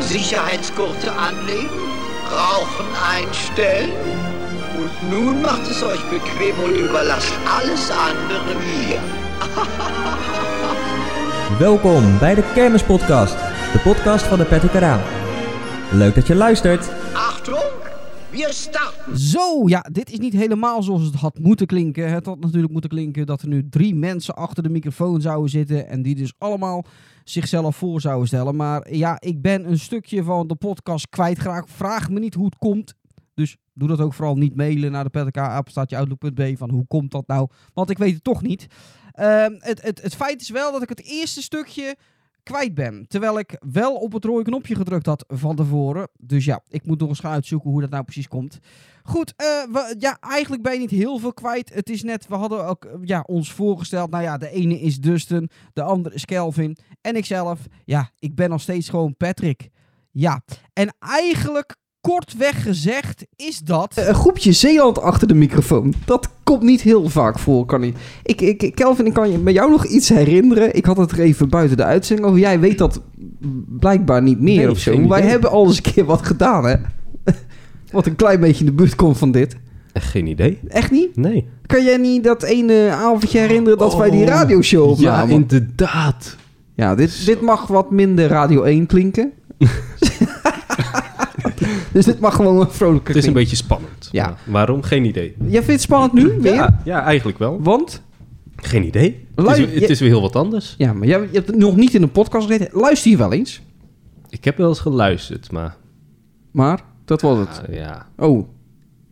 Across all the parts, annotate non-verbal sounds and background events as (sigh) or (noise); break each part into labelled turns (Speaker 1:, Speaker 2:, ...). Speaker 1: Sicherheitsgurte anlegen, Rauchen einstellen. Und nun macht es euch bequem und überlasst alles andere mir.
Speaker 2: Welkom bij de Kermispodcast, de podcast van de Petty Leuk dat je luistert.
Speaker 1: Achtung, we starten.
Speaker 3: Zo, ja, dit is niet helemaal zoals het had moeten klinken. Het had natuurlijk moeten klinken dat er nu drie mensen achter de microfoon zouden zitten en die dus allemaal zichzelf voor zouden stellen. Maar ja, ik ben een stukje van de podcast kwijtgeraakt. Vraag me niet hoe het komt. Dus doe dat ook vooral niet mailen naar de petk.apenstaatjeoutlook.be van hoe komt dat nou? Want ik weet het toch niet. Uh, het, het, het feit is wel dat ik het eerste stukje kwijt ben. Terwijl ik wel op het rode knopje gedrukt had van tevoren. Dus ja, ik moet nog eens gaan uitzoeken hoe dat nou precies komt. Goed, uh, we, ja, eigenlijk ben je niet heel veel kwijt. Het is net, we hadden ook eh, ja, ons voorgesteld. Nou ja, de ene is Dustin, de andere is Kelvin. En ikzelf, ja, ik ben nog steeds gewoon Patrick. Ja, en eigenlijk kortweg gezegd is dat...
Speaker 4: Eh, Een groepje Zeeland achter de microfoon. Dat komt niet heel vaak voor, kan ik. ik, Kelvin, ik kan je, bij jou nog iets herinneren. Ik had het er even buiten de uitzending over. Jij weet dat blijkbaar niet meer nee, of zo. Wij idee. hebben al eens een keer wat gedaan, hè? (laughs) wat een klein beetje in de buurt komt van dit.
Speaker 5: Echt geen idee.
Speaker 4: Echt niet?
Speaker 5: Nee.
Speaker 4: Kan jij niet dat ene avondje herinneren dat oh, wij die radioshow opnamen?
Speaker 5: Ja, inderdaad.
Speaker 4: Ja, dit, zo. dit mag wat minder Radio 1
Speaker 5: (laughs)
Speaker 4: klinken. Dus dit mag gewoon een vrolijke
Speaker 5: Het is een beetje spannend.
Speaker 4: Ja.
Speaker 5: Waarom? Geen idee.
Speaker 4: Jij vindt het spannend nu weer?
Speaker 5: Ja, ja eigenlijk wel.
Speaker 4: Want?
Speaker 5: Geen idee. Luister, het, is, het je, is, weer heel wat anders.
Speaker 4: Ja, maar jij, je hebt het nog niet in een podcast gezeten. Luister je wel eens?
Speaker 5: Ik heb wel eens geluisterd, maar...
Speaker 4: Maar? Dat was het?
Speaker 5: Ah, ja.
Speaker 4: Oh.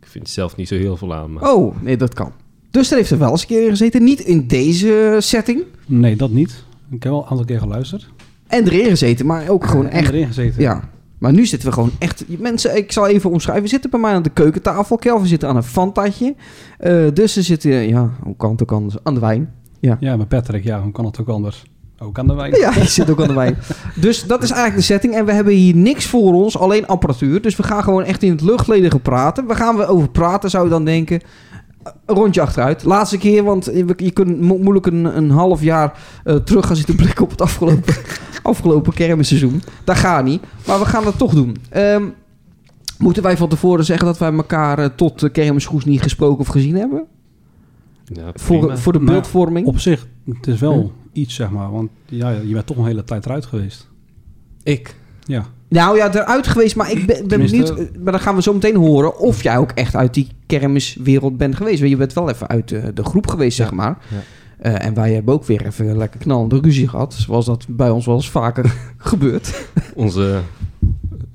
Speaker 5: Ik vind zelf niet zo heel veel aan.
Speaker 4: Maar... Oh, nee, dat kan. Dus er heeft er wel eens een keer in gezeten. Niet in deze setting.
Speaker 6: Nee, dat niet. Ik heb wel een aantal keer geluisterd. Eh,
Speaker 4: En erin gezeten, maar ook gewoon
Speaker 6: en
Speaker 4: echt...
Speaker 6: erin gezeten.
Speaker 4: Ja. Maar nu zitten we gewoon echt... Mensen, ik zal even omschrijven. We zitten bij mij aan de keukentafel. Kelvin zit aan een fantaatje. Uh, dus ze zitten... Ja, hoe kan het ook anders? Aan de wijn.
Speaker 6: Ja. ja, maar Patrick, ja, hoe kan het ook anders? Ook aan de wijn.
Speaker 4: Ja, je (laughs) zit ook aan de wijn. Dus dat is eigenlijk de setting. En we hebben hier niks voor ons, alleen apparatuur. Dus we gaan gewoon echt in het luchtledige praten. Waar gaan we over praten, zou je dan denken? Een rondje achteruit. Laatste keer, want je kunt mo moeilijk een, een, half jaar uh, terug gaan zitten blikken op het afgelopen, afgelopen kermisseizoen. Dat gaat niet. Maar we gaan dat toch doen. Um, moeten wij van tevoren zeggen dat wij elkaar uh, tot de kermisgoes niet gesproken of gezien hebben?
Speaker 5: Ja,
Speaker 4: voor, voor de beeldvorming?
Speaker 6: Nou, op zich, het is wel ja. iets, zeg maar. Want ja, je bent toch een hele tijd eruit geweest.
Speaker 5: Ik?
Speaker 6: Ja.
Speaker 4: Nou ja, eruit geweest, maar ik ben, ben benieuwd. Maar dan gaan we zo meteen horen of jij ook echt uit die kermiswereld bent geweest. Want je bent wel even uit eh, de, de groep geweest, ja, zeg maar. Ja. Uh, en wij hebben ook weer even lekker knallende ruzie gehad. Zoals dat bij ons wel eens vaker (laughs) gebeurt.
Speaker 5: Onze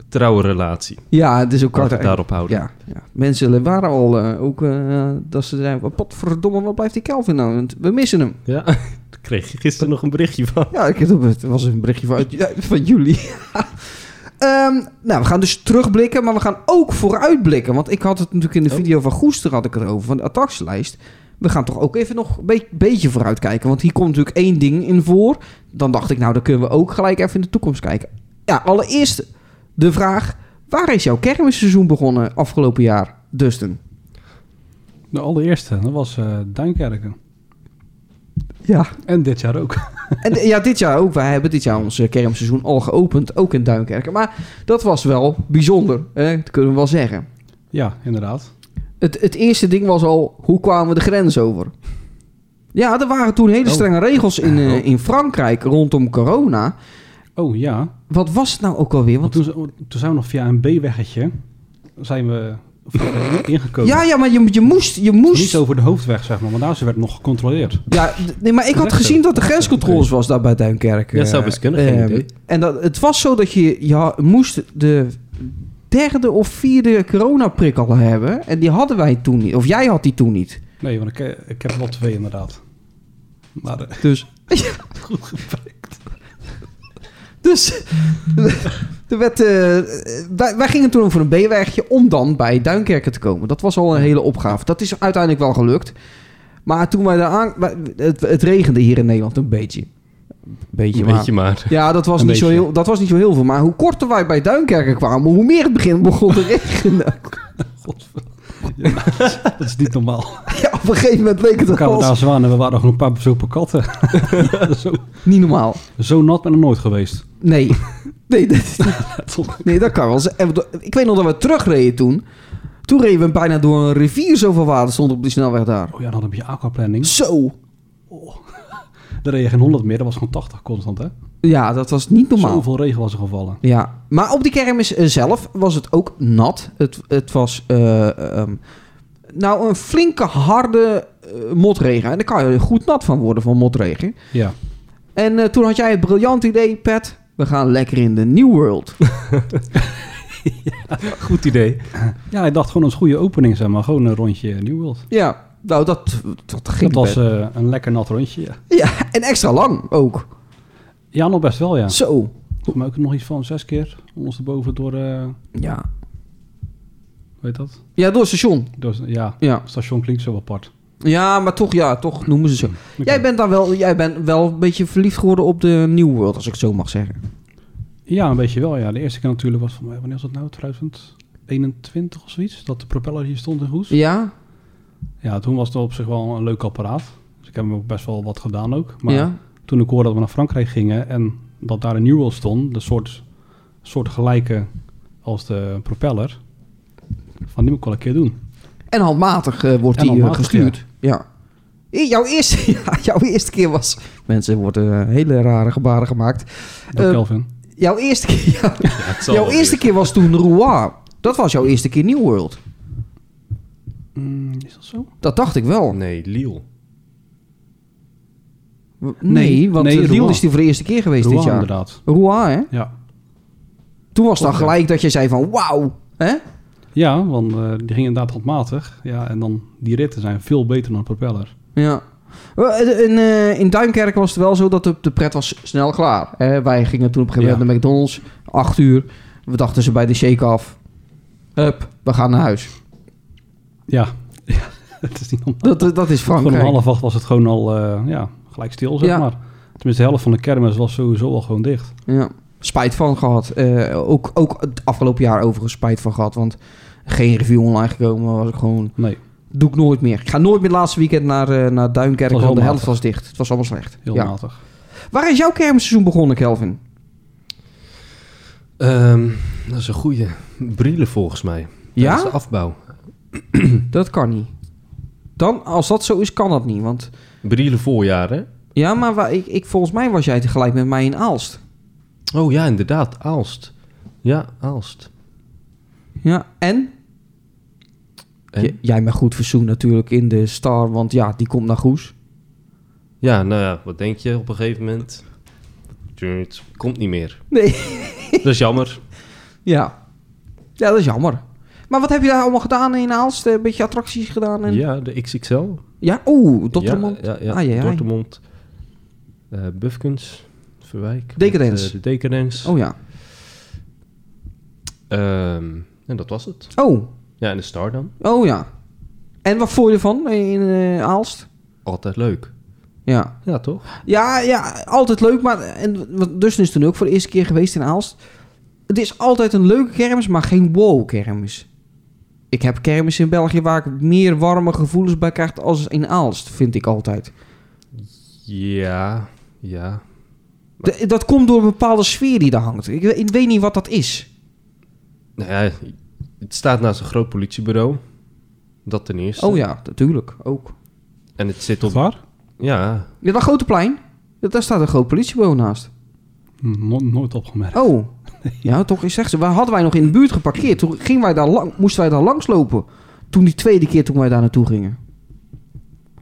Speaker 5: trouwe relatie.
Speaker 4: Ja, het is ook hard.
Speaker 5: Daarop houden.
Speaker 4: Ja, ja. Mensen waren al uh, ook uh, dat ze zeiden: potverdomme, wat blijft die Kelvin nou? Want we missen hem.
Speaker 5: Ja, (laughs) daar kreeg je gisteren nog een berichtje van.
Speaker 4: Ja, ik, het was een berichtje van, van jullie. (laughs) Um, nou, we gaan dus terugblikken, maar we gaan ook vooruitblikken. Want ik had het natuurlijk in de video van Goester had ik het over, van de attractielijst. We gaan toch ook even nog een be beetje vooruitkijken. Want hier komt natuurlijk één ding in voor. Dan dacht ik, nou, dan kunnen we ook gelijk even in de toekomst kijken. Ja, allereerst de vraag: waar is jouw kermisseizoen begonnen afgelopen jaar, Dustin?
Speaker 6: De allereerste, dat was uh, Duinkerken.
Speaker 4: Ja.
Speaker 6: En dit jaar ook. (laughs)
Speaker 4: En ja, dit jaar ook. Wij hebben dit jaar ons kermseizoen al geopend, ook in Duinkerken. Maar dat was wel bijzonder, hè? dat kunnen we wel zeggen.
Speaker 6: Ja, inderdaad.
Speaker 4: Het, het eerste ding was al, hoe kwamen we de grens over? Ja, er waren toen hele strenge oh. regels in, uh, in Frankrijk rondom corona.
Speaker 6: Oh ja.
Speaker 4: Wat was het nou ook alweer?
Speaker 6: Want... Toen, toen zijn we nog via een B-weggetje, zijn we ingekomen.
Speaker 4: Ja, ja, maar je, je moest, je moest...
Speaker 6: Niet over de hoofdweg, zeg maar, want daar werd nog gecontroleerd.
Speaker 4: Ja, nee, maar ik had gezien dat er grenscontroles was daar bij Duinkerk. eh,
Speaker 5: Ja, dat zou best kunnen, geen idee.
Speaker 4: En dat, het was zo dat je, je moest de derde of vierde coronaprik al hebben. En die hadden wij toen niet, of jij had die toen niet.
Speaker 6: Nee, want eh, ik, ik heb wel twee inderdaad. Maar, eh,
Speaker 4: dus...
Speaker 6: goed gebruikt.
Speaker 4: Dus (laughs) er werd, eh, wij, wij gingen toen over een B-wegje om dan bij Duinkerken te komen. Dat was al een hele opgave. Dat is uiteindelijk wel gelukt. Maar toen wij daar aan... wij- Het, het regende hier in Nederland een beetje. Beetje, maar-
Speaker 5: Weet je maar.
Speaker 4: Ja, dat was,
Speaker 6: Een
Speaker 4: niet zo,
Speaker 6: beetje.
Speaker 4: heel, dat was niet zo heel veel. Maar hoe korter wij bij Duinkerken kwamen, hoe meer het begin begon
Speaker 6: (laughs)
Speaker 4: te regenen.
Speaker 6: Dat is niet normaal.
Speaker 4: (laughs) Ja, op een gegeven moment leek het
Speaker 6: We kwamen
Speaker 4: wel
Speaker 6: daar zwaan en we waren nog een paar bezopen katten. (laughs) zo,
Speaker 4: niet normaal.
Speaker 6: zo nat ben ik nooit geweest. (laughs)
Speaker 4: Nee. Nee, dat, nee, dat kan wel. En we- Ik weet nog dat we terugreden toen. Toen reden we bijna door een rivier zoveel water stond op die snelweg daar.
Speaker 6: Oh ja, dan had een beetje aquaplanning.
Speaker 4: Zo.
Speaker 6: Daar reed je geen 100 meer, dat was gewoon 80 constant, hè?
Speaker 4: Ja, dat was niet normaal.
Speaker 6: Zoveel regen was er gevallen.
Speaker 4: Ja, maar op die kermis eh, zelf was het ook nat. Het, het was eh, ehm, nou een flinke harde eh, motregen. En daar kan je goed nat van worden van motregen.
Speaker 6: Ja.
Speaker 4: En eh, toen had jij het briljant idee, Pat. We gaan lekker in de New World. (laughs)
Speaker 5: Goed idee.
Speaker 6: Ja, ik dacht gewoon als goede opening, zeg maar. Gewoon een rondje New World.
Speaker 4: ja, nou dat, dat ging
Speaker 6: Dat was
Speaker 4: best.
Speaker 6: eh, een lekker nat rondje, ja.
Speaker 4: Ja, en extra lang ook.
Speaker 6: Ja, nog best wel, ja.
Speaker 4: Zo.
Speaker 6: Volgens mij ook nog iets van zes keer ondersteboven door, eh hoe
Speaker 4: Ja.
Speaker 6: heet dat?
Speaker 4: Ja, door het station.
Speaker 6: Door, ja,
Speaker 4: Ja.
Speaker 6: station klinkt zo apart.
Speaker 4: ja, maar toch, ja, toch noemen ze zo.
Speaker 6: Oké.
Speaker 4: Jij bent dan wel, jij bent wel een beetje verliefd geworden op de New World, als ik het zo mag zeggen.
Speaker 6: Ja, een beetje wel, ja. De eerste keer natuurlijk was van, eh, wanneer was dat nou? 2021 of zoiets? Dat de propeller hier stond in Goes.
Speaker 4: Ja?
Speaker 6: Ja, toen was het op zich wel een leuk apparaat. Dus ik heb hem ook best wel wat gedaan ook. Maar
Speaker 4: ja?
Speaker 6: toen ik hoorde dat we naar Frankrijk gingen en dat daar een Newell stond, de soort, soort gelijke als de propeller, van die moet ik wel een keer doen.
Speaker 4: En handmatig eh, wordt
Speaker 6: En
Speaker 4: die eh,
Speaker 6: handmatig,
Speaker 4: gestuurd. Ja. I- Jouw eerste, (laughs) ja, jouw eerste keer was... Mensen worden eh, hele rare gebaren gemaakt.
Speaker 6: Dat
Speaker 4: Eh,
Speaker 6: Kelvin.
Speaker 4: Jouw eerste keer, (laughs) ja,
Speaker 5: Ja, (laughs) het zal
Speaker 4: jouw
Speaker 5: wel
Speaker 4: eerste
Speaker 5: weer.
Speaker 4: keer was toen Rouen. Dat was jouw eerste keer New World.
Speaker 6: Mm, is dat zo?
Speaker 4: Dat dacht ik wel.
Speaker 5: Nee, Liel.
Speaker 4: Nee,
Speaker 6: Nee,
Speaker 4: want
Speaker 6: nee,
Speaker 4: Rouen
Speaker 6: Rouen.
Speaker 4: is die voor de eerste keer geweest
Speaker 6: Rouen,
Speaker 4: dit jaar.
Speaker 6: inderdaad.
Speaker 4: Rouen, hè?
Speaker 6: Ja,
Speaker 4: Toen was het dan
Speaker 6: Klopt, ja.
Speaker 4: gelijk dat je zei van wauw. Hè?
Speaker 6: ja want eh, die ging inderdaad handmatig. Ja, en dan die ritten zijn veel beter dan een propeller.
Speaker 4: Ja. Eh, In, eh, in Duinkerken was het wel zo dat de, de pret was snel klaar. Hè? Wij gingen toen op een gegeven moment naar McDonald's. Acht uur. We dachten ze bij de shake af. Hup, we gaan naar huis.
Speaker 6: Ja, (laughs) ja het is niet normaal.
Speaker 4: Dat, dat dat is
Speaker 6: Gewoon
Speaker 4: Frankrijk.
Speaker 6: om half acht was het gewoon al eh, ja, gelijk stil, zeg
Speaker 4: Ja.
Speaker 6: maar. Tenminste, de helft van de kermis was sowieso al gewoon dicht.
Speaker 4: Ja. Spijt van gehad. Eh, ook, ook het afgelopen jaar overigens spijt van gehad. Want geen review online gekomen. Was ik gewoon,
Speaker 6: Nee,
Speaker 4: doe ik nooit meer. Ik ga nooit meer het laatste weekend naar, eh, naar
Speaker 6: Het was
Speaker 4: Duinkerken.
Speaker 6: heel
Speaker 4: Want de helft
Speaker 6: matig.
Speaker 4: was dicht. Het was allemaal slecht.
Speaker 6: heel
Speaker 4: Ja.
Speaker 6: matig.
Speaker 4: Waar is jouw kermisseizoen begonnen, Kelvin?
Speaker 5: Ehm, dat is een goede. Brillen volgens mij.
Speaker 4: Ja?
Speaker 5: Dat is de afbouw.
Speaker 4: Dat kan niet. Dan, als dat zo is, kan dat niet. Want
Speaker 5: Brillen voorjaar, hè?
Speaker 4: Ja, maar wa- ik, ik, volgens mij was jij tegelijk met mij in Aalst.
Speaker 5: Oh ja, inderdaad. Aalst. Ja, Aalst.
Speaker 4: Ja, en?
Speaker 5: En-
Speaker 4: J- jij met goed verzoen natuurlijk in de Star, want ja, die komt naar Goes.
Speaker 5: Ja, nou ja, wat denk je op een gegeven moment? Het komt niet
Speaker 4: (laughs)
Speaker 5: meer.
Speaker 4: Nee.
Speaker 5: Dat is jammer.
Speaker 4: Ja. Ja, dat is jammer. Maar wat heb je daar allemaal gedaan in Aalst? Een beetje attracties gedaan? En...
Speaker 5: Ja, de XXL.
Speaker 4: Ja? Oeh, Dottermond. Ah,
Speaker 5: Ja, ja, ja.
Speaker 4: Ai, ai, ai.
Speaker 5: Dortmund. Eh, Bufkens. Verwijk.
Speaker 4: Decadence.
Speaker 5: Met, eh, de Decadence.
Speaker 4: Oh ja.
Speaker 5: Ehm, en dat was het.
Speaker 4: Oh,
Speaker 5: Ja, en de Star dan.
Speaker 4: oh ja. En wat vond je ervan in eh, Aalst?
Speaker 5: Altijd leuk.
Speaker 4: Ja.
Speaker 5: Ja, toch?
Speaker 4: Ja, ja, altijd leuk. Maar en, want Dustin is toen ook voor de eerste keer geweest in Aalst. Het is altijd een leuke kermis, maar geen wow-kermis. Ik heb kermis in België waar ik meer warme gevoelens bij krijg als in Aalst, vind ik altijd.
Speaker 5: Ja, ja.
Speaker 4: D- dat komt door een bepaalde sfeer die daar hangt. Ik, we- ik weet niet wat dat is.
Speaker 5: Nou ja, het staat naast een groot politiebureau. Dat ten eerste.
Speaker 4: Oh ja, natuurlijk, ook.
Speaker 5: En het zit
Speaker 6: Tot
Speaker 5: op...
Speaker 6: waar?
Speaker 5: Ja,
Speaker 4: Ja, dat grote plein. Ja, Daar staat een groot politiebureau naast.
Speaker 6: Hm, no- nooit opgemerkt.
Speaker 4: (laughs) Oh, ja, toch is echt zo. Waar hadden wij nog in de buurt geparkeerd? Toen gingen wij daar lang, moesten wij daar langslopen. Toen die tweede keer toen wij daar naartoe gingen.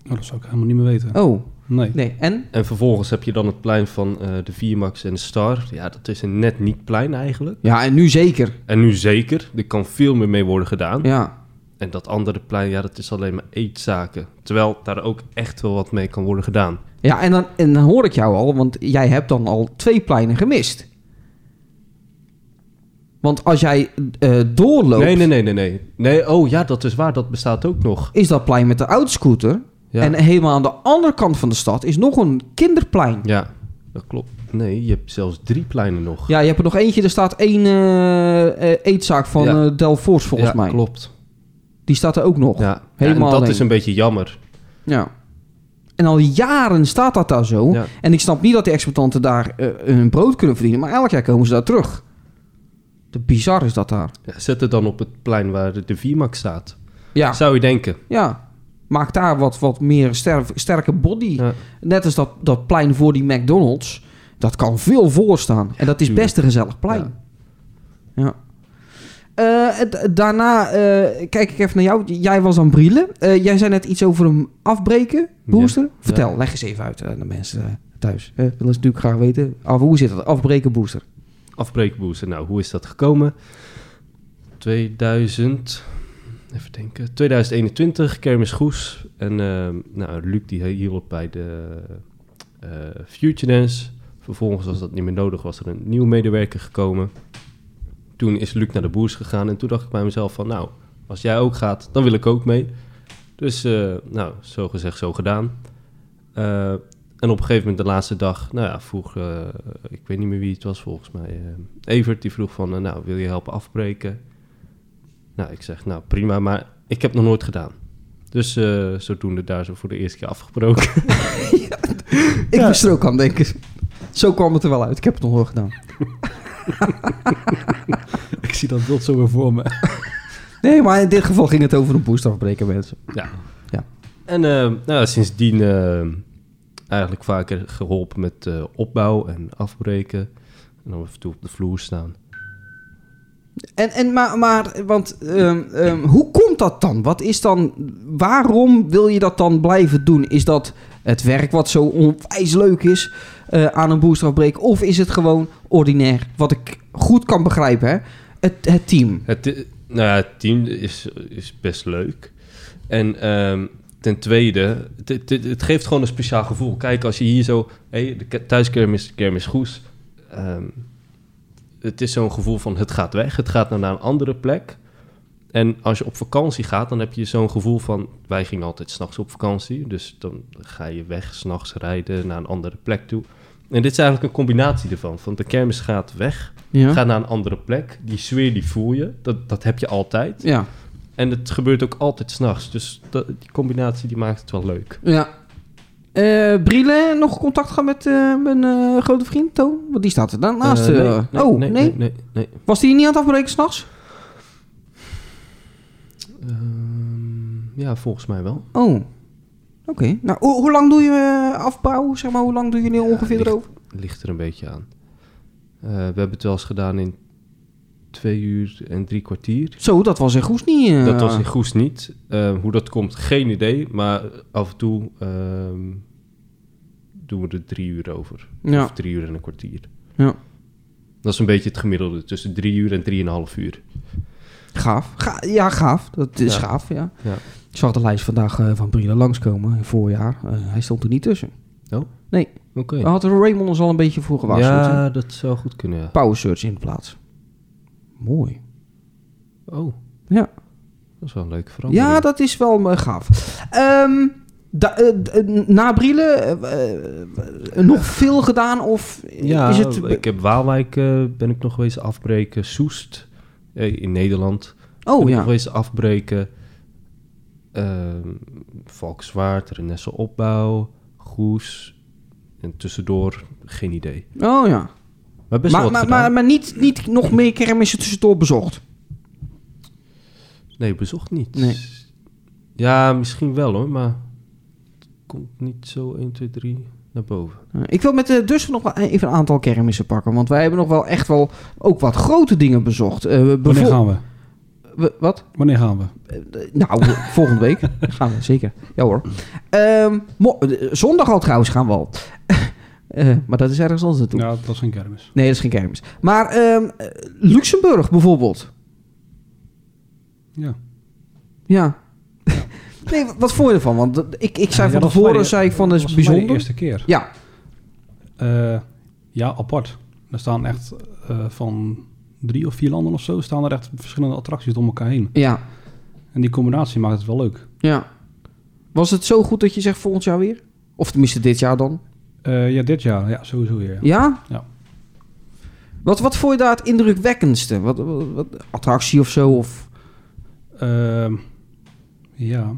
Speaker 6: Oh, dat zou ik helemaal niet meer weten.
Speaker 4: Oh,
Speaker 6: Nee.
Speaker 4: nee. En?
Speaker 5: en vervolgens heb je dan het plein van eh, de Viermax en de Star. Ja, dat is een net niet plein eigenlijk.
Speaker 4: Ja, en nu zeker.
Speaker 5: En nu zeker, er kan veel meer mee worden gedaan.
Speaker 4: Ja.
Speaker 5: En dat andere plein, ja, dat is alleen maar eetzaken. Terwijl daar ook echt wel wat mee kan worden gedaan.
Speaker 4: Ja, en dan, en dan hoor ik jou al, want jij hebt dan al twee pleinen gemist. Want als jij eh, doorloopt,
Speaker 5: Nee, nee, nee, nee, nee. Nee, oh ja, dat is waar. Dat bestaat ook nog.
Speaker 4: is dat plein met de oudscooter.
Speaker 5: Ja,
Speaker 4: En helemaal aan de andere kant van de stad is nog een kinderplein.
Speaker 5: ja dat klopt. Nee, je hebt zelfs drie pleinen nog.
Speaker 4: Ja, je hebt er nog eentje. Er staat één eh, eh, eetzaak van
Speaker 5: Ja.
Speaker 4: eh, Delfors volgens
Speaker 5: Ja,
Speaker 4: mij.
Speaker 5: klopt.
Speaker 4: Die staat er ook nog.
Speaker 5: Ja,
Speaker 4: helemaal
Speaker 5: en dat
Speaker 4: alleen.
Speaker 5: is een beetje jammer.
Speaker 4: Ja. En al jaren staat dat daar zo.
Speaker 5: Ja.
Speaker 4: En ik snap niet dat die exploitanten daar eh, hun brood kunnen verdienen. Maar elk jaar komen ze daar terug. De bizar is dat daar.
Speaker 5: Ja, zet het dan op het plein waar de VMAX staat.
Speaker 4: Ja.
Speaker 5: Zou je denken.
Speaker 4: ja. Maak daar wat, wat meer sterf- sterke body.
Speaker 5: Ja.
Speaker 4: Net als dat, dat plein voor die McDonald's. Dat kan veel voor staan. en dat is
Speaker 5: tuurlijk.
Speaker 4: best een gezellig plein. Ja. Eh, d- daarna eh, kijk ik even naar jou. Jij was aan Brielen. Eh, jij zei net iets over hem afbreken, booster. Vertel, leg eens even uit aan de mensen eh, thuis. Eh, dat is natuurlijk graag weten. Af, hoe zit dat? Afbreken, booster.
Speaker 5: Afbreekbooster. Nou, hoe is dat gekomen? 2000, even denken, 2021, Kermis Goes. En ehm, nou, Luc die hielp bij de eh Future Dance. Vervolgens, als dat niet meer nodig was, er een nieuwe medewerker gekomen. Toen is Luc naar de boers gegaan en toen dacht ik bij mezelf van, nou, als jij ook gaat, dan wil ik ook mee. Dus, eh, nou, zo gezegd, zo gedaan. Eh, en op een gegeven moment de laatste dag, nou ja, vroeg, eh, ik weet niet meer wie het was volgens mij, eh, Evert, die vroeg van, eh, nou, wil je helpen afbreken? Nou, ik zeg, nou, prima, maar ik heb het nog nooit gedaan. Dus eh, zodoende daar zo voor de eerste keer afgebroken. (laughs)
Speaker 4: Ik moest er ook aan denken. Zo kwam het er wel uit. Ik heb het nog nooit gedaan.
Speaker 6: (laughs) Ik zie dat beeld zo weer voor me.
Speaker 4: Nee, maar in dit geval ging het over een booster afbreken, mensen.
Speaker 5: ja.
Speaker 4: Ja.
Speaker 5: En eh, nou, sindsdien eh, eigenlijk vaker geholpen met eh, opbouw en afbreken. En dan af en toe op de vloer staan.
Speaker 4: En, en maar, maar want ehm, ehm, hoe komt dat dan? Wat is dan? Waarom wil je dat dan blijven doen? Is dat het werk wat zo onwijs leuk is eh, aan een booster afbreken, of is het gewoon ordinair? Wat ik goed kan begrijpen, hè? Het, het team.
Speaker 5: Het, i- nou ja, het team is, is best leuk. En ehm, ten tweede, het, het, het- het geeft gewoon een speciaal gevoel. Kijk, als je hier zo... Hey, de ke- thuiskermis kermis Goes. ehm, het is zo'n gevoel van het gaat weg. Het gaat nou naar een andere plek. En als je op vakantie gaat, dan heb je zo'n gevoel van... Wij gingen altijd s'nachts op vakantie. Dus dan ga je weg, s'nachts rijden naar een andere plek toe. En dit is eigenlijk een combinatie ervan. Van de kermis gaat weg...
Speaker 4: Ja.
Speaker 5: Ga naar een andere plek. Die sfeer die voel je. Dat, dat heb je altijd.
Speaker 4: Ja.
Speaker 5: En het gebeurt ook altijd s'nachts. Dus dat, die combinatie die maakt het wel leuk.
Speaker 4: Ja. Eh Brielle, nog contact gaan met eh, mijn eh, grote vriend Toon? Want die staat er daarnaast.
Speaker 5: Eh,
Speaker 4: eh,
Speaker 5: nee, nee,
Speaker 4: oh,
Speaker 5: nee,
Speaker 4: nee,
Speaker 5: nee, nee, nee.
Speaker 4: Was die niet aan het afbreken s'nachts?
Speaker 5: Ehm, ja, volgens mij wel.
Speaker 4: Oh. Oké. Nou, hoe, hoe lang doe je eh, afbouw? Zeg maar, hoe lang doen jullie ongeveer
Speaker 5: ligt-
Speaker 4: erover?
Speaker 5: Ligt er een beetje aan. Eh, we hebben het wel eens gedaan in twee uur en drie kwartier.
Speaker 4: Zo, dat was in Goes niet. eh,
Speaker 5: Dat was in Goes niet. Eh, hoe dat komt, geen idee. Maar af en toe ehm, doen we er drie uur over.
Speaker 4: Ja.
Speaker 5: Of drie uur en een kwartier.
Speaker 4: Ja.
Speaker 5: Dat is een beetje het gemiddelde. Tussen drie uur en drieënhalf uur.
Speaker 4: Gaaf. Ga- ja, gaaf. Dat is
Speaker 5: Ja.
Speaker 4: gaaf, ja.
Speaker 5: Ja.
Speaker 4: Ik zag de lijst vandaag eh, van Brille langskomen in het voorjaar. Eh, hij stond er niet tussen.
Speaker 5: Oh?
Speaker 4: Nee.
Speaker 5: Oké.
Speaker 4: Daar had Raymond ons al een beetje voor gewaarschuwd. hè?
Speaker 5: Ja, dat zou goed kunnen, ja.
Speaker 4: Power Search in de plaats. Mooi.
Speaker 5: Oh,
Speaker 4: Ja.
Speaker 5: dat is wel een leuke verandering.
Speaker 4: Ja, dat is wel eh, gaaf. Ehm, da- eh, d- eh, na Brille eh, nog veel gedaan of
Speaker 5: Ja,
Speaker 4: is het...
Speaker 5: ik heb Waalwijk eh, ben ik nog geweest afbreken. Soest eh, in Nederland ben
Speaker 4: oh
Speaker 5: ik
Speaker 4: ja.
Speaker 5: nog geweest afbreken. Ehm Valkenswaard, Renesse Opbouw, Goes. En tussendoor, geen idee.
Speaker 4: Oh ja.
Speaker 5: Maar best
Speaker 4: Maar,
Speaker 5: wel wat
Speaker 4: maar,
Speaker 5: gedaan.
Speaker 4: maar, maar niet, niet nog meer kermissen tussendoor bezocht.
Speaker 5: Nee, bezocht niet.
Speaker 4: Nee.
Speaker 5: Ja, misschien wel hoor, maar... het komt niet zo 1, 2, 3 naar boven. Oh,
Speaker 4: Eh, Ik wil met de Dussen nog wel e- even een aantal kermissen pakken. Want wij hebben nog wel echt wel ook wat grote dingen bezocht. Eh, we-
Speaker 6: Wanneer
Speaker 4: bevo-
Speaker 6: gaan we?
Speaker 4: we- Wat?
Speaker 6: Wanneer gaan we?
Speaker 4: Eh, Nou, (laughs) volgende week gaan we, zeker. Ja hoor. Ehm, mo- eh, zondag al trouwens gaan we al. (laughs) Eh, maar dat is ergens anders naartoe.
Speaker 6: Ja, dat is geen kermis.
Speaker 4: Nee, dat is geen kermis. Maar ehm, eh, Luxemburg bijvoorbeeld.
Speaker 6: Ja.
Speaker 4: Ja. (laughs) nee, wat- wat vond je ervan? Want dat- ik, ik zei van
Speaker 6: Ja, dat was
Speaker 4: tevoren,
Speaker 6: mij-
Speaker 4: zei ik van, dat is
Speaker 6: was voor mij
Speaker 4: bijzonder.
Speaker 6: de eerste keer.
Speaker 4: Ja,
Speaker 6: Eh, ja, apart. Er staan echt eh, van drie of vier landen of zo staan er echt verschillende attracties om elkaar heen.
Speaker 4: Ja,
Speaker 6: En die combinatie maakt het wel leuk.
Speaker 4: ja. Was het zo goed dat je zegt volgend jaar weer? Of tenminste dit jaar dan?
Speaker 6: Eh, ja, dit jaar. Ja, sowieso weer. ja.
Speaker 4: Ja?
Speaker 6: Ja.
Speaker 4: Wat, wat vond je daar het indrukwekkendste? Wat, wat, wat- attractie of zo? Of...
Speaker 6: Ehm, ja.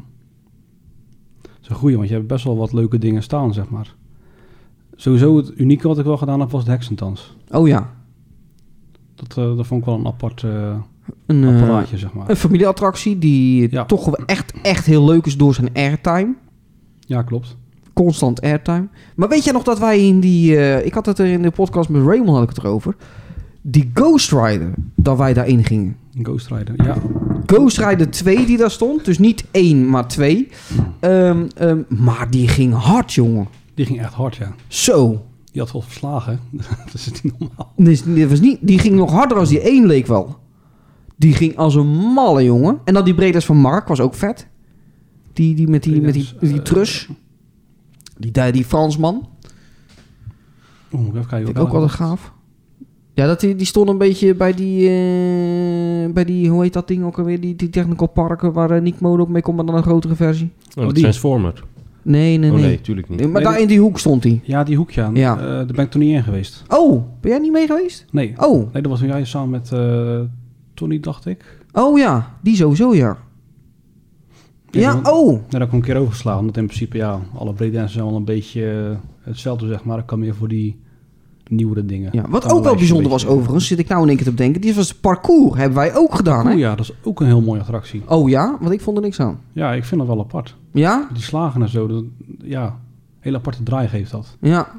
Speaker 6: Dat is een goeie, want je hebt best wel wat leuke dingen staan, zeg maar. Sowieso het unieke wat ik wel gedaan heb, was de heksentans.
Speaker 4: Oh ja,
Speaker 6: Dat, eh, dat vond ik wel een apart eh,
Speaker 4: een, eh,
Speaker 6: apparaatje, zeg maar.
Speaker 4: een familieattractie die
Speaker 6: Ja.
Speaker 4: toch wel echt, echt heel leuk is door zijn airtime.
Speaker 6: Ja, klopt.
Speaker 4: Constant airtime. Maar weet jij nog dat wij in die... eh, ik had het er in de podcast met Raymond had ik het erover. Die Ghost Rider, dat wij daarin gingen.
Speaker 6: Een Ghost Rider. Ja,
Speaker 4: Ghost Rider 2 die daar stond. Dus niet 1, maar 2. Ehm, ehm, maar die ging hard, jongen.
Speaker 6: die ging echt hard, ja.
Speaker 4: Zo.
Speaker 6: Die had wel verslagen. (laughs) dat is niet normaal.
Speaker 4: Dus dit was niet, die ging nog harder als die 1 leek wel. Die ging als een malle, jongen. En dan die Bredas van Mark was ook vet. Die, die met die, met die,
Speaker 6: Bredas,
Speaker 4: die
Speaker 6: eh,
Speaker 4: trus. Die, die, die Fransman.
Speaker 6: Oeh, Oh, moet ik even kijken.
Speaker 4: Vind ik
Speaker 6: welke
Speaker 4: ook altijd
Speaker 6: dat was.
Speaker 4: gaaf. Ja, dat, die, die stond een beetje bij die, eh, bij die... Hoe heet dat ding ook alweer? Die, die technical parken waar eh, Nick Mode ook mee komt, maar dan een grotere versie.
Speaker 5: Oh, de
Speaker 6: die.
Speaker 5: Transformer.
Speaker 4: Nee, nee,
Speaker 5: Oh
Speaker 4: nee.
Speaker 5: nee, tuurlijk niet.
Speaker 4: Maar
Speaker 6: Nee,
Speaker 4: daar
Speaker 6: nee.
Speaker 4: in die hoek stond hij.
Speaker 6: Ja, die hoekje aan.
Speaker 4: Ja.
Speaker 6: Ja. daar ben ik toen niet in geweest.
Speaker 4: Oh, ben jij niet mee geweest?
Speaker 6: Nee.
Speaker 4: Oh,
Speaker 6: Nee, dat was toen jij samen met eh, Tony, dacht ik.
Speaker 4: oh ja. Die sowieso, ja. Ja,
Speaker 6: dat-
Speaker 4: oh.
Speaker 6: Nou, daar heb ik een keer overgeslagen. Omdat in principe, ja, alle breakdancers zijn wel een beetje eh, hetzelfde, zeg maar. Ik kan meer voor die nieuwere dingen.
Speaker 4: Ja, wat
Speaker 6: Kan
Speaker 4: ook wel
Speaker 6: een
Speaker 4: bijzonder was
Speaker 6: beetje-
Speaker 4: overigens, zit ik nou in één keer te denken. Dit was het parcours, hebben wij ook gedaan, hè?
Speaker 6: Oeh, ja, dat is ook een heel mooie attractie.
Speaker 4: Oh ja, want ik vond er niks aan.
Speaker 6: Ja, ik vind dat wel apart.
Speaker 4: Ja?
Speaker 6: Die slagen en zo, dat, ja, een hele aparte draai geeft dat.
Speaker 4: Ja.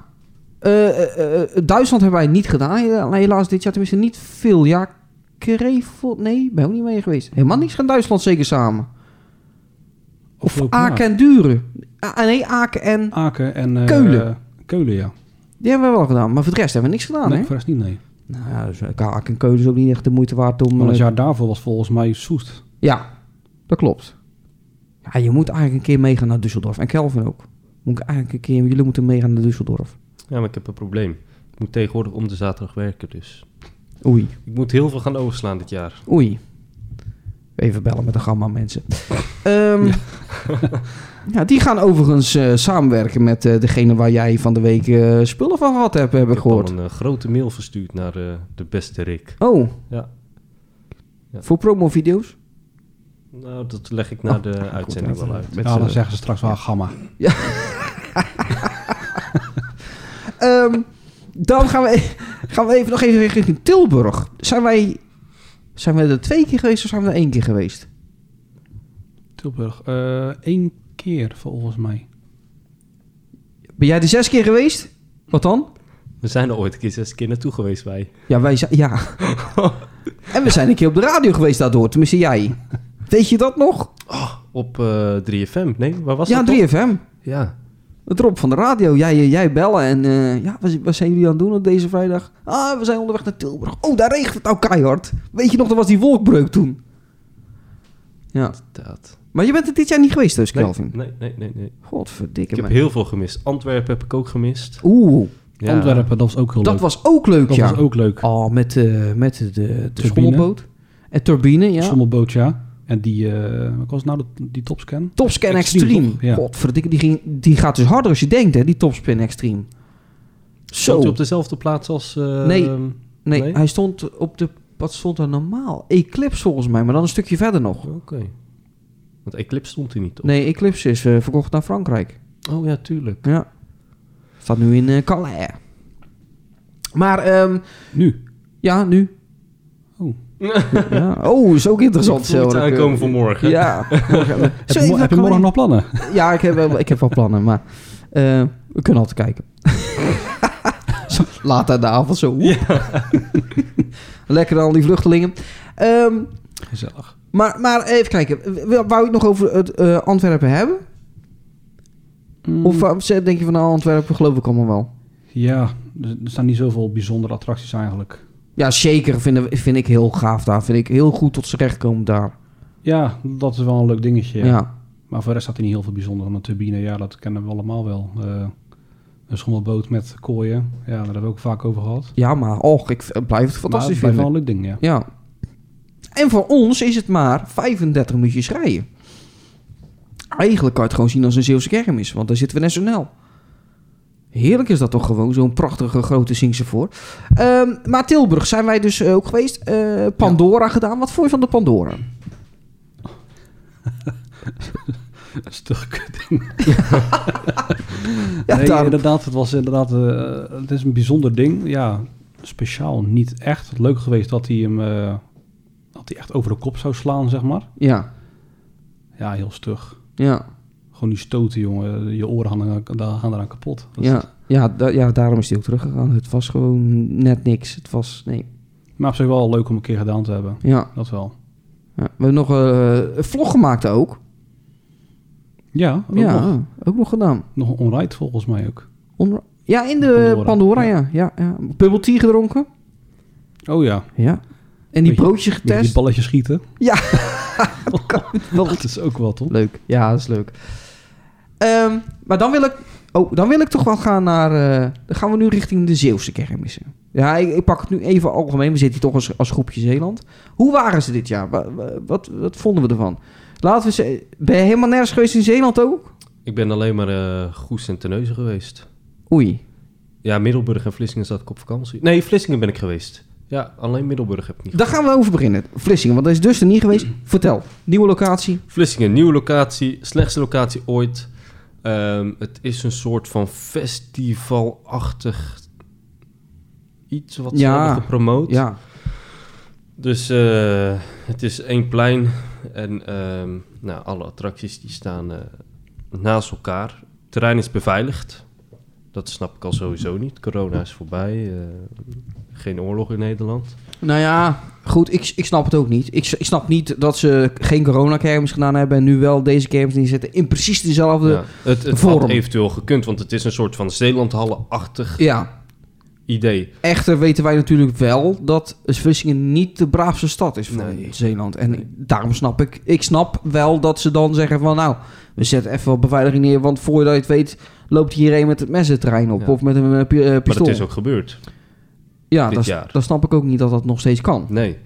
Speaker 4: Eh, eh, eh, Duitsland hebben wij niet gedaan, hela- helaas dit jaar tenminste niet veel. Ja, Krevel, nee, ben ook niet mee geweest. Helemaal niks gaan Duitsland zeker samen. Of
Speaker 6: Afgelopen jaar.
Speaker 4: Aken en Duren. Ah, nee, Aken en...
Speaker 6: Aken en... eh,
Speaker 4: Keulen. Ah,
Speaker 6: Keulen, ja.
Speaker 4: Die hebben we wel gedaan, maar voor de rest hebben we niks gedaan,
Speaker 6: nee,
Speaker 4: hè?
Speaker 6: voor de rest niet, nee.
Speaker 4: Nou ja, dus, eh, Aken en Keulen is ook niet echt de moeite waard om...
Speaker 6: Maar het
Speaker 4: eh,
Speaker 6: jaar daarvoor was volgens mij Soest.
Speaker 4: Ja, dat klopt. Ja, je moet eigenlijk een keer meegaan naar Düsseldorf. En Kelvin ook. Moet ik eigenlijk een keer, jullie moeten meegaan naar Düsseldorf.
Speaker 5: Ja, maar ik heb een probleem. Ik moet tegenwoordig om de zaterdag werken, dus.
Speaker 4: Oei,
Speaker 5: Ik moet heel veel gaan overslaan dit jaar.
Speaker 4: oei. Even bellen met de gamma
Speaker 6: (laughs)
Speaker 4: mensen. Ehm, ja. die gaan overigens eh, samenwerken met eh, degene waar jij van de week eh, spullen van gehad hebt, heb ik
Speaker 5: ik heb al
Speaker 4: gehoord.
Speaker 5: een eh, grote mail verstuurd naar eh, de beste Rick.
Speaker 4: Oh.
Speaker 5: Ja. Ja.
Speaker 4: Voor promovideo's?
Speaker 5: Nou, dat leg ik
Speaker 4: Oh,
Speaker 5: na de uitzending wel uit.
Speaker 6: Ja,
Speaker 4: eh,
Speaker 6: dan zeggen ze straks wel gamma.
Speaker 4: Ehm, dan gaan we, e- (laughs) gaan we even nog even richting Tilburg. Zijn wij, zijn wij er twee keer geweest of zijn we er één keer geweest?
Speaker 6: Tilburg. eh, één keer, volgens mij.
Speaker 4: Ben jij er zes keer geweest? Wat dan?
Speaker 5: We zijn er ooit een keer zes keer naartoe geweest bij.
Speaker 4: Ja, wij zijn...
Speaker 5: (laughs)
Speaker 4: Ja. en we zijn een keer op de radio geweest daardoor. Tenminste, jij. Weet je dat nog?
Speaker 5: Op eh, 3FM. Nee, waar was
Speaker 4: Oh. ja,
Speaker 5: dat? toch?
Speaker 4: 3FM.
Speaker 5: Ja.
Speaker 4: Het Rob van de radio. Jij, eh, jij bellen en... eh, ja, wat, wat zijn jullie aan het doen op deze vrijdag? Ah, we zijn onderweg naar Tilburg. Oh, daar regent het nou keihard. Weet je nog, er was die wolkbreuk toen. Ja.
Speaker 5: Inderdaad.
Speaker 4: Maar je bent er dit jaar niet geweest dus,
Speaker 5: Nee,
Speaker 4: Kelvin.
Speaker 5: Nee, nee, nee, nee.
Speaker 4: Godverdikke
Speaker 5: Ik heb
Speaker 4: me.
Speaker 5: heel veel gemist. Antwerpen heb ik ook gemist.
Speaker 4: Oeh,
Speaker 5: Ja.
Speaker 6: Antwerpen, dat was ook heel
Speaker 4: dat
Speaker 6: leuk.
Speaker 4: was ook leuk,
Speaker 6: dat
Speaker 4: ja.
Speaker 6: was ook leuk.
Speaker 4: Oh, met, eh, met de, de, de
Speaker 6: Turbine.
Speaker 4: schommelboot. En turbine, ja.
Speaker 6: Schommelboot, ja. En die, eh, wat was nou dat- die topscan?
Speaker 4: Topscan
Speaker 6: Extreme,
Speaker 4: Extreme.
Speaker 6: toch? Ja.
Speaker 4: Godverdikke, die, ging, die gaat dus harder als je denkt, hè, die Topspin Extreme. Zo.
Speaker 5: Stond u op dezelfde plaats als... eh,
Speaker 4: Nee.
Speaker 5: ehm,
Speaker 4: nee,
Speaker 5: nee?
Speaker 4: hij stond op de... Wat stond er normaal? Eclipse volgens mij, maar dan een stukje verder nog.
Speaker 5: Oké. Want Eclipse stond hij niet op.
Speaker 4: Nee, Eclipse is eh, verkocht naar Frankrijk.
Speaker 5: Oh ja, tuurlijk.
Speaker 4: Ja. Staat nu in eh, Calais. Maar, ehm,
Speaker 6: Nu.
Speaker 4: ja, nu.
Speaker 6: Oh.
Speaker 4: (laughs) ja. Oh, is ook interessant.
Speaker 5: Ik voel het
Speaker 4: Zelrik.
Speaker 5: aankomen voor morgen.
Speaker 4: eh, Ja. Morgen.
Speaker 6: (laughs) Heb je, mo- heb je morgen nog plannen?
Speaker 4: (laughs) Ja, ik heb, wel- ik heb wel plannen, maar eh, we kunnen altijd
Speaker 6: (laughs)
Speaker 4: kijken. Zo, Laat aan de avond zo. oeh. (laughs) Lekker al die vluchtelingen. Ehm,
Speaker 6: Gezellig.
Speaker 4: maar, maar even kijken. W- Wou je het nog over het, eh, Antwerpen hebben? Of wou- denk je van nou, Antwerpen geloof ik allemaal wel?
Speaker 6: Ja, er, er staan niet zoveel bijzondere attracties eigenlijk.
Speaker 4: Ja, zeker vind, vind ik heel gaaf daar. Vind ik heel goed tot z'n recht komen daar.
Speaker 6: Ja, dat is wel een leuk dingetje.
Speaker 4: Ja.
Speaker 6: ja. Maar voor de rest staat er niet heel veel bijzonder. Een turbine, ja, dat kennen we allemaal wel. Eh, Een schommelboot met kooien. Ja, daar hebben we ook vaak over gehad.
Speaker 4: Ja, maar och, ik v- blijf het
Speaker 6: Maar het
Speaker 4: fantastisch
Speaker 6: blijft wel
Speaker 4: vinden.
Speaker 6: een leuk ding, ja.
Speaker 4: Ja. En voor ons is het maar 35 minuutjes rijden. Eigenlijk kan je het gewoon zien als een Zeeuwse kermis, want daar zitten we net zo snel. Heerlijk is dat toch gewoon, zo'n prachtige grote Singse voor. Ehm, maar Tilburg zijn wij dus ook geweest. Eh, Pandora gedaan. Wat vond je van de Pandora?
Speaker 6: Een (laughs) stuk kut.
Speaker 4: Ja,
Speaker 6: nee, eh,
Speaker 4: daarom.
Speaker 6: inderdaad, het was inderdaad, eh, het is een bijzonder ding. Ja, speciaal niet echt. Het leuk geweest dat hij hem, eh, dat hij echt over de kop zou slaan, zeg maar.
Speaker 4: Ja,
Speaker 6: Ja, heel stug.
Speaker 4: ja,
Speaker 6: Gewoon die stoten, jongen. Je oren gaan, eraan- daar- gaan eraan kapot. Dat is
Speaker 4: ja,
Speaker 6: het.
Speaker 4: ja, da- ja, daarom is hij ook teruggegaan. Het was gewoon net niks. Het was, nee.
Speaker 6: Maar op zich wel leuk om een keer gedaan te hebben.
Speaker 4: Ja,
Speaker 6: Dat wel.
Speaker 4: ja. we hebben nog eh, een vlog gemaakt ook.
Speaker 6: Ja, ook
Speaker 4: ja, oh,
Speaker 6: Nog,
Speaker 4: ook nog gedaan.
Speaker 6: nog een onride volgens mij ook.
Speaker 4: Onder- ja, in de Pandora,
Speaker 6: Pandora.
Speaker 4: ja. ja, ja. Bubble tea gedronken.
Speaker 6: Oh ja.
Speaker 4: Ja. En die
Speaker 6: Beetje-
Speaker 4: broodjes
Speaker 6: Met Die
Speaker 4: getest.
Speaker 6: balletjes schieten.
Speaker 4: Ja. (laughs)
Speaker 6: dat is ook wel top.
Speaker 4: Leuk. Ja, dat is leuk. Ehm, maar dan wil ik... Oh, dan wil ik toch wel gaan naar... eh, dan gaan we nu richting de Zeeuwse kermissen. Ja, ik, ik pak het nu even algemeen. We zitten hier toch als, als groepje Zeeland. Hoe waren ze dit jaar? Wa- wa- Wat, wat, vonden we ervan? Laten we ze... Ben je helemaal nergens geweest in Zeeland ook?
Speaker 5: Ik ben alleen maar eh Goes en Terneuzen geweest.
Speaker 4: Oei.
Speaker 5: Ja, Middelburg en Vlissingen zat ik op vakantie. Nee, Vlissingen ben ik geweest. Ja, alleen Middelburg heb ik niet.
Speaker 4: Daar gaan we over beginnen. Vlissingen, want dat is dus er niet geweest. Vertel. Nieuwe locatie.
Speaker 5: Vlissingen, nieuwe locatie, slechtste locatie ooit. Ehm, het is een soort van festivalachtig iets wat ze
Speaker 4: Ja,
Speaker 5: hebben gepromoot.
Speaker 4: Ja.
Speaker 5: Dus eh, het is één plein en ehm, nou, alle attracties die staan eh, naast elkaar. Het terrein is beveiligd. Dat snap ik al sowieso niet. Corona is voorbij. eh, geen oorlog in Nederland.
Speaker 4: Nou ja, goed, ik, ik snap het ook niet. Ik, s- ik snap niet dat ze geen coronakermis gedaan hebben... en nu wel deze kermis neerzetten in precies dezelfde...
Speaker 5: Ja,
Speaker 4: Ja.
Speaker 5: het het
Speaker 4: vorm.
Speaker 5: had eventueel gekund, want het is een soort van Zeelandhallen-achtig idee.
Speaker 4: echter weten wij natuurlijk wel dat Vlissingen niet de braafste stad is van
Speaker 5: Nee.
Speaker 4: Zeeland. En
Speaker 5: Nee.
Speaker 4: ik- daarom snap ik... Ik snap wel dat ze dan zeggen van... nou, we zetten even wat beveiliging neer... want voordat je het weet loopt hierheen met het mes het terrein op...
Speaker 5: Ja.
Speaker 4: of met een eh, pi- eh,
Speaker 5: Maar
Speaker 4: pistool.
Speaker 5: dat is ook gebeurd.
Speaker 4: ja,
Speaker 5: dit
Speaker 4: dat, s-
Speaker 5: jaar.
Speaker 4: dat snap ik ook niet dat dat nog steeds kan.
Speaker 5: Nee.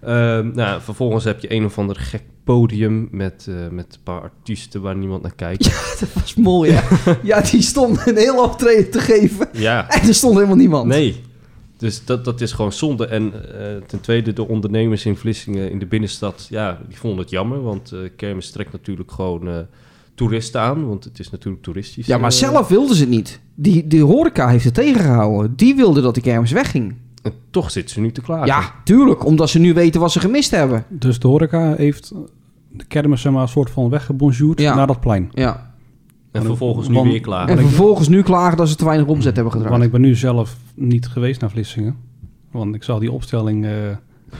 Speaker 5: Ehm, nou, vervolgens heb je een of ander gek podium met, eh, met een paar artiesten waar niemand naar kijkt.
Speaker 4: (laughs) Dat is mooi, ja.
Speaker 5: (laughs)
Speaker 4: ja, die stond een heel optreden te geven... (laughs)
Speaker 5: ja.
Speaker 4: en er stond helemaal niemand.
Speaker 5: Nee. Dus dat, dat is gewoon zonde. En eh, ten tweede, de ondernemers in Vlissingen in de binnenstad, ja, die vonden het jammer. Want eh kermis trekt natuurlijk gewoon eh, toeristen aan, want het is natuurlijk toeristisch.
Speaker 4: Ja, maar
Speaker 5: eh,
Speaker 4: zelf wilden ze het niet. Die, die horeca heeft het tegengehouden. Die wilde dat de kermis wegging.
Speaker 5: en toch zitten ze nu te klagen.
Speaker 4: Ja, tuurlijk. Omdat ze nu weten wat ze gemist hebben.
Speaker 6: Dus de horeca heeft de kermis zeg maar een soort van weggebonjourd
Speaker 4: Ja.
Speaker 6: naar dat plein.
Speaker 4: Ja.
Speaker 5: En vervolgens nu
Speaker 6: Want-
Speaker 5: weer klagen.
Speaker 4: En vervolgens nu klagen dat ze te weinig omzet hebben
Speaker 6: Want
Speaker 4: gedraaid.
Speaker 6: ik ben nu zelf niet geweest naar Vlissingen. Want ik zag die opstelling, eh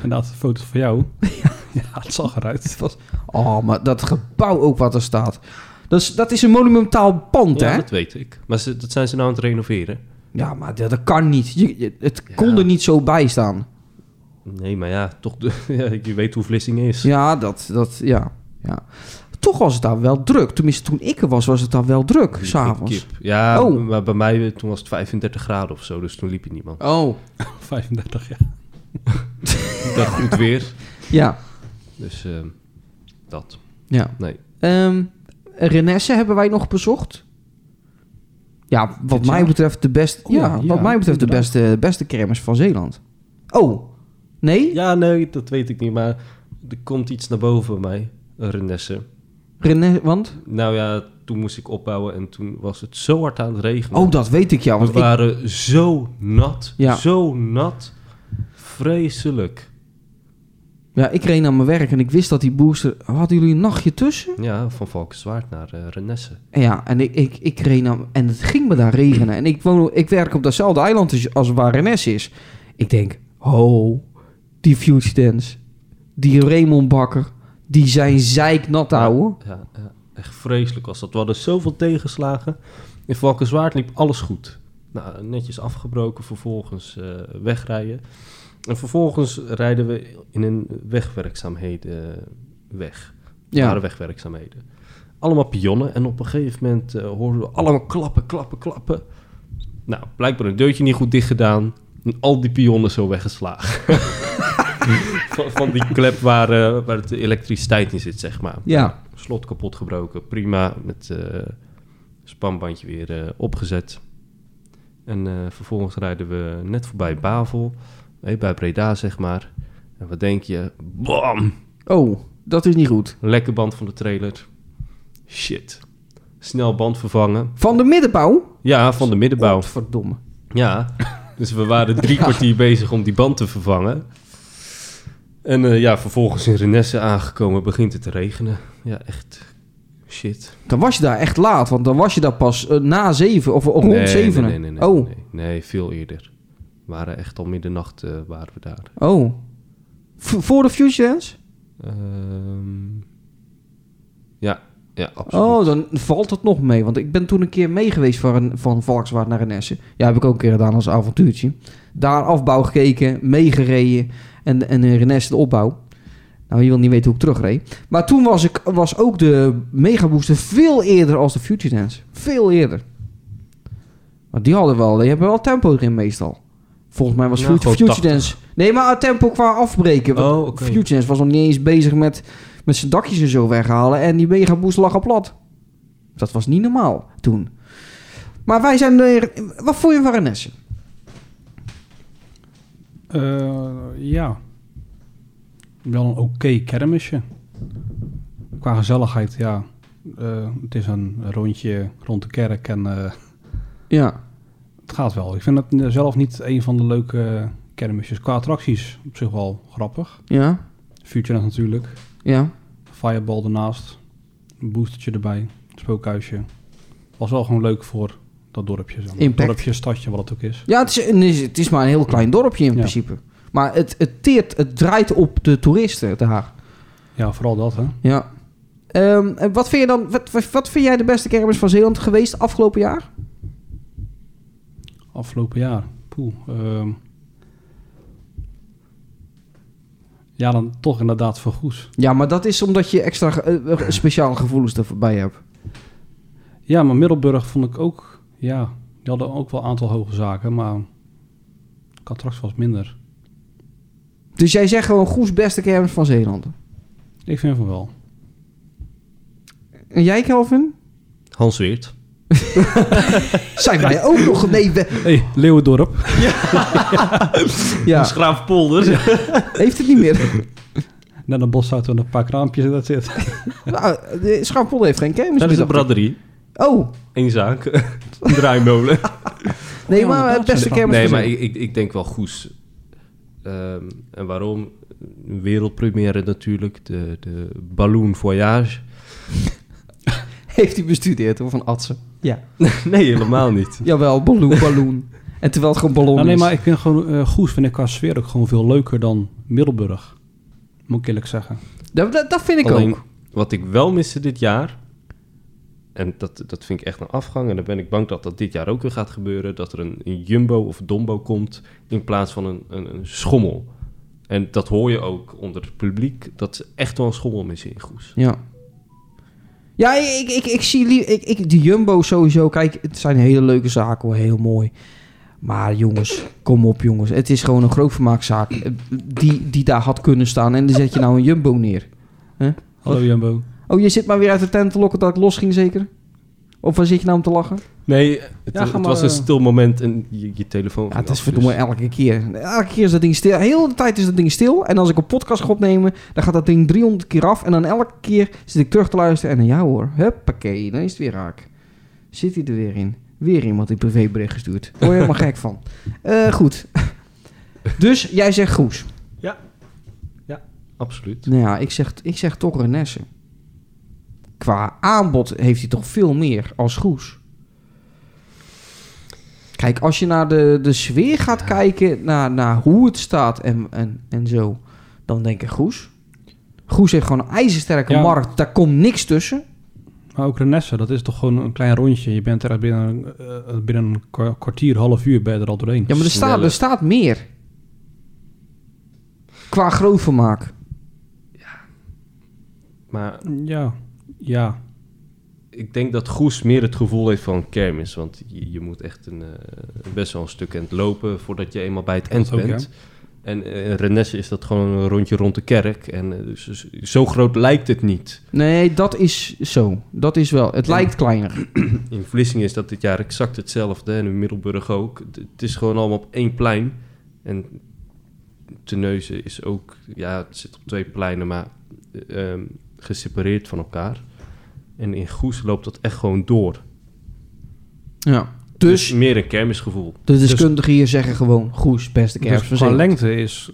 Speaker 6: inderdaad, foto's
Speaker 4: (laughs)
Speaker 6: van jou. ja. het zag eruit. (laughs)
Speaker 4: Oh, maar dat gebouw ook wat er staat. Dat is, dat is een monumentaal pand,
Speaker 5: Ja,
Speaker 4: hè?
Speaker 5: dat weet ik. Maar ze, dat zijn ze nou aan het renoveren.
Speaker 4: Ja, maar dat, dat kan niet. Je- je- het
Speaker 5: Ja.
Speaker 4: kon er niet zo bij staan.
Speaker 5: Nee, maar ja, toch, de- (laughs) ja, je weet hoe Vlissingen is.
Speaker 4: Ja, dat... dat ja, ja. Toch was het daar wel druk. Tenminste, toen ik er was, was het daar wel druk.
Speaker 5: Liep
Speaker 4: S'avonds.
Speaker 5: ik kip. Ja,
Speaker 4: Oh.
Speaker 5: maar bij mij eh, toen was het 35 graden of zo, dus toen liep je niemand.
Speaker 4: Oh,
Speaker 6: 35 jaar.
Speaker 5: Dat goed weer.
Speaker 4: ja.
Speaker 5: Dus ehm, dat.
Speaker 4: Ja.
Speaker 5: Nee.
Speaker 4: Ehm Renesse hebben wij nog bezocht. Ja, wat
Speaker 6: Dit
Speaker 4: mij
Speaker 6: jaar?
Speaker 4: betreft de beste.
Speaker 6: Oh,
Speaker 4: ja,
Speaker 6: ja,
Speaker 4: wat
Speaker 6: ja,
Speaker 4: mij betreft de
Speaker 6: inderdaad.
Speaker 4: beste, beste kermis van Zeeland. Oh, nee?
Speaker 5: Ja, nee, dat weet ik niet, maar er komt iets naar boven bij mij, een Renesse.
Speaker 4: Rene- want?
Speaker 5: Nou ja, toen moest ik opbouwen en toen was het zo hard aan het regenen.
Speaker 4: Oh, dat weet ik ja. Want
Speaker 5: We
Speaker 4: ik-
Speaker 5: waren zo nat,
Speaker 4: Ja.
Speaker 5: zo nat. Vreselijk.
Speaker 4: ja, ik reed naar mijn werk en ik wist dat die booster. Hadden jullie een nachtje tussen?
Speaker 5: Ja, van Valkenswaard naar eh, Renesse.
Speaker 4: En Ja, en ik, ik, ik reed naar. En het ging me daar regenen. En ik, woon, ik werk op datzelfde eiland als- als waar Renesse is. Ik denk, oh, die Future Dance, die Raymond Bakker, die zijn zeiknat houden.
Speaker 5: Ja, ja, echt vreselijk was dat. We hadden zoveel tegenslagen. In Valkenswaard liep alles goed. Nou, netjes afgebroken, vervolgens eh, wegrijden. En vervolgens rijden we in een wegwerkzaamheden eh, weg.
Speaker 4: Ja.
Speaker 5: Waren wegwerkzaamheden. Allemaal pionnen. En op een gegeven moment eh, hoorden we allemaal klappen, klappen, klappen. Nou, blijkbaar een deurtje niet goed dicht gedaan. En al die pionnen zo weggeslagen. (laughs) van, van die klep waar, eh, waar de elektriciteit in zit, zeg maar.
Speaker 4: Ja.
Speaker 5: Slot kapot gebroken, prima. Met eh spanbandje weer eh, opgezet. En eh, vervolgens rijden we net voorbij Bavel. eh, bij Breda, zeg maar. En wat denk je? Bam!
Speaker 4: Oh, dat is niet goed.
Speaker 5: Lekke band van de trailer. Shit. Snel band vervangen.
Speaker 4: Van de middenbouw?
Speaker 5: Ja, van de middenbouw.
Speaker 4: Verdomme.
Speaker 5: Ja, dus we waren drie kwartier bezig om die band te vervangen. En eh, ja, vervolgens in Renesse aangekomen begint het te regenen. Ja, echt shit.
Speaker 4: Dan was je daar echt laat, want dan was je daar pas eh, na zeven of rond
Speaker 5: nee,
Speaker 4: zeven.
Speaker 5: Nee, nee, nee, nee,
Speaker 4: oh,
Speaker 5: nee, nee, veel eerder. We waren echt al middernacht eh, waren we daar.
Speaker 4: oh. V- voor de Future Dance?
Speaker 5: Ehm, ja, ja, absoluut.
Speaker 4: Oh, dan valt het nog mee. Want ik ben toen een keer mee geweest van, een- van Valkswaard naar Renesse. Ja, heb ik ook een keer gedaan als avontuurtje. Daar afbouw gekeken, meegereden en, en in Renesse de opbouw. Nou, je wil niet weten hoe ik terugreed. Maar toen was, ik, was ook de megabooster veel eerder als de Future Dance. Veel eerder. Maar die hadden wel, die hebben wel tempo erin meestal. Volgens mij was
Speaker 5: Ja,
Speaker 4: Future,
Speaker 5: gewoon
Speaker 4: Future Dance... Nee, maar tempo qua afbreken. Want
Speaker 5: Oh, oké.
Speaker 4: Future Dance was nog niet eens bezig met, met zijn dakjes en zo weghalen. En die megaboost lag al plat. Dat was niet normaal toen. Maar wij zijn er... Wat vond je van Renesse?
Speaker 6: Eh, ja. Wel een oké kermisje. Qua gezelligheid, ja. Eh, het is een rondje rond de kerk en eh,
Speaker 4: Ja.
Speaker 6: het gaat wel. Ik vind het zelf niet een van de leuke kermisjes. Qua attracties op zich wel grappig.
Speaker 4: Ja.
Speaker 6: Future Dance natuurlijk.
Speaker 4: Ja.
Speaker 6: Fireball ernaast. Een boostertje erbij. Spookhuisje. Was wel gewoon leuk voor dat dorpje. Zeg maar.
Speaker 4: Impact.
Speaker 6: Dorpje, stadje, wat het ook is.
Speaker 4: Ja, het is, een- het is maar een heel klein dorpje in
Speaker 6: Ja.
Speaker 4: principe. Maar het, het teert, het draait op de toeristen daar.
Speaker 6: Ja, vooral dat hè.
Speaker 4: Ja. Ehm, en wat, vind je dan, wat, wat, wat vind jij de beste kermis van Zeeland geweest afgelopen jaar?
Speaker 6: Afgelopen jaar. Poeh. ehm. ja, dan toch inderdaad voor Goes.
Speaker 4: Ja, maar dat is omdat je extra eh, eh, speciale gevoelens erbij hebt.
Speaker 6: Ja, maar Middelburg vond ik ook... Ja, die hadden ook wel een aantal hoge zaken, maar... Catrax was minder.
Speaker 4: Dus jij zegt gewoon Goes beste kermis van Zeeland.
Speaker 6: Ik vind van wel.
Speaker 4: En jij, Kelvin?
Speaker 5: Hans Weert.
Speaker 4: Zijn wij ook nog... Nee, we-
Speaker 6: Hé, hey, Leeuwendorp.
Speaker 4: (laughs) ja,
Speaker 5: Schraafpolder.
Speaker 4: heeft het niet meer. (laughs)
Speaker 6: Net een bos uit en een paar kraampjes en dat zit.
Speaker 4: Nou, de Schouwpolder heeft geen kermis
Speaker 5: Dat
Speaker 4: meer,
Speaker 5: is een
Speaker 4: dacht ik.
Speaker 5: braderie.
Speaker 4: Oh,
Speaker 5: Eén (laughs) zaak. Een draaimolen.
Speaker 4: nee,
Speaker 6: Ja,
Speaker 4: maar
Speaker 6: inderdaad,
Speaker 4: het beste
Speaker 6: zijn
Speaker 4: kermis
Speaker 5: Nee,
Speaker 4: van
Speaker 5: maar
Speaker 4: Zeeland.
Speaker 5: ik, ik, ik denk wel Goes. Ehm, en waarom? Een Wereldpremière natuurlijk. De, de Balloon Voyage.
Speaker 4: Heeft hij bestudeerd, hoor, van Atsen. Ja.
Speaker 5: nee, helemaal niet.
Speaker 4: Jawel, balloon, balloon. en terwijl het gewoon ballon
Speaker 6: Nou, nee,
Speaker 4: is.
Speaker 6: maar ik vind gewoon... eh, Goes vind ik qua sfeer ook gewoon veel leuker dan Middelburg. Moet ik eerlijk zeggen.
Speaker 4: Dat, dat, dat vind ik
Speaker 5: Alleen,
Speaker 4: ook.
Speaker 5: wat ik wel miste dit jaar... En dat, dat vind ik echt een afgang. En dan ben ik bang dat dat dit jaar ook weer gaat gebeuren. Dat er een, een jumbo of dombo komt in plaats van een, een, een schommel. En dat hoor je ook onder het publiek. Dat ze echt wel een schommel missen in Goes.
Speaker 4: Ja. Ja, ik, ik, ik zie... lie- Ik, ik, die Jumbo sowieso... Kijk, het zijn hele leuke zaken, hoor. Heel mooi. Maar jongens, kom op jongens. Het is gewoon een grootvermaakzaak. eh, Die, die daar had kunnen staan. En dan zet je nou een Jumbo neer.
Speaker 6: Hallo Jumbo.
Speaker 4: Oh, je zit maar weer uit de tent te lokken dat ik los ging zeker? Of waar zit je nou om te lachen?
Speaker 5: Nee, het,
Speaker 6: ga
Speaker 5: het
Speaker 6: maar,
Speaker 5: was een
Speaker 6: eh.
Speaker 5: stil moment en je, je telefoon
Speaker 4: Ja,
Speaker 5: ging
Speaker 4: het is
Speaker 5: af,
Speaker 4: verdomme
Speaker 5: dus-
Speaker 4: elke keer. Elke keer is dat ding stil. Heel de tijd is dat ding stil. En als ik een podcast ga opnemen, dan gaat dat ding 300 keer af. En dan elke keer zit ik terug te luisteren. En ja hoor, huppakee, dan is het weer raak. Zit hij er weer in? Weer iemand een privébericht gestuurd. Word je helemaal gek van. Eh, goed. (laughs) Dus jij zegt Goes.
Speaker 5: Absoluut.
Speaker 4: Nou ja, ik zeg, ik zeg toch Renesse. Qua aanbod heeft hij toch veel meer als Goes. Kijk, als je naar de, de sfeer gaat kijken, naar, naar hoe het staat en, en, en zo, dan denk ik Goes. Goes heeft gewoon een ijzersterke
Speaker 6: Ja.
Speaker 4: markt, daar komt niks tussen.
Speaker 6: Maar ook Renesse, dat is toch gewoon een klein rondje. Je bent er echt binnen, eh, binnen een kwa- kwartier, half uur ben je er al doorheen.
Speaker 4: Ja, maar er staat, er
Speaker 5: Sneller.
Speaker 4: staat meer. Qua grootvermaak.
Speaker 5: Maar
Speaker 6: Ja, ja.
Speaker 5: ik denk dat Goes meer het gevoel heeft van kermis. Want je, je moet echt een, eh, best wel een stuk end lopen voordat je eenmaal bij het end
Speaker 6: ook,
Speaker 5: bent. En eh, in Renesse is dat gewoon een rondje rond de kerk. En eh, dus, dus zo groot lijkt het niet.
Speaker 4: Nee, dat is zo. Dat is wel. Het lijkt kleiner.
Speaker 5: In Vlissingen is dat dit jaar exact hetzelfde. En in Middelburg ook. Het- Het is gewoon allemaal op één plein. En Teneuzen is ook... Ja, het zit op twee pleinen, maar eh, ehm, gesepareerd van elkaar. En in Goes loopt dat echt gewoon door.
Speaker 4: Ja.
Speaker 5: Dus,
Speaker 4: Dus
Speaker 5: meer een kermisgevoel.
Speaker 4: de deskundigen hier zeggen gewoon... Goes, beste
Speaker 6: Dus
Speaker 4: kerst.
Speaker 6: qua lengte is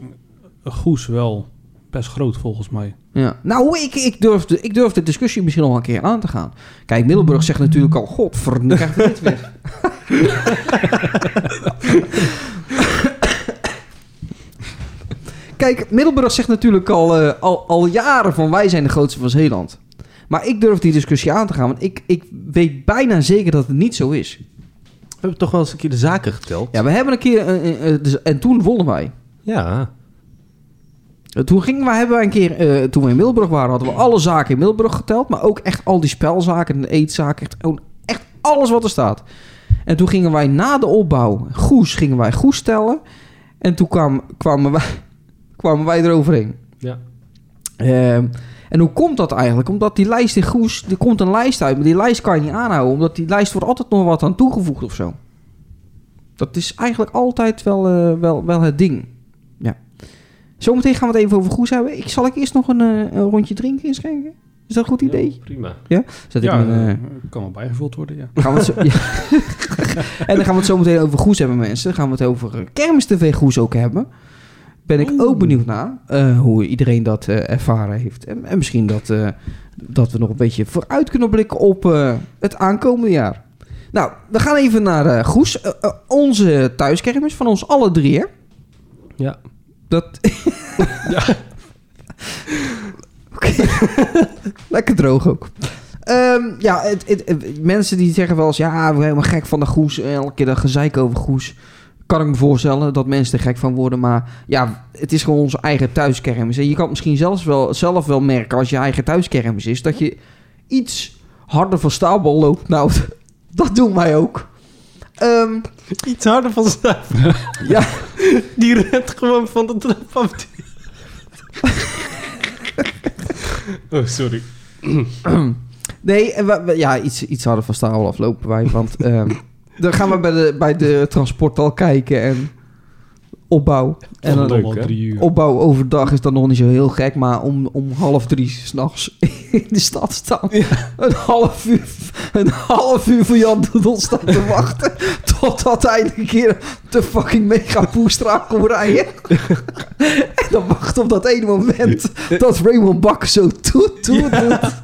Speaker 6: Goes wel best groot volgens mij.
Speaker 4: Ja. Nou, ik, ik, durf de, ik durf de discussie misschien nog wel een keer aan te gaan. Kijk, Middelburg zegt natuurlijk al... Godver, nu krijgen we dit weer. (laughs) Kijk, Middelburg zegt natuurlijk al, eh, al, al jaren van... wij zijn de grootste van Zeeland. Maar ik durf die discussie aan te gaan. Want ik, ik weet bijna zeker dat het niet zo is.
Speaker 5: We hebben toch wel eens een keer de zaken geteld.
Speaker 4: Ja, we hebben een keer... eh, eh, eh, dus- en toen wonnen wij.
Speaker 5: Ja.
Speaker 4: Eh, Toen gingen wij, hebben wij een keer, eh, toen we in Middelburg waren, hadden we alle zaken in Middelburg geteld. Maar ook echt al die spelzaken en de eetzaken. Echt, gewoon echt alles wat er staat. En toen gingen wij na de opbouw, Goes, gingen wij Goes tellen. En toen kwam, kwamen, wij, (laughs) kwamen wij eroverheen.
Speaker 5: Ja.
Speaker 4: Ehm, en hoe komt dat eigenlijk? Omdat die lijst in Goes, er komt een lijst uit, maar die lijst kan je niet aanhouden. Omdat die lijst wordt altijd nog wat aan toegevoegd of zo. Dat is eigenlijk altijd wel, eh, wel, wel het ding. Ja. Zometeen gaan we het even over Goes hebben. Ik, zal ik eerst nog een, eh, een rondje drinken inschenken? Is dat een goed idee?
Speaker 5: Ja, prima. (laughs)
Speaker 4: Zet ik
Speaker 6: ja,
Speaker 4: mijn, eh,
Speaker 6: eh, kan wel bijgevuld worden, ja.
Speaker 4: Gaan we het zo- (laughs) ja. en dan gaan we het zo meteen over Goes hebben, mensen. Dan gaan we het over eh, Kermis TV Goes ook hebben. Ben ik ook benieuwd naar eh, hoe iedereen dat eh, ervaren heeft. En, en misschien dat, eh, dat we nog een beetje vooruit kunnen blikken op eh, het aankomende jaar. Nou, we gaan even naar eh, Goes. Eh, eh, onze thuiskermis van ons alle drie, hè?
Speaker 6: Ja.
Speaker 4: Dat... (laughs) Oké. Lekker droog ook. Ehm, ja, het, het- het- mensen die zeggen wel eens... Ja, we zijn helemaal gek van de Goes. eh, Elke keer dat gezeik over Goes. Kan ik me voorstellen dat mensen er gek van worden. Maar ja, het is gewoon onze eigen thuiskermis. En je kan het misschien zelfs wel, zelf wel merken... als je eigen thuiskermis is... dat je iets harder van stapel loopt. Nou, (laughs) dat doen wij ook. Ehm,
Speaker 5: Iets harder van staan.
Speaker 4: (laughs) ja,
Speaker 5: Die rent gewoon van de trap
Speaker 6: (laughs)
Speaker 5: af. oh, sorry.
Speaker 4: Nee, en we- we- ja, iets, iets harder van staal aflopen wij. Want ehm, dan gaan we bij de, bij de transport al kijken en opbouw. En dan,
Speaker 5: leuk,
Speaker 6: wel
Speaker 5: hè?
Speaker 6: drie uur.
Speaker 4: opbouw overdag is dan nog niet zo heel gek. Maar om, om half drie s'nachts (laughs) in de stad staan. Een, half uur, een half uur voor Jan Doedel staan te wachten. Totdat hij een keer de fucking mega poestra kon rijden. en dan wachten op dat ene moment dat Raymond Bak zo toet toet doet.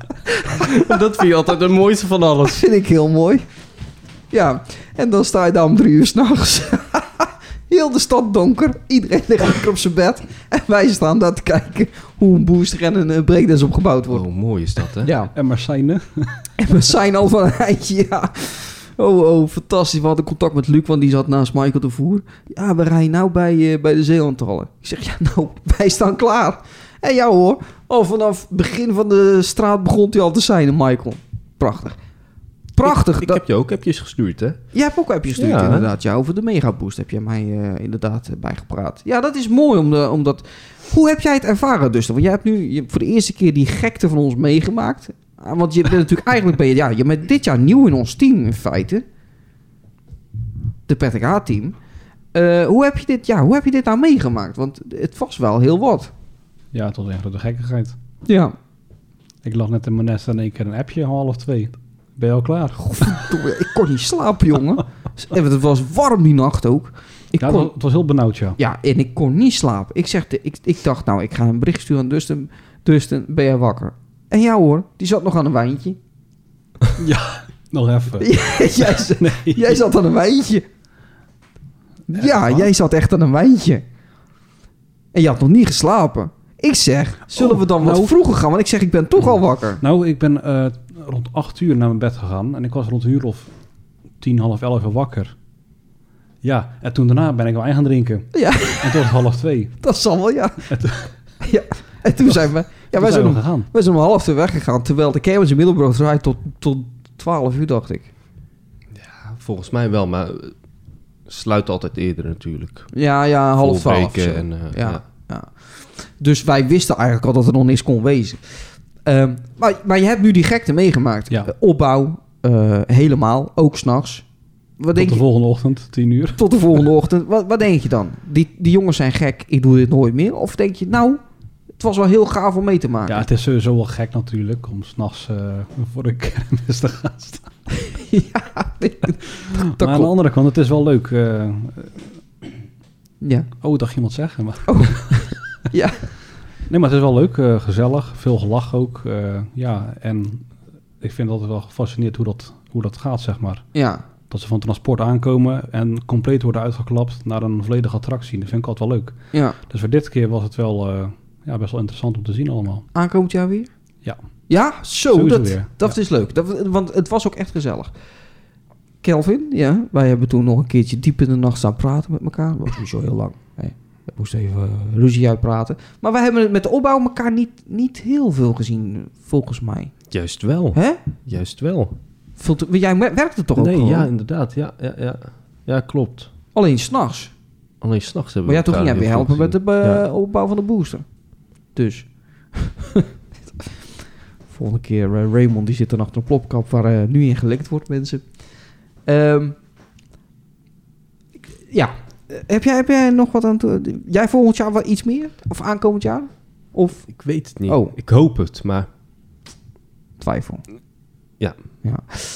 Speaker 5: Dat vind je altijd het mooiste van alles.
Speaker 4: Dat vind ik heel mooi. Ja, en dan sta je daar om drie uur s'nachts. (laughs) heel de stad donker. Iedereen ligt lekker op zijn bed. En wij staan daar te kijken hoe een booster en een eh, breakdance opgebouwd wordt.
Speaker 5: Oh, mooi is dat, hè?
Speaker 4: Ja,
Speaker 6: En Marcijne.
Speaker 4: en we zijn al van een eindje, ja. Oh, oh, fantastisch. We hadden contact met Luc, want die zat naast Michael de Voer. Ja, we rijden nou bij, eh, bij de Zeelandtallen. Ik zeg, ja nou, (laughs) wij staan klaar. En ja hoor, al vanaf begin van de straat begon hij al te zijn, Michael. Prachtig. Prachtig.
Speaker 5: Ik
Speaker 4: dat-
Speaker 5: heb je ook appjes gestuurd, hè?
Speaker 4: Jij hebt ook appjes gestuurd,
Speaker 5: Ja, hè?
Speaker 4: inderdaad. Ja, over de megaboost heb je mij eh, inderdaad eh, bijgepraat. Ja, dat is mooi om, de, om dat... Hoe heb jij het ervaren, dus? Want jij hebt nu je hebt voor de eerste keer die gekte van ons meegemaakt. Ah, Want je bent natuurlijk eigenlijk... Ben je, ja, je bent dit jaar nieuw in ons team, in feite. De Patrick H-team. Eh, hoe, heb je dit, ja, hoe heb je dit nou meegemaakt? Want het was wel heel wat.
Speaker 6: Ja, het was een grote gekkigheid.
Speaker 4: Ja.
Speaker 6: Ik lag net in mijn nest en één keer een appje, half twee. Ben je al klaar?
Speaker 4: Godverdomme, ik kon niet slapen, jongen. En het was warm die nacht ook. Ik
Speaker 6: Ja, het,
Speaker 4: kon-
Speaker 6: was, het was heel benauwd, ja.
Speaker 4: Ja, en ik kon niet slapen. Ik, zeg, ik, ik dacht, nou, ik ga een bericht sturen aan Dustin. Dustin, ben jij wakker? En ja hoor, die zat nog aan een wijntje.
Speaker 6: Nog even.
Speaker 4: jij, (laughs) z- jij zat aan een wijntje. Ja, jij zat echt aan een wijntje. En je had nog niet geslapen. Ik zeg, zullen
Speaker 6: Oh,
Speaker 4: we dan wat
Speaker 6: nou.
Speaker 4: vroeger gaan? Want ik zeg, ik ben toch al wakker.
Speaker 6: Nou, ik ben eh, rond 8 uur naar mijn bed gegaan en ik was rond een uur of tien, half elf al wakker. Ja, en toen daarna ben ik wijn gaan drinken.
Speaker 4: Ja,
Speaker 6: En tot half twee.
Speaker 4: (laughs) dat zal wel, ja. ja. En toen zijn we... Ja,
Speaker 6: Toen
Speaker 4: wij zijn,
Speaker 6: we
Speaker 4: om,
Speaker 6: gegaan.
Speaker 4: wij zijn om half twee weggegaan. Terwijl de kermis in Middelburg draait tot, tot 12 uur, dacht ik.
Speaker 5: Ja, volgens mij wel, maar eh, sluit altijd eerder natuurlijk.
Speaker 4: Ja, ja, half twaalf. of
Speaker 5: Volbreken
Speaker 4: zo.
Speaker 5: en, eh,
Speaker 4: ja,
Speaker 5: ja.
Speaker 4: ja. Dus wij wisten eigenlijk al dat er nog niks kon wezen. Ehm, maar, maar je hebt nu die gekte meegemaakt.
Speaker 6: Ja.
Speaker 4: Eh, Opbouw, eh, helemaal, ook s'nachts. Wat
Speaker 6: Tot
Speaker 4: denk
Speaker 6: de
Speaker 4: je? Ah,
Speaker 6: volgende ochtend, 10 uur.
Speaker 4: Tot de volgende (laughs) ochtend. Wat, wat denk je dan? Die, die jongens zijn gek, ik doe dit nooit meer. Of denk je, nou, het was wel heel gaaf om mee te maken.
Speaker 6: Ja, het is sowieso wel gek natuurlijk om s'nachts eh voor de kermis te gaan staan.
Speaker 4: (laughs) dat
Speaker 6: maar aan de
Speaker 4: klopt.
Speaker 6: andere kant, het is wel leuk. eh,
Speaker 4: Ja.
Speaker 6: oh, dacht iemand zeggen. Maar...
Speaker 4: Ja.
Speaker 6: Nee, maar het is wel leuk, eh, gezellig, veel gelach ook. eh, ja, en ik vind altijd wel gefascineerd hoe dat, hoe dat gaat, zeg maar.
Speaker 4: ja,
Speaker 6: Dat ze van transport aankomen en compleet worden uitgeklapt naar een volledige attractie. Dat vind ik altijd wel leuk.
Speaker 4: ja.
Speaker 6: Dus voor dit keer was het wel eh, ja, best wel interessant om te zien allemaal.
Speaker 4: Aankomend jaar weer?
Speaker 6: Ja.
Speaker 4: Ja, zo,
Speaker 6: Sowieso
Speaker 4: dat,
Speaker 6: weer,
Speaker 4: dat is leuk. Dat, want het was ook echt gezellig. Kelvin, ja, wij hebben toen nog een keertje diep in de nacht staan praten met elkaar. Dat was niet zo heel lang. Nee, we moesten even eh, ruzie uitpraten. Maar wij hebben met de opbouw elkaar niet, niet heel veel gezien, volgens mij.
Speaker 5: Juist wel,
Speaker 4: Hè?
Speaker 5: juist wel.
Speaker 4: Veel te- Jij mer- werkte toch ook
Speaker 5: nee,
Speaker 4: gewoon?
Speaker 5: ja, inderdaad. Ja, ja, ja. ja klopt.
Speaker 4: Alleen s'nachts.
Speaker 5: Alleen s'nachts hebben
Speaker 4: Maar
Speaker 5: we
Speaker 4: ja, toch ging
Speaker 5: elkaar
Speaker 4: jij weer
Speaker 5: heel
Speaker 4: helpen
Speaker 5: veel
Speaker 4: met de
Speaker 5: gezien.
Speaker 4: eh,
Speaker 5: Ja.
Speaker 4: opbouw van de booster. Dus. (laughs) Volgende keer eh, Raymond, die zit dan achter een plopkap waar eh, nu in gelekt wordt, mensen. Ehm, ik- ja. Eh, Heb jij, heb jij nog wat aan toe? Jij volgend jaar wel iets meer? Of aankomend jaar? Of
Speaker 5: Ik weet het niet.
Speaker 4: Oh.
Speaker 5: Ik hoop het, maar
Speaker 4: twijfel?
Speaker 5: Ja.
Speaker 4: ja.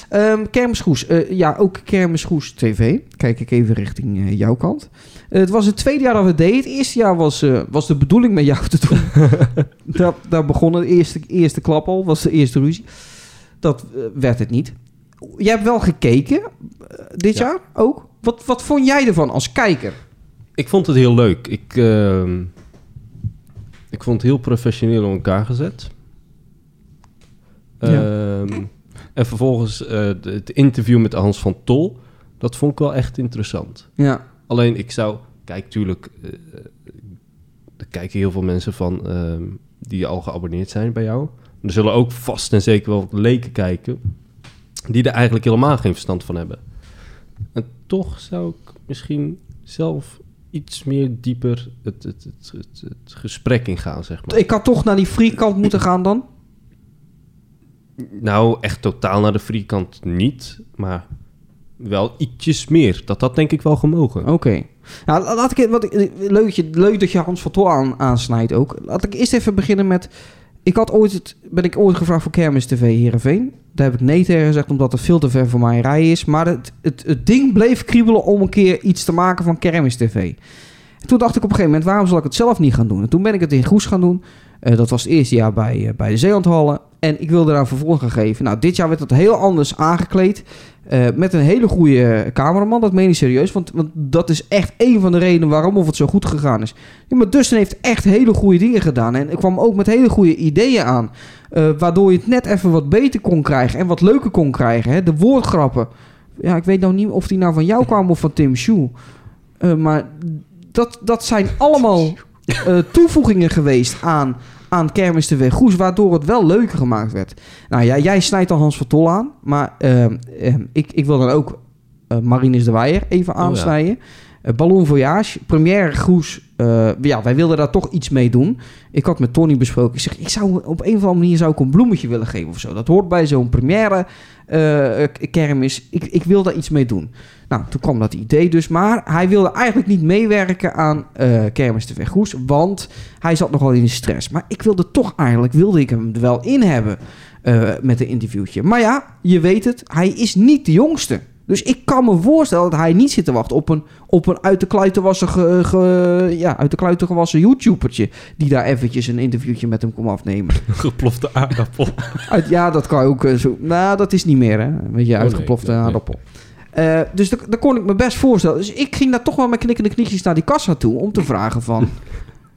Speaker 4: Ehm, Kermisgoes. Eh, ja, ook Kermisgoes TV. Kijk ik even richting eh, jouw kant. Eh, het was het tweede jaar dat we het deden. Het eerste jaar was, eh, was de bedoeling met jou te doen.
Speaker 5: (laughs)
Speaker 4: daar, daar begon de eerste, eerste klap al. Was de eerste ruzie. Dat eh, werd het niet. Jij hebt wel gekeken. eh, dit
Speaker 5: Ja.
Speaker 4: jaar ook. Wat, wat vond jij ervan als kijker?
Speaker 5: ik vond het heel leuk. Ik, ehm, ik vond het heel professioneel in elkaar gezet.
Speaker 4: Ja.
Speaker 5: Ehm, en vervolgens eh, de- het interview met Hans van Tol. Dat vond ik wel echt interessant.
Speaker 4: Ja.
Speaker 5: Alleen ik zou, kijk, tuurlijk, eh, er kijken heel veel mensen van ehm, die al geabonneerd zijn bij jou. Er zullen ook vast en zeker wel leken kijken die er eigenlijk helemaal geen verstand van hebben. En toch zou ik misschien zelf iets meer dieper het, het, het, het, het gesprek ingaan, zeg maar.
Speaker 4: Ik had toch naar die free kant moeten gaan dan.
Speaker 5: Nou, echt totaal naar de vierkant niet, maar wel ietsjes meer. Dat had denk ik wel gemogen.
Speaker 4: Oké. Nou, la- laat ik wat ik, leuk, dat je- leuk dat je Hans van Tol aan, aansnijdt ook. Laat ik eerst even beginnen met. Ik had ooit het, ben ik ooit gevraagd voor Kermis TV Heerenveen. Daar heb ik nee tegen gezegd, omdat het veel te ver voor mij rij is. Maar het, het, het ding bleef kriebelen om een keer iets te maken van Kermis TV. En toen dacht ik op een gegeven moment, waarom zal ik het zelf niet gaan doen? En toen ben ik het in Goes gaan doen. Eh, dat was het eerste jaar bij, eh, bij de Zeelandhallen. En ik wilde daar een vervolg aan geven. Nou, dit jaar werd dat heel anders aangekleed. Eh, met een hele goede eh, cameraman, dat meen ik serieus. Want, want dat is echt één van de redenen waarom of het zo goed gegaan is. Ja, maar Dustin heeft echt hele goede dingen gedaan. En ik kwam ook met hele goede ideeën aan. eh, waardoor je het net even wat beter kon krijgen. En wat leuker kon krijgen. Hè? De woordgrappen. Ja, ik weet nou niet of die nou van jou kwamen of van Tim Shoe. Eh, maar dat, dat zijn allemaal eh, toevoegingen geweest aan, aan Kermis de Weg Goes. Waardoor het wel leuker gemaakt werd. Nou ja, jij snijdt al Hans van Tol aan. Maar ehm, ehm, ik, ik wil dan ook eh Marinus de Weijer even
Speaker 5: ja.
Speaker 4: aansnijden. Eh, Ballon Voyage, première Goes. eh, ja, wij wilden daar toch iets mee doen. Ik had met Tony besproken. Ik zeg, ik zou op een of andere manier zou ik een bloemetje willen geven of zo. Dat hoort bij zo'n première eh, k- kermis. Ik, ik wil daar iets mee doen. Nou, toen kwam dat idee dus. Maar hij wilde eigenlijk niet meewerken aan eh Kermis TV Goes. Want hij zat nogal in de stress. Maar ik wilde toch eigenlijk, wilde ik hem er wel in hebben eh, met een interviewtje. Maar ja, je weet het, hij is niet de jongste. Dus ik kan me voorstellen dat hij niet zit te wachten op een, op een uit de kluiten gewassen, ge- ge- ja, uit de kluiten gewassen YouTubertje. Die daar eventjes een interviewtje met hem kon
Speaker 5: (laughs)
Speaker 4: afnemen.
Speaker 5: (laughs) Geplofte aardappel.
Speaker 4: Uit, ja, dat kan ook eh, zo. Nou, dat is niet meer, hè? Een beetje
Speaker 5: Oh, nee,
Speaker 4: uitgeplofte
Speaker 5: nee, nee.
Speaker 4: aardappel. Eh, dus dat, dat kon ik me best voorstellen. Dus ik ging daar toch wel met knikkende knietjes naar die kassa toe om te vragen
Speaker 5: (laughs)
Speaker 4: van...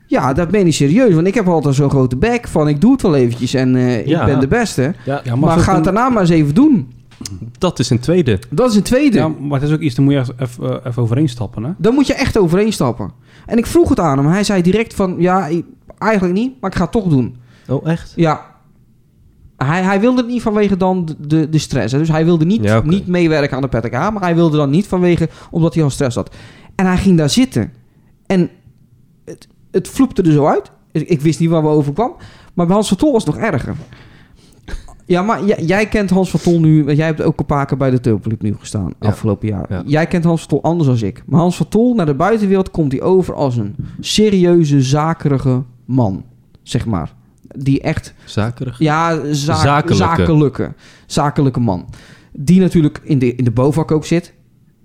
Speaker 4: ja, dat ben je serieus, want ik heb altijd zo'n grote bek van ik doe het wel eventjes en eh,
Speaker 5: Ja.
Speaker 4: ik ben de beste.
Speaker 5: Ja,
Speaker 6: Ja,
Speaker 4: Maar, nou
Speaker 6: het is
Speaker 4: ga
Speaker 6: ook
Speaker 4: het
Speaker 6: een-
Speaker 4: daarna maar eens even doen.
Speaker 5: dat is een tweede.
Speaker 4: Dat is een tweede.
Speaker 6: Ja, maar het is ook iets, daar moet je echt even, eh, even overheen stappen, hè?
Speaker 4: Dan moet je echt overeen stappen. En ik vroeg het aan hem. Hij zei direct van, ja, ik- eigenlijk niet, maar ik ga het toch doen.
Speaker 5: Oh, echt?
Speaker 4: Ja. Hij, hij wilde het niet vanwege dan de, de stress. Hè? Dus hij wilde niet,
Speaker 5: Ja, oké.
Speaker 4: niet meewerken aan de PTK. Maar hij wilde dan niet vanwege... Omdat hij al stress had. En hij ging daar zitten. En het, het vloepte er zo uit. Ik, ik wist niet waar we over kwam. Maar bij Hans van Tol was het nog erger. Ja, maar j- jij kent Hans van Tol nu... want Jij hebt ook een paar keer bij de Tulpenclub nu gestaan.
Speaker 5: Ja.
Speaker 4: Afgelopen jaar.
Speaker 5: Ja.
Speaker 4: Jij kent Hans van Tol anders dan ik. Maar Hans van Tol naar de buitenwereld komt hij over als een serieuze, zakerige man. Zeg maar. Die echt
Speaker 5: Zakerig.
Speaker 4: ja, zaak-
Speaker 5: Zakelijke.
Speaker 4: zakelijke. zakelijke. man. Die natuurlijk in de, in de BOVAC ook zit.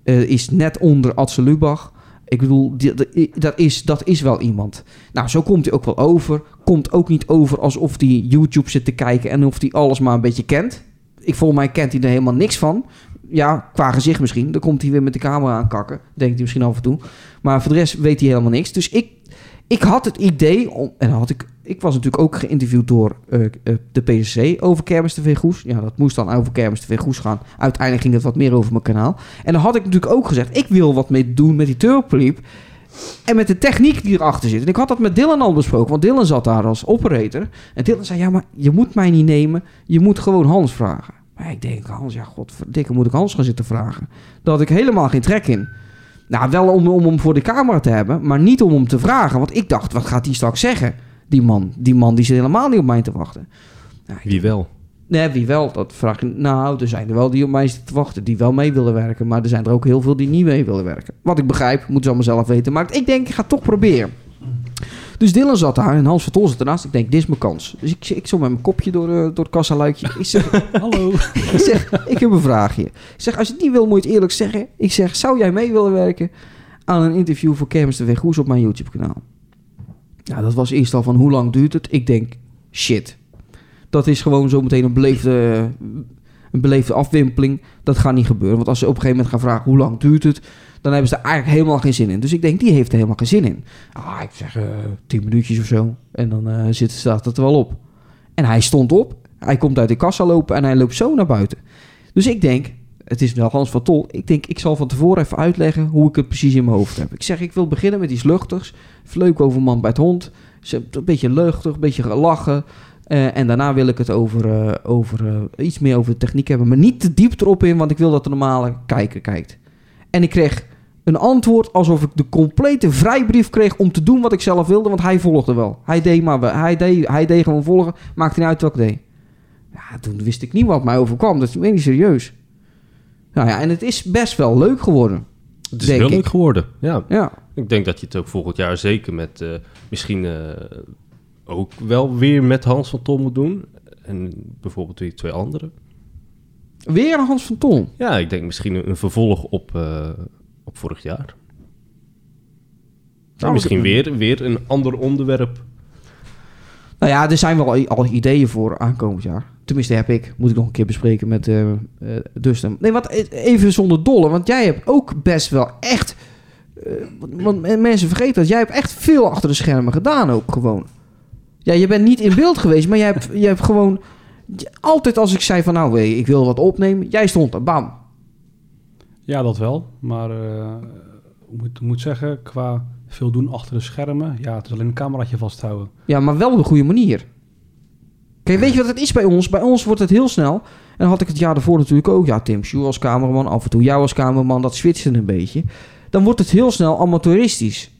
Speaker 4: Eh, is net onder Adse Lubach. Ik bedoel, die- die- dat is, dat is wel iemand. Nou, zo komt hij ook wel over. Komt ook niet over alsof hij YouTube zit te kijken... en of hij alles maar een beetje kent. Ik, volgens mij kent hij er helemaal niks van. Ja, qua gezicht misschien. Dan komt hij weer met de camera aankakken. Denkt hij misschien af en toe. Maar voor de rest weet hij helemaal niks. Dus ik, ik had het idee, om, en had ik, ik was natuurlijk ook geïnterviewd door eh, eh, de PCC over Kermis TV Goes. Ja, dat moest dan over Kermis TV Goes gaan. Uiteindelijk ging het wat meer over mijn kanaal. En dan had ik natuurlijk ook gezegd, ik wil wat mee doen met die Turpliep. En met de techniek die erachter zit. En ik had dat met Dylan al besproken, want Dylan zat daar als operator. En Dylan zei, ja, maar je moet mij niet nemen, je moet gewoon Hans vragen. Maar ik denk, Hans, ja, godverdikke, moet ik Hans gaan zitten vragen? Daar had ik helemaal geen trek in. Nou, wel om, om hem voor de camera te hebben, maar niet om hem te vragen. Want ik dacht, wat gaat hij straks zeggen? Die man, die man die zit helemaal niet op mij te wachten.
Speaker 5: Wie wel?
Speaker 4: Nee, wie wel? Dat vraag ik. Nou, er zijn er wel die op mij zitten te wachten, die wel mee willen werken. Maar er zijn er ook heel veel die niet mee willen werken. Wat ik begrijp, moeten ze allemaal zelf weten. Maar ik denk, ik ga het toch proberen. Dus Dylan zat daar en Hans van Tol zat ernaast. Ik denk, dit is mijn kans. Dus ik, ik zo met mijn kopje door, eh, door het kassaluikje. Ik zeg,
Speaker 6: Hallo.
Speaker 4: ik zeg, ik heb een vraagje. Ik zeg, als je het niet wil, moet je het eerlijk zeggen. Ik zeg, zou jij mee willen werken aan een interview voor Kermis de Goes op mijn YouTube-kanaal? Nou, dat was eerst al van, hoe lang duurt het? Ik denk, shit. Dat is gewoon zometeen een beleefde, een beleefde afwimpeling. Dat gaat niet gebeuren. Want als ze op een gegeven moment gaan vragen, hoe lang duurt het? Dan hebben ze er eigenlijk helemaal geen zin in. Dus ik denk, die heeft er helemaal geen zin in. Ah, ik zeg, eh, tien minuutjes of zo. En dan eh, zit, staat het er wel op. En hij stond op. Hij komt uit de kassa lopen en hij loopt zo naar buiten. Dus ik denk, het is wel Hans van Tol. Ik denk, ik zal van tevoren even uitleggen hoe ik het precies in mijn hoofd heb. Ik zeg, ik wil beginnen met iets luchtigs. Vleuk over man bij het hond. Ze- Een beetje luchtig, een beetje gelachen. Eh, en daarna wil ik het over, eh, over eh, iets meer over de techniek hebben. Maar niet te diep erop in, want ik wil dat de normale kijker kijkt. En ik kreeg een antwoord alsof ik de complete vrijbrief kreeg om te doen wat ik zelf wilde. Want hij volgde wel. Hij deed, maar, wel- hij deed, hij deed gewoon volgen. Maakte niet uit wat ik deed. Ja, toen wist ik niet wat mij overkwam. Dat is ik niet serieus. Nou ja, en het is best wel leuk geworden.
Speaker 5: Het is
Speaker 4: Denk
Speaker 5: heel leuk
Speaker 4: ik.
Speaker 5: geworden. Ja,
Speaker 4: Ja,
Speaker 5: ik denk dat je het ook volgend jaar zeker met eh, misschien eh, ook wel weer met Hans van Tom moet doen. En bijvoorbeeld die twee anderen.
Speaker 4: weer een Hans van Tol.
Speaker 5: Ja, ik denk misschien een, een vervolg op, eh, op vorig jaar. Nou,
Speaker 4: ik-
Speaker 5: misschien weer, weer een ander onderwerp.
Speaker 4: Nou ja, er zijn wel i- al ideeën voor aankomend jaar. Tenminste, heb ik. Moet ik nog een keer bespreken met eh eh, Dustin. Nee, wat eh, even zonder dolle. Want jij hebt ook best wel echt... eh, want- want men- mensen vergeten dat. Jij hebt echt veel achter de schermen gedaan ook gewoon. Ja, je bent niet in beeld geweest. Maar jij hebt, jij hebt gewoon... j- Altijd als ik zei van nou, hé, ik wil wat opnemen. Jij stond er, bam.
Speaker 6: (laughs) Ja, dat wel. Maar eh, ik moet, moet zeggen, qua veel doen achter de schermen... Ja, het is alleen een cameraatje vasthouden.
Speaker 4: Ja, maar wel op de goede manier. Kijk, weet je wat het is bij ons? Bij ons wordt het heel snel. En dan had ik het jaar daarvoor natuurlijk ook. Ja, Tim Schuur als cameraman, af en toe jou als cameraman. Dat switchte een beetje. Dan wordt het heel snel amateuristisch.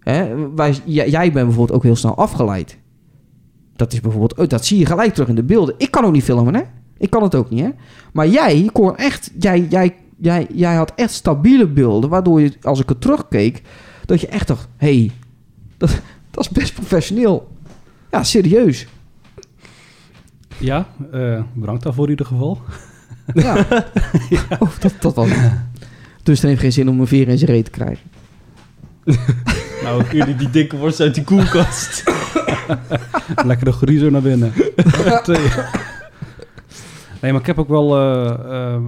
Speaker 4: Hè? Wij, j- jij bent bijvoorbeeld ook heel snel afgeleid. Dat is bijvoorbeeld... oh, Dat zie je gelijk terug in de beelden. Ik kan ook niet filmen, hè? Ik kan het ook niet, hè? Maar jij kon echt... Jij, jij, jij, jij had echt stabiele beelden... waardoor je, als ik het terugkeek... dat je echt dacht... Hé, hey, dat, dat is best professioneel. Ja, serieus.
Speaker 6: Ja, eh, bedankt daarvoor in ieder geval.
Speaker 4: Ja. Oh, dat, dat was Dus dan heeft geen zin om een veer in zijn reet te krijgen.
Speaker 5: Nou, jullie die dikke worst uit die koelkast.
Speaker 6: (laughs) Lekker de griezer naar binnen. (laughs) Twee. nee, maar ik heb ook wel... eh, eh,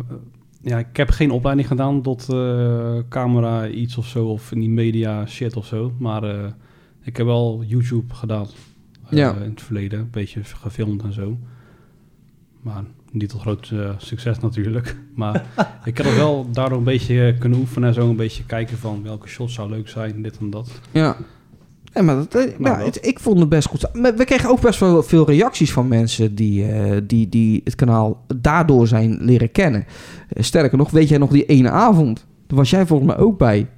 Speaker 6: ja, ik heb geen opleiding gedaan tot eh, camera iets of zo. Of in die media shit of zo. Maar eh, ik heb wel YouTube gedaan. eh,
Speaker 4: Ja.
Speaker 6: In het verleden. Een beetje gefilmd en zo. Maar niet tot groot eh, succes natuurlijk. (laughs) Maar ik heb er wel daardoor een beetje eh, kunnen oefenen. En zo een beetje kijken van welke shots zou leuk zijn. Dit en dat.
Speaker 4: Ja. Ja, maar dat, eh,
Speaker 6: Nou,
Speaker 4: nou,
Speaker 6: wel.
Speaker 4: het- ik vond het best goed. staan. Maar we kregen ook best wel veel reacties van mensen die, eh, die, die het kanaal daardoor zijn leren kennen. Eh, sterker nog, weet jij nog die ene avond? Daar was jij volgens mij ook bij.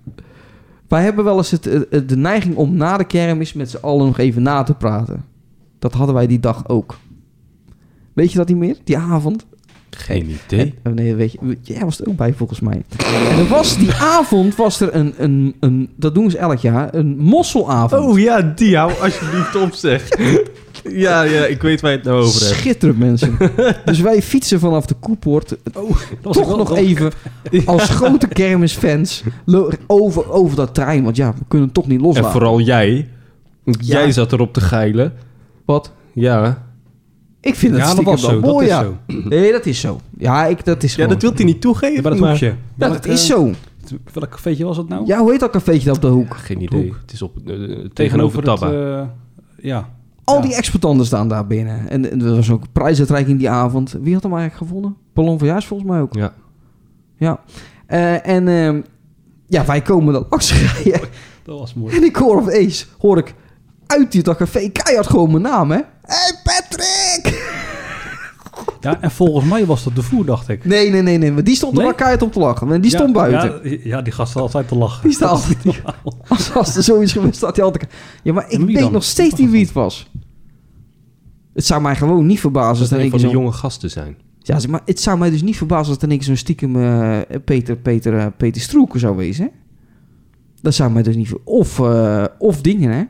Speaker 4: Wij hebben wel eens het, eh, de neiging om na de kermis met z'n allen nog even na te praten. Dat hadden wij die dag ook. Weet je dat niet meer? Die avond?
Speaker 5: Geen idee.
Speaker 4: En- oh nee, weet je, jij was er ook bij volgens mij. En er was die avond was er een, een, een, dat doen ze elk jaar, een mosselavond.
Speaker 5: Oh ja, (laughs) die hou alsjeblieft op zeg. ja, ja, ik weet waar je het nou over hebt.
Speaker 4: Schitterend, mensen. dus wij fietsen vanaf de Koepoort. toch nog even als grote kermisfans lo- over, over dat trein. Want ja, we kunnen het toch niet
Speaker 5: En
Speaker 4: loslaten.
Speaker 5: vooral jij. Want
Speaker 4: Ja.
Speaker 5: jij zat erop te geilen.
Speaker 4: Wat?
Speaker 5: Ja.
Speaker 4: Ik vind het
Speaker 6: Ja, dat
Speaker 4: stiekem
Speaker 6: was
Speaker 4: wel
Speaker 6: zo. Dat
Speaker 4: mooi,
Speaker 6: is
Speaker 4: ja.
Speaker 6: zo.
Speaker 4: Nee, dat is zo. Ja, ik, dat is gewoon...
Speaker 5: wilt hij niet toegeven.
Speaker 6: Maar dat hoekje.
Speaker 4: Ja, dat is zo.
Speaker 6: Welk cafeetje was dat nou?
Speaker 4: Ja, hoe heet dat cafeetje daar op de hoek?
Speaker 5: Geen
Speaker 6: Op de
Speaker 5: idee.
Speaker 6: hoek.
Speaker 5: Het is op, eh, tegenover eh,
Speaker 6: dat.
Speaker 5: Tabba.
Speaker 6: eh, ja.
Speaker 4: Al
Speaker 6: Ja.
Speaker 4: die exportanten staan daar binnen. En, en er was ook prijsuitreiking die avond. Wie had hem eigenlijk gewonnen? Ballon Verjaars volgens mij ook.
Speaker 5: Ja.
Speaker 4: Ja. Eh, en ehm, ja, wij komen er langs (laughs) rijden.
Speaker 6: Dat was mooi.
Speaker 4: En ik hoor opeens, hoor ik uit die dat café keihard gewoon mijn naam, hè? hey Patrick!
Speaker 6: Ja, en volgens mij was dat de voer, dacht ik.
Speaker 4: Nee, nee, nee, nee. Maar die stond er
Speaker 6: Nee?
Speaker 4: wel keihard op te lachen. En die
Speaker 6: Ja,
Speaker 4: stond buiten. (laughs)
Speaker 6: Ja, ja, die gast had altijd te lachen.
Speaker 4: Die staat altijd-
Speaker 6: (laughs) Dat is niet normaal.
Speaker 4: Als, als er zoiets gebeurt, staat hij altijd... Ja, maar ik
Speaker 6: En wie
Speaker 4: weet
Speaker 6: dan?
Speaker 4: nog steeds niet wie het was. Het zou mij gewoon niet verbazen
Speaker 5: Dat
Speaker 4: als er
Speaker 5: een
Speaker 4: een
Speaker 5: van
Speaker 4: keer
Speaker 5: de
Speaker 4: zo'n...
Speaker 5: jonge gasten zijn.
Speaker 4: Ja, zeg maar het zou mij dus niet verbazen als er niks zo'n stiekem eh, Peter, Peter, eh, Peter Stroeken zou wezen, hè? Dat zou mij dus niet... ver- Of, eh, of dingen, hè?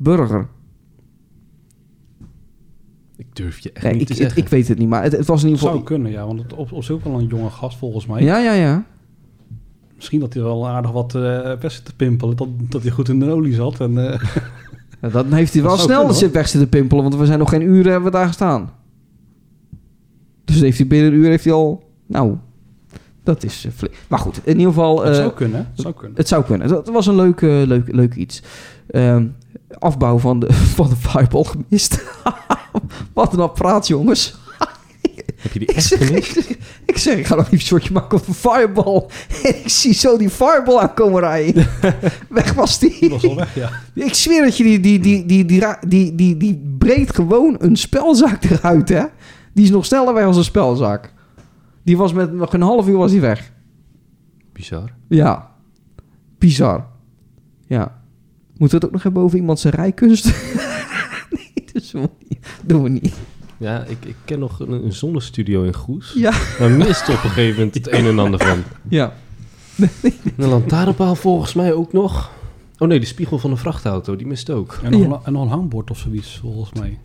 Speaker 4: Burger.
Speaker 5: Ik durf je echt
Speaker 4: Nee,
Speaker 5: niet
Speaker 4: ik,
Speaker 5: te
Speaker 4: ik,
Speaker 5: zeggen.
Speaker 4: ik weet het niet, maar het, het was in
Speaker 6: Dat
Speaker 4: ieder
Speaker 6: zou
Speaker 4: geval...
Speaker 6: kunnen, ja. Want het op, op zulk wel een jonge gast, volgens mij.
Speaker 4: Ja, ja, ja.
Speaker 6: Misschien dat hij wel aardig wat eh best te pimpelen. Dat, dat hij goed in de olie zat. En, eh,
Speaker 4: Nou, dan heeft hij
Speaker 6: Dat
Speaker 4: wel snel
Speaker 6: zou kunnen,
Speaker 4: de
Speaker 6: hoor.
Speaker 4: zit weg zitten pimpelen, want we zijn nog geen uur hebben we daar gestaan. Dus heeft hij binnen een uur heeft hij al. Nou, dat is eh, flink. Maar goed, in ieder geval.
Speaker 6: het
Speaker 4: eh,
Speaker 6: zou kunnen. Het zou kunnen.
Speaker 4: het zou kunnen. Dat was een leuk, eh, leuk, leuk iets. Ehm, afbouw van de, (laughs) van de fireball gemist. (laughs) Wat een apparaat, jongens. (laughs)
Speaker 5: Heb je die
Speaker 4: Ik
Speaker 5: echt
Speaker 4: zeg, ik,
Speaker 5: gemist?
Speaker 4: zeg, (laughs) ik zeg, ik ga nog even een shotje maken op een fireball. (laughs) En ik zie zo die fireball aankomen rijden. (laughs) Weg was
Speaker 6: Die was al weg, ja.
Speaker 4: ik zweer dat je die, die, die, die, die, ra- die, die, die breekt gewoon een spelzaak eruit, hè? Die is nog sneller weg als een spelzaak. Die was met nog een half uur was hij weg.
Speaker 5: Bizar.
Speaker 4: Ja. Bizar. Ja. Moeten we het ook nog hebben over iemand zijn rijkunst? (laughs) nee, dat doen we niet. Doen we niet.
Speaker 5: Ja, ik, ik ken nog een, een zonnestudio in Goes.
Speaker 4: Ja.
Speaker 5: Daar mist op een gegeven moment het een en ander van.
Speaker 4: Ja.
Speaker 5: Een lantaarnpaal volgens mij ook nog. Oh nee, de spiegel van een vrachtauto, die mist ook.
Speaker 6: En nog,
Speaker 4: Ja.
Speaker 6: een- en nog een hangbord of zoiets, volgens mij.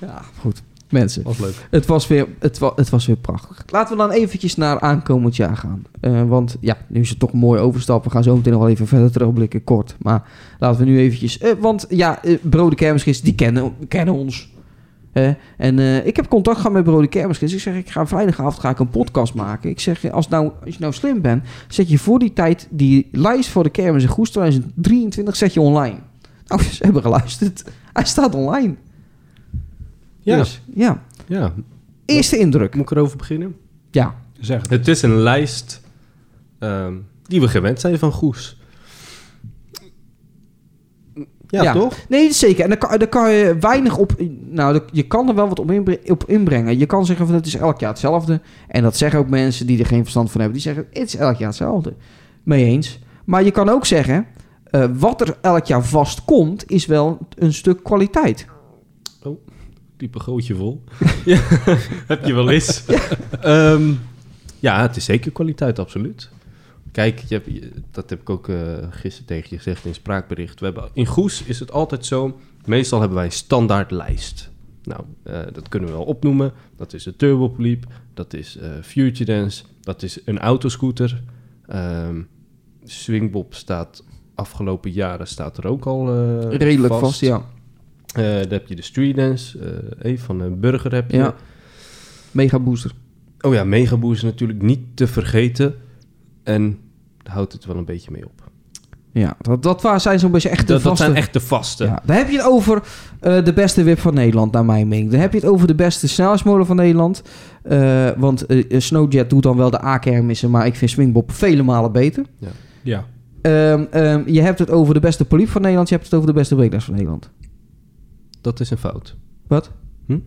Speaker 4: Ja, goed. Mensen.
Speaker 6: was leuk.
Speaker 4: Het was, weer, het, wa- het was weer prachtig. Laten we dan eventjes naar aankomend jaar gaan. Eh, want ja, nu is het toch een mooie overstap. We gaan zo meteen nog wel even verder terugblikken, kort. Maar laten we nu eventjes... eh, want ja, eh, Brode Kermisgids, die kennen, kennen ons. Hè? en eh, ik heb contact gehad met Brode Kermisgids. Ik zeg, ik ga vrijdagavond ga ik een podcast maken. Ik zeg, als, nou, als je nou slim bent, zet je voor die tijd die lijst voor de kermis in Goes 2023 zet je online. Nou, (laughs) ze hebben geluisterd. Hij staat online.
Speaker 5: Ja,
Speaker 4: Dus, ja.
Speaker 5: ja.
Speaker 4: Eerste indruk.
Speaker 5: Moet ik erover beginnen?
Speaker 4: Ja.
Speaker 6: Zeg het.
Speaker 5: Het is een lijst ehm, die we gewend zijn van Goes. Ja, toch?
Speaker 4: Nee, zeker. En daar kan, daar kan je weinig op... Nou, daar- je kan er wel wat op, inbre- op inbrengen. Je kan zeggen van het is elk jaar hetzelfde. En dat zeggen ook mensen die er geen verstand van hebben. Die zeggen het is elk jaar hetzelfde. Mee eens. Maar je kan ook zeggen... eh, wat er elk jaar vast komt, is wel een stuk kwaliteit.
Speaker 5: Diepe gootje vol. (laughs) ja, heb je wel eens. (laughs) Ehm, ja, het is zeker kwaliteit, absoluut. Kijk, je hebt, je- dat heb ik ook eh, gisteren tegen je gezegd in het spraakbericht. We hebben, in Goes is het altijd zo. Meestal hebben wij een standaard lijst. Nou, eh, dat kunnen we wel opnoemen. Dat is de Turbo Poliep. Dat is eh Future Dance. Dat is een autoscooter. Ehm Swingbob staat afgelopen jaren staat er ook al eh,
Speaker 4: Redelijk vast, ja.
Speaker 5: eh, dan heb je de streetdance, eh Eve van een burger heb je.
Speaker 4: ja. Mega booster.
Speaker 5: Oh ja, Megaboer is natuurlijk niet te vergeten. En daar houdt het wel een beetje mee op.
Speaker 4: Ja, dat, dat waar zijn zo'n beetje echt de
Speaker 5: Dat, dat
Speaker 4: vaste...
Speaker 5: zijn echt de vaste.
Speaker 4: Ja, daar heb je het over eh, de beste whip van Nederland, naar mijn mening. Dan heb je het over de beste snelheidsmolen van Nederland. Eh, want eh, Snowjet doet dan wel de A-kermissen, maar ik vind Swingbob vele malen beter.
Speaker 6: Ja.
Speaker 4: Ehm, ehm, je hebt het over de beste poliep van Nederland, je hebt het over de beste breakdance van Nederland.
Speaker 5: Dat is een fout.
Speaker 4: Wat?
Speaker 5: Hm?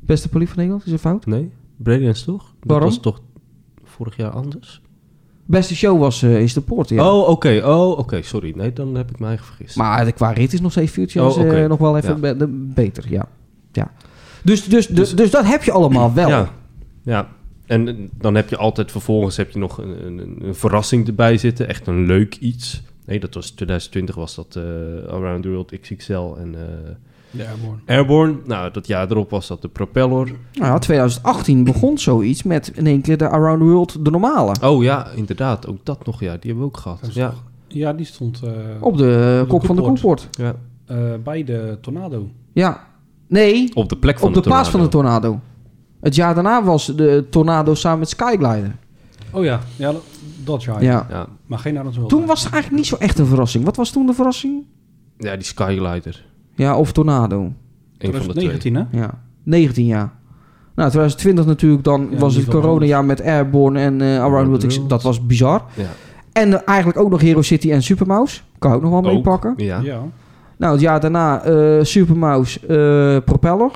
Speaker 4: Beste poliep van Nederland, is een fout?
Speaker 5: Nee? Breakdance toch?
Speaker 4: Waarom?
Speaker 5: Dat was toch vorig jaar anders?
Speaker 4: Beste show was eh, is de poort, ja.
Speaker 5: Oh, oké. Oh, oké. Sorry. Nee, dan heb ik mij vergist.
Speaker 4: Maar de, qua rit is nog steeds Future
Speaker 5: Oh, oké.
Speaker 4: nog wel even
Speaker 5: Ja.
Speaker 4: be- de- beter, ja. ja. Dus, dus, dus, dus, dat heb je allemaal wel.
Speaker 5: Ja. ja. En eh, dan heb je altijd vervolgens heb je nog een, een, een verrassing erbij zitten. Echt een leuk iets. Nee, dat was 2020 was dat eh, Around the World XXL en eh,
Speaker 6: Ja, mooi.
Speaker 5: Airborne. Nou, dat jaar erop was dat de Propeller.
Speaker 4: Nou, ja, 2018 begon zoiets met in één keer de Around the World, de normale.
Speaker 5: Oh ja, inderdaad. Ook dat nog. Ja, die hebben we ook gehad.
Speaker 6: Dat is
Speaker 5: ja.
Speaker 6: Ja, die stond eh,
Speaker 4: Op de eh,
Speaker 6: De
Speaker 4: kop van de
Speaker 6: koeport.
Speaker 4: koeport.
Speaker 5: ja.
Speaker 6: eh, bij de tornado.
Speaker 4: Ja. Nee,
Speaker 5: Op de plek van
Speaker 4: op de, plaats van de
Speaker 5: tornado.
Speaker 4: tornado. Het jaar daarna was de tornado samen met Skyglider.
Speaker 6: Oh ja, ja dat- dat jaar.
Speaker 4: Ah, Ja.
Speaker 5: Ja.
Speaker 6: Maar geen Arnold Wilde.
Speaker 4: Toen was het eigenlijk niet zo echt een verrassing. Wat was toen de verrassing?
Speaker 5: ja, die Skyglider.
Speaker 4: Ja, of tornado.
Speaker 5: Een van de twee.
Speaker 6: 2019, hè?
Speaker 4: Ja. 19 jaar. Nou, 2020 natuurlijk, dan
Speaker 6: Ja,
Speaker 4: was
Speaker 6: die
Speaker 4: het
Speaker 6: van
Speaker 4: coronajaar met Airborne en eh Around the World. Ik- Dat was bizar.
Speaker 5: Ja.
Speaker 4: En eh, eigenlijk ook nog Hero City en Supermouse. Kan ik ook nog wel
Speaker 5: Ook.
Speaker 4: meepakken.
Speaker 5: Ja. ja.
Speaker 4: Nou, het jaar daarna eh Supermouse, eh, Propeller.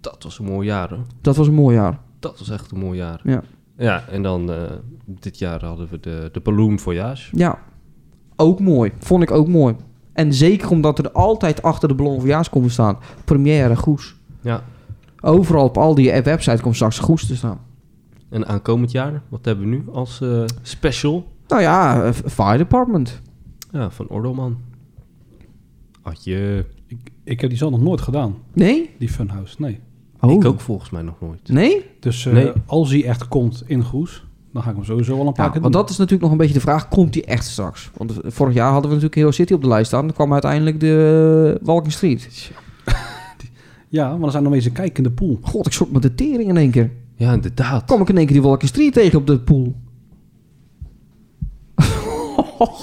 Speaker 5: Dat was een mooi jaar hoor.
Speaker 4: Dat was een mooi jaar.
Speaker 5: Dat was echt een mooi jaar.
Speaker 4: Ja.
Speaker 5: Ja, en dan eh, dit jaar hadden we de, de Balloon Voyage.
Speaker 4: Ja. Ook mooi. Vond ik ook mooi. En zeker omdat er altijd achter de Ballon van komt staan. Première, Goes.
Speaker 5: Ja.
Speaker 4: Overal op al die websites komt straks Goes te staan.
Speaker 5: En aankomend jaar, wat hebben we nu als eh, special?
Speaker 4: Nou ja, eh, Fire Department.
Speaker 5: Ja, van Ordelman. Adje.
Speaker 6: Ik, ik heb die zo nog nooit gedaan,
Speaker 4: Nee?
Speaker 6: die Funhouse. Nee.
Speaker 4: Oh.
Speaker 5: Ik ook volgens mij nog nooit.
Speaker 4: Nee?
Speaker 6: Dus eh,
Speaker 5: Nee.
Speaker 6: als die echt komt in Goes, dan ga ik hem sowieso wel een paar
Speaker 4: Ja,
Speaker 6: keer
Speaker 4: want
Speaker 6: doen.
Speaker 4: dat is natuurlijk nog een beetje de vraag. Komt die echt straks? Want eh, vorig jaar hadden we natuurlijk Hero City op de lijst staan. Dan kwam uiteindelijk de eh, Walking Street.
Speaker 6: Ja, want er zijn nog eens een kijk in de pool.
Speaker 4: God, ik schrok met de tering in één keer.
Speaker 5: Ja, inderdaad.
Speaker 4: Kom ik in één keer die Walking Street tegen op de pool.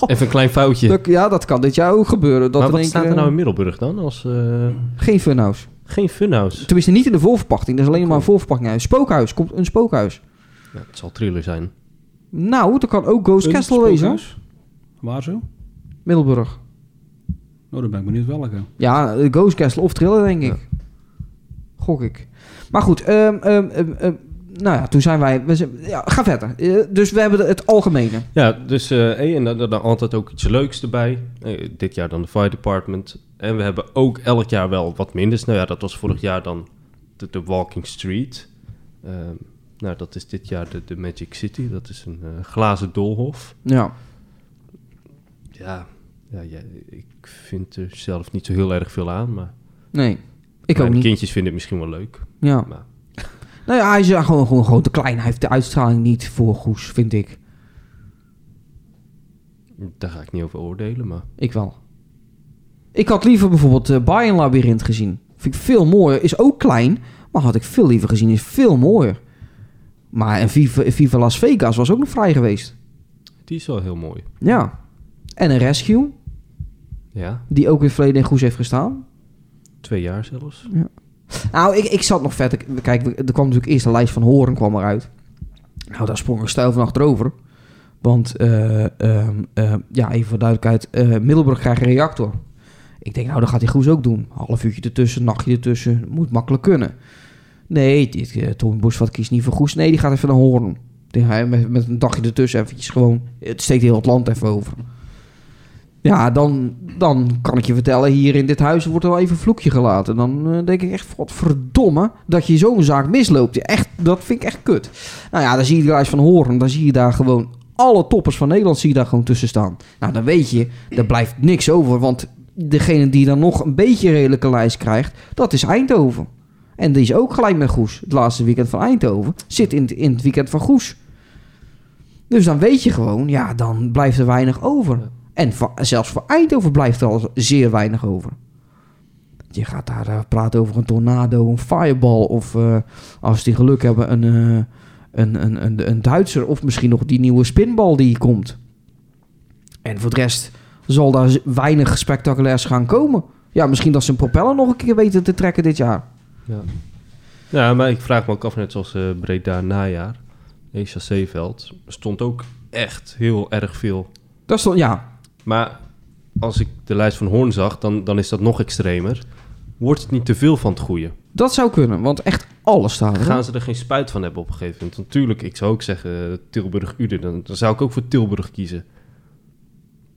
Speaker 5: Even een klein foutje.
Speaker 4: Dat- ja, dat kan dit jaar ook gebeuren. Dat
Speaker 5: maar
Speaker 4: in
Speaker 5: wat
Speaker 4: één
Speaker 5: staat
Speaker 4: keer,
Speaker 5: er nou in
Speaker 4: eh,
Speaker 5: Middelburg dan? Als, eh,
Speaker 4: Geen funhouse.
Speaker 5: geen funhouse.
Speaker 4: Tenminste, niet in de voorverpachting. Dat is alleen maar een voorverpachting. Een spookhuis. Komt een spookhuis.
Speaker 5: Ja, het zal thriller zijn.
Speaker 4: Nou, dat kan ook Ghost
Speaker 6: Een
Speaker 4: Castle wezen. hoor.
Speaker 6: spookhuis. Waar zo?
Speaker 4: Middelburg.
Speaker 6: Nou, dan ben ik benieuwd welke.
Speaker 4: Ja, eh, Ghost Castle of Triller, denk ik. Gok ik. Maar goed, ehm, ehm, ehm, ehm, nou ja, toen zijn wij... We zijn- ja, ga verder. Eh, dus we hebben de- het algemene.
Speaker 5: Ja, dus eh, hey, en dan, dan altijd ook iets leuks erbij. Eh, dit jaar dan de Fire Department. En we hebben ook elk jaar wel wat minders. Nou ja, dat was vorig jaar dan de, de Walking Street. Ehm, nou, dat is dit jaar de, de Magic City. Dat is een eh, glazen doolhof.
Speaker 4: Ja.
Speaker 5: Ja, ja, ja, ik vind er zelf niet zo heel erg veel aan. Maar
Speaker 4: Nee. Ik ook
Speaker 5: mijn
Speaker 4: niet.
Speaker 5: kindjes vinden het misschien wel leuk.
Speaker 4: Ja.
Speaker 5: Maar-
Speaker 4: Nou ja, hij is ja gewoon, gewoon, gewoon te klein. Hij heeft de uitstraling niet voor Goes, vind ik.
Speaker 5: Daar ga ik niet over oordelen. Maar
Speaker 4: Ik wel. Ik had liever bijvoorbeeld eh Bayern Labyrinth gezien. Vind ik veel mooier. Is ook klein, maar had ik veel liever gezien. Is veel mooier. Maar en Viva, Viva Las Vegas was ook nog vrij geweest.
Speaker 5: die is wel heel mooi.
Speaker 4: Ja. En een Rescue,
Speaker 5: Ja,
Speaker 4: die ook in het verleden in Goes heeft gestaan.
Speaker 5: twee jaar zelfs.
Speaker 4: Nou, ik, ik zat nog vet. Ik- Kijk, er kwam natuurlijk eerst de lijst van Horen kwam eruit. Nou, daar sprong ik stijl van achterover. Want, eh, ehm, ehm, ja, even voor duidelijkheid. eh, Middelburg krijgt een reactor. Ik denk, nou, dat gaat hij Goes ook doen. Half uurtje ertussen, nachtje ertussen. Moet makkelijk kunnen. Nee, dit, eh Tom Bosvat kiest niet voor Goes. Nee, die gaat even naar Hoorn. Die ga je Met, met een dagje ertussen eventjes gewoon... Het steekt heel het land even over. Ja, dan, dan kan ik je vertellen... Hier in dit huis wordt er wel even een vloekje gelaten. Dan eh, denk ik echt, godverdomme... dat je zo'n zaak misloopt. Ja, Echt, dat vind ik echt kut. Nou ja, dan zie je de lijst van Hoorn. Dan zie je daar gewoon... Alle toppers van Nederland zie je daar gewoon tussen staan. Nou, dan weet je, er blijft niks over. Want degene die dan nog een beetje redelijke lijst krijgt... dat is Eindhoven. En die is ook gelijk met Goes. Het laatste weekend van Eindhoven zit in, het- in het weekend van Goes. Dus dan weet je gewoon, ja, dan blijft er weinig over.
Speaker 5: Ja.
Speaker 4: En va- zelfs voor Eindhoven blijft er al zeer weinig over. Je gaat daar eh, praten over een tornado, een fireball of eh, als die geluk hebben een, eh, een, een, een, een Duitser of misschien nog die nieuwe spinbal die komt. En voor de rest zal daar z- weinig spectaculairs gaan komen. Ja, misschien dat ze een propeller nog een keer weten te trekken dit jaar.
Speaker 5: Ja. ja, maar ik vraag me ook af, net zoals eh, Breda najaar. Echa Zeeveld stond ook echt heel erg veel
Speaker 4: Dat is toch, ja.
Speaker 5: Maar als ik de lijst van Hoorn zag, dan, dan is dat nog extremer. Wordt het niet te veel van het goede?
Speaker 4: Dat zou kunnen, want echt alles staat er.
Speaker 5: Gaan ze er geen spuit van hebben op een gegeven moment? Natuurlijk, ik zou ook zeggen eh, Tilburg-Uden. Dan, dan zou ik ook voor Tilburg kiezen.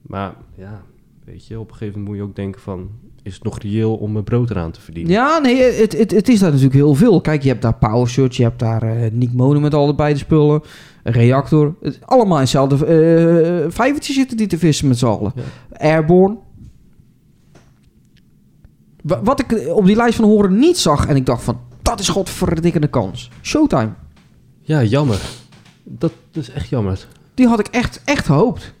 Speaker 5: Maar ja, weet je, op een gegeven moment moet je ook denken van... Is het nog reëel om mijn brood eraan te verdienen?
Speaker 4: Ja, nee, het, het, het is daar natuurlijk heel veel. Kijk, je hebt daar Power Search, je hebt daar eh Nick Monen met alle beide spullen, Reactor. Het, is allemaal in hetzelfde eh vijvertje zitten die te vissen met z'n allen. Airborne. Wa- Wat ik op die lijst van horen niet zag en ik dacht van, dat is godverdikkende kans. Showtime.
Speaker 5: Ja, jammer. Dat, dat is echt jammer.
Speaker 4: Die had ik echt, echt gehoopt.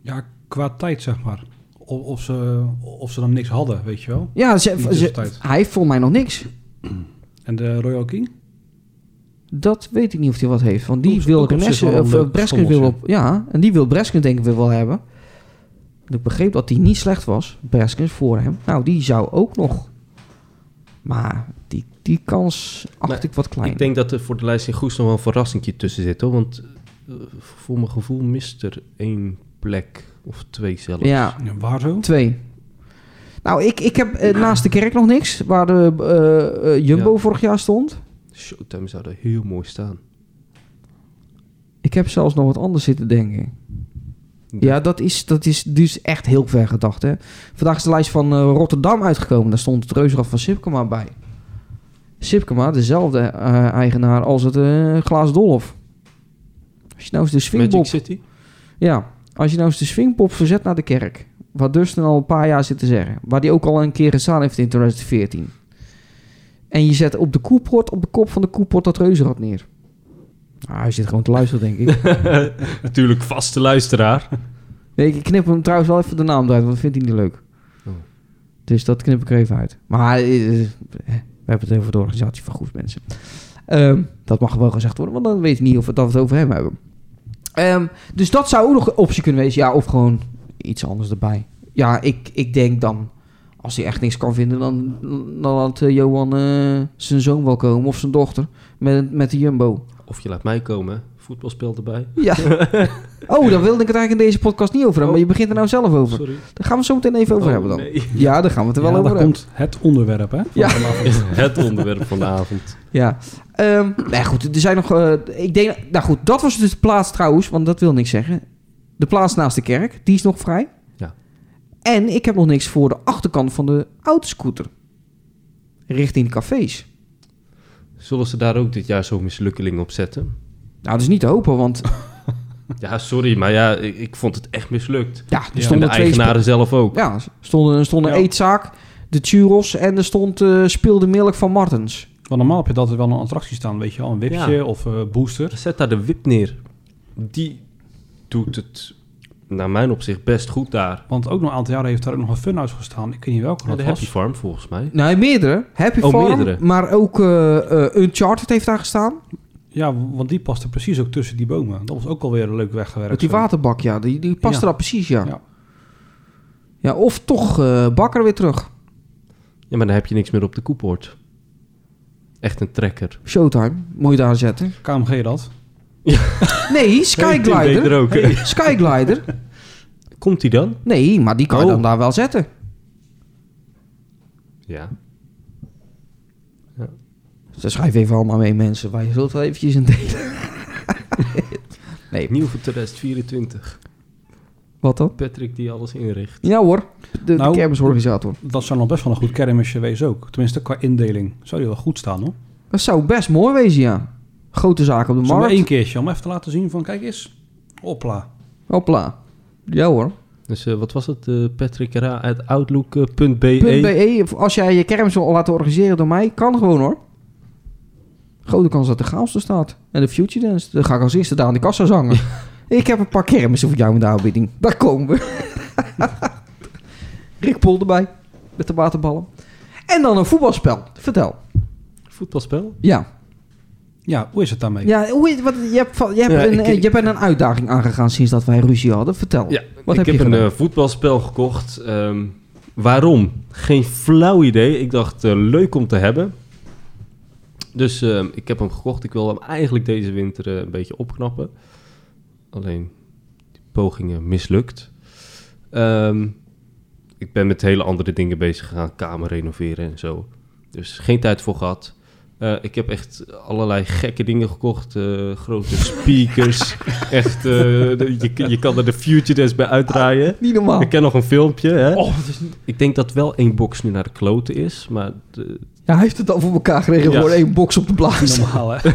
Speaker 6: Ja, qua tijd zeg maar. Of, of, ze, of ze dan niks hadden, weet je wel.
Speaker 4: Ja, ze-
Speaker 6: In de
Speaker 4: ze-
Speaker 6: tussentijd.
Speaker 4: hij heeft volgens mij nog niks.
Speaker 6: En de Royal King?
Speaker 4: Dat weet ik niet of hij wat heeft. Want die
Speaker 6: Ook-
Speaker 4: wil
Speaker 6: ook op zich
Speaker 4: Renesse,
Speaker 6: wel een
Speaker 4: of
Speaker 6: leuk
Speaker 4: eh, Breskens
Speaker 6: schommeltje.
Speaker 4: wil op. Ja, en die wil Breskens denk ik wel hebben. Want Ik begreep dat die niet slecht was. Breskens voor hem. Nou, die zou ook nog. Maar die, die kans acht
Speaker 5: Maar
Speaker 4: ik wat klein.
Speaker 5: Ik denk dat er voor de lijst in Goes nog wel een verrassingje tussen zit, hoor. Want eh, voor mijn gevoel mist er één plek of twee zelfs.
Speaker 4: ja,
Speaker 6: Ja, waar zo?
Speaker 4: twee. Nou, ik, ik heb eh, naast de kerk nog niks. Waar de eh, eh, Jumbo
Speaker 5: Ja.
Speaker 4: vorig jaar stond.
Speaker 5: Showtime zou er heel mooi staan.
Speaker 4: Ik heb zelfs nog wat anders zitten denken. Ja, dat is, dat is dus echt heel ver gedacht. Hè? Vandaag is de lijst van eh, Rotterdam uitgekomen. Daar stond het reuzenrad van Sipkema bij. Sipkema, dezelfde eh, eigenaar als het eh Glaas Dolf. Als je nou eens de swingpop...
Speaker 5: Magic City?
Speaker 4: Ja, als je nou eens de swingpop verzet naar de kerk. Wat Dustin al een paar jaar zit te zeggen. Waar die ook al een keer gestaan heeft in 2014. En je zet op de koeport, op de kop van de koeport dat reuzenrad neer. Ah, hij zit gewoon te luisteren, denk ik.
Speaker 5: (laughs) Natuurlijk vaste luisteraar.
Speaker 4: Nee, ik knip hem trouwens wel even de naam eruit, want dat vindt hij niet leuk.
Speaker 5: Oh.
Speaker 4: Dus dat knip ik er even uit. Maar eh, eh, we hebben het over de organisatie van goed mensen. Ehm, dat mag wel gezegd worden, want dan weet je niet of we dat het over hem hebben. Ehm, dus dat zou ook nog een optie kunnen wezen. Ja, of gewoon iets anders erbij. Ja, ik, ik denk dan, als hij echt niks kan vinden, dan, dan laat eh, Johan eh, zijn zoon wel komen of zijn dochter met, met de Jumbo.
Speaker 5: Of je laat mij komen, hè. voetbalspel erbij.
Speaker 4: Ja. (laughs) Oh, daar wilde ik het eigenlijk in deze podcast niet over hebben, maar je begint er nou zelf over.
Speaker 5: Sorry. (laughs)
Speaker 4: Daar gaan we het zo meteen even over
Speaker 5: Oh,
Speaker 4: hebben dan.
Speaker 5: nee.
Speaker 4: Ja, daar gaan we het er wel
Speaker 6: Ja,
Speaker 4: over
Speaker 6: daar
Speaker 4: hebben.
Speaker 6: komt het onderwerp, hè?
Speaker 4: Ja.
Speaker 5: Het onderwerp van de avond.
Speaker 4: Ja. Ehm, nou ja, goed, er zijn nog... eh, ik denk, nou goed, dat was dus de plaats trouwens, want dat wil niks zeggen. De plaats naast de kerk, die is nog vrij.
Speaker 5: Ja.
Speaker 4: En ik heb nog niks voor de achterkant van de autoscooter. Richting cafés.
Speaker 5: Zullen ze daar ook dit jaar zo'n mislukkeling op zetten?
Speaker 4: Nou, dat is niet te hopen, want
Speaker 5: Ja, sorry, maar ja, ik, ik vond het echt mislukt.
Speaker 4: ja, er
Speaker 5: en de
Speaker 4: stonden twee... spe-
Speaker 5: eigenaren zelf ook.
Speaker 4: Ja, er stonden, er stond een
Speaker 6: Ja.
Speaker 4: eetzaak, de churros en er stond eh speelde melk van Martens.
Speaker 6: Want normaal heb je altijd wel een attractie staan, weet je wel. Een wipje
Speaker 5: Ja.
Speaker 6: of eh, booster.
Speaker 5: Zet daar de wip neer. Die doet het, naar mijn opzicht, best goed daar.
Speaker 6: Want ook nog een aantal jaren heeft daar ook nog een funhouse gestaan. Ik weet niet welke
Speaker 5: Ja,
Speaker 6: dat
Speaker 5: de
Speaker 6: was.
Speaker 5: Happy Farm, volgens mij.
Speaker 4: Nee, Nou, meerdere. Happy
Speaker 5: Oh,
Speaker 4: Farm,
Speaker 5: meerdere.
Speaker 4: maar ook eh, eh, Uncharted heeft daar gestaan.
Speaker 6: Ja, want die paste precies ook tussen die bomen. Dat was ook alweer leuk weggewerkt.
Speaker 4: Met die
Speaker 6: zo.
Speaker 4: waterbak, ja. Die, die past
Speaker 6: Ja.
Speaker 4: er al precies, ja. ja.
Speaker 6: Ja.
Speaker 4: of toch eh, Bakker weer terug.
Speaker 5: Ja, maar dan heb je niks meer op de koeport. Echt een trekker.
Speaker 4: Showtime, moet je daar zetten.
Speaker 6: KMG dat.
Speaker 4: Nee,
Speaker 5: Hey, Tim deed
Speaker 4: Skyglider.
Speaker 5: er ook.
Speaker 4: Skyglider.
Speaker 5: (laughs) Komt die dan?
Speaker 4: Nee, maar die kan je
Speaker 5: Oh.
Speaker 4: dan daar wel zetten.
Speaker 5: Ja.
Speaker 4: Dus schrijf even allemaal mee, mensen. Wij zullen het wel eventjes in delen. nee,
Speaker 5: Nieuw voor 2024.
Speaker 4: wat dan?
Speaker 5: Patrick die alles inricht.
Speaker 4: Ja hoor, de,
Speaker 6: Nou.
Speaker 4: de kermisorganisator.
Speaker 6: Dat zou nog best wel een goed kermisje wezen ook. Tenminste, qua indeling zou die wel goed staan, hoor.
Speaker 4: Dat zou best mooi wezen, ja. Grote zaak op de
Speaker 6: Zo maar
Speaker 4: markt.
Speaker 6: één keertje, om even te laten zien van, kijk eens. Hopla.
Speaker 4: Hopla. Ja hoor.
Speaker 5: Dus eh, wat was het? eh Patrick Ra eh, uit outlook.be.
Speaker 4: .be. Of Als jij je kermis wil laten organiseren door mij, kan gewoon hoor. Grote kans dat de chaos er staat. En de Future Dance. Dan ga ik als eerste daar aan de kassa zangen. ik heb een paar kermissen voor jou in de aanbieding. Daar komen
Speaker 5: (laughs)
Speaker 4: we. Rick Pol erbij. Met de waterballen. En dan een voetbalspel. Vertel.
Speaker 5: Voetbalspel?
Speaker 4: Ja.
Speaker 6: Ja, hoe is het daarmee?
Speaker 4: ja hoe, is- wat, je, hebt, van- je, hebt
Speaker 5: Ja,
Speaker 4: een,
Speaker 5: ik-
Speaker 4: eh, je bent een uitdaging aangegaan sinds dat wij ruzie hadden. Vertel.
Speaker 5: Ja,
Speaker 4: Wat
Speaker 5: ik
Speaker 4: heb je
Speaker 5: heb een
Speaker 4: gedaan?
Speaker 5: eh, voetbalspel gekocht. Ehm, waarom? Geen flauw idee. Ik dacht, eh, leuk om te hebben. Dus ehm, ik eh, heb hem gekocht. Ik wil hem eigenlijk deze winter eh, een beetje opknappen. Alleen, die pogingen mislukt. Ehm, ik ben met hele andere dingen bezig gegaan, kamer renoveren en zo. Dus geen tijd voor gehad. Eh, ik heb echt allerlei gekke dingen gekocht. eh, grote speakers. echt, eh, de- je, je kan er de Future Dance bij uitdraaien.
Speaker 4: Niet normaal.
Speaker 5: Ik ken nog een filmpje. Hè? Ik denk dat wel één box nu naar de kloten is. Maar de-
Speaker 4: Ja, hij heeft het al voor elkaar geregeld.
Speaker 5: Ja.
Speaker 4: Gewoon één box op de blaas.
Speaker 6: Normaal, hè? (laughs)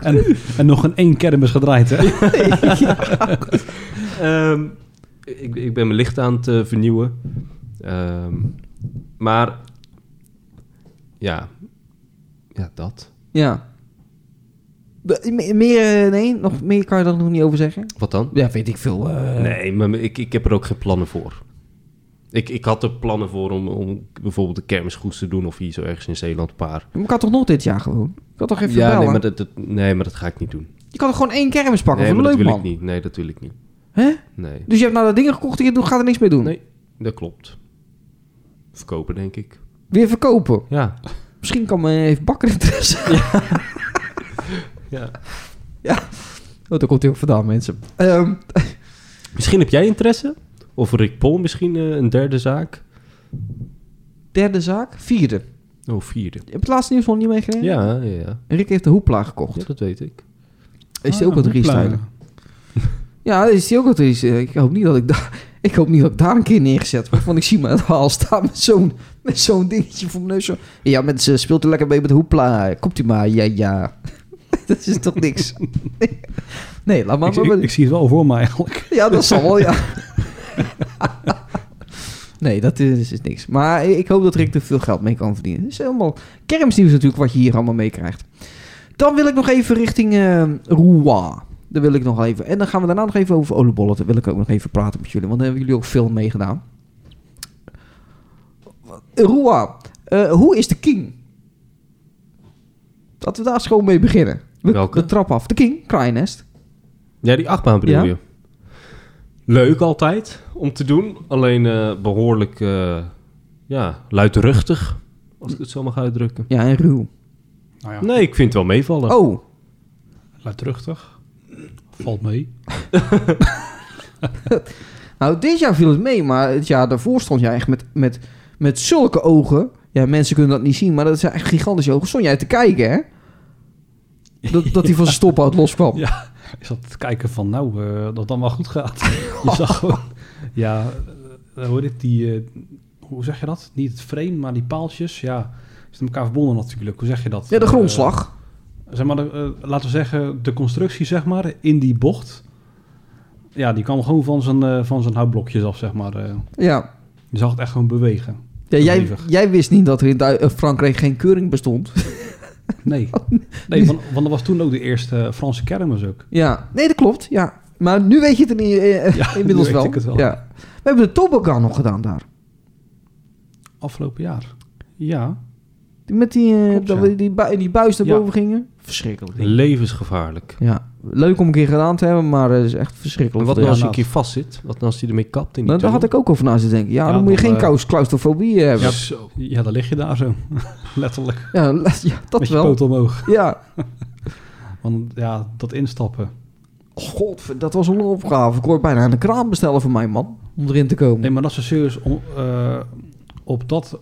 Speaker 6: en, en nog een één kermis gedraaid, hè?
Speaker 5: Ehm, ik, ik ben mijn licht aan het eh, vernieuwen. Ehm, maar ja, ja, dat.
Speaker 4: Ja. De- me- Meer, eh, nee, nog meer kan je daar nog niet over zeggen.
Speaker 5: Wat dan?
Speaker 4: Ja, weet ik veel. eh,
Speaker 5: Nee, maar ik, ik heb er ook geen plannen voor. Ik, ik had er plannen voor om, om bijvoorbeeld de kermis goed te doen of hier zo ergens in Zeeland een paar.
Speaker 4: Maar ik kan toch nog dit jaar gewoon? Ik kan toch even
Speaker 5: ja,
Speaker 4: bellen?
Speaker 5: nee maar, dat, dat- nee, maar dat ga ik niet doen.
Speaker 4: Je kan toch gewoon één kermis pakken
Speaker 5: nee,
Speaker 4: voor
Speaker 5: maar
Speaker 4: een
Speaker 5: dat
Speaker 4: leuk
Speaker 5: wil
Speaker 4: man?
Speaker 5: ik niet. Nee, dat wil ik niet.
Speaker 4: Hè?
Speaker 5: Nee.
Speaker 4: Dus je hebt nou dat dingen gekocht en je doet- gaat er niks mee doen?
Speaker 5: Nee, dat klopt. Verkopen, denk ik.
Speaker 4: Weer verkopen?
Speaker 5: Ja.
Speaker 4: Misschien kan men even bakker interesse.
Speaker 5: ja.
Speaker 4: Oh, daar komt heel veel vandaan, mensen. Ehm,
Speaker 5: Misschien heb jij interesse? Of Rick Pol misschien eh, een derde zaak?
Speaker 4: derde zaak, vierde. Je
Speaker 5: Oh, vierde.
Speaker 4: hebt het laatste nieuws nog niet meegekregen?
Speaker 5: Ja, ja, ja.
Speaker 4: Rick heeft de hoepla gekocht.
Speaker 5: Ja, Ah, dat weet ik.
Speaker 4: Is hij ook aan het restylen? Ja, is hij ook aan het restylen. Ik hoop niet dat ik daar... (laughs) Ik hoop niet dat ik daar een keer neergezet word. Want ik zie me (laughs) al staan met zo'n met zo'n dingetje voor mijn neus. Zo. Ja, mensen, speelt u lekker mee met de hoepla. Komt u maar, ja, ja. (laughs) dat is toch niks. (laughs) Nee, nee laat maar.
Speaker 6: ik, ik,
Speaker 4: maar-
Speaker 6: ik zie het wel voor mij eigenlijk.
Speaker 4: Ja, dat zal wel, ja. (laughs) Nee, dat is, is niks. Maar ik hoop dat Rick er veel geld mee kan verdienen. Dat is helemaal kermisnieuws natuurlijk wat je hier allemaal meekrijgt. Dan wil ik nog even richting eh Rouen. Daar wil ik nog even. En dan gaan we daarna nog even over oliebollen. Daar wil ik ook nog even praten met jullie. Want daar hebben jullie ook veel meegedaan. Rouen. eh, hoe is de king? Laten we daar eens gewoon mee beginnen. We,
Speaker 5: Welke?
Speaker 4: De trap af. De king, Kraaienest.
Speaker 5: Ja, die achtbaan bedoel
Speaker 4: Ja.
Speaker 5: je? Leuk altijd om te doen. Alleen eh, behoorlijk eh, ja, luidruchtig. Als ik het zo mag uitdrukken.
Speaker 4: Ja, en Ruw.
Speaker 6: Nou ja,
Speaker 5: Nee, ik vind het wel meevallen.
Speaker 4: Oh,
Speaker 6: luidruchtig. Valt mee.
Speaker 4: Nou, dit jaar viel het mee, maar het jaar daarvoor stond jij echt met, met, met zulke ogen. Ja, mensen kunnen dat niet zien, maar dat zijn echt gigantische ogen. Stond jij te kijken, hè? Dat, dat hij
Speaker 6: (laughs)
Speaker 4: van zijn stophoud loskwam.
Speaker 6: Ja. Ik zat te kijken van, nou, eh, dat het dan wel goed gaat.
Speaker 4: (laughs)
Speaker 6: Je zag gewoon, ja, eh, hoe heet het, die, eh, hoe zeg je dat? Niet het frame, maar die paaltjes, ja, is met elkaar verbonden natuurlijk. Hoe zeg je dat?
Speaker 4: Ja, de
Speaker 6: Eh,
Speaker 4: grondslag.
Speaker 6: zeg maar, de, eh, laten we zeggen, de constructie, zeg maar, in die bocht. Ja, die kwam gewoon van zijn, eh, van zijn houtblokjes af, zeg maar. eh.
Speaker 4: Ja.
Speaker 6: je zag het echt gewoon bewegen.
Speaker 4: ja jij,
Speaker 6: Hevig.
Speaker 4: jij wist niet dat er in Du- eh, Frankrijk geen keuring
Speaker 6: (laughs)
Speaker 4: bestond.
Speaker 6: Nee.
Speaker 4: Oh,
Speaker 6: Nee, want, want dat was toen ook de eerste eh, Franse kermis ook.
Speaker 4: ja. Nee, dat klopt. Ja. Maar nu weet je het er niet, eh,
Speaker 6: Ja, nu
Speaker 4: inmiddels
Speaker 6: weet
Speaker 4: wel.
Speaker 6: ik het wel.
Speaker 4: Ja. We hebben de Tobogan nog gedaan daar.
Speaker 6: Afgelopen jaar. Ja.
Speaker 4: Die- Met die, eh,
Speaker 6: Klopt,
Speaker 4: dat
Speaker 6: ja.
Speaker 4: we die, bui- die buis naar
Speaker 6: Ja.
Speaker 4: boven gingen. Verschrikkelijk. ding.
Speaker 5: Levensgevaarlijk.
Speaker 4: Ja. Leuk om een keer gedaan te hebben, maar het is echt verschrikkelijk.
Speaker 5: En wat
Speaker 4: Ja.
Speaker 5: nou als je een
Speaker 6: inderdaad.
Speaker 5: keer vast zit? Wat nou als hij ermee kapt in die
Speaker 4: Nou, daar had ik ook over na zitten denken. Ja,
Speaker 6: Ja,
Speaker 4: dan moet je
Speaker 6: dan,
Speaker 4: geen
Speaker 6: eh,
Speaker 4: kous claustrofobie hebben.
Speaker 5: Ja,
Speaker 4: Ja,
Speaker 5: zo.
Speaker 6: Ja, dan lig je daar zo. (laughs) Letterlijk.
Speaker 4: la- ja, (laughs) dat
Speaker 6: Met je
Speaker 4: wel.
Speaker 6: poot omhoog.
Speaker 4: Ja.
Speaker 6: Want ja, dat instappen.
Speaker 4: Oh, God, dat was een opgave. Ik hoor bijna een kraan bestellen voor mijn man. Om erin te komen.
Speaker 6: Nee, maar dat ze serieus on- eh, op dat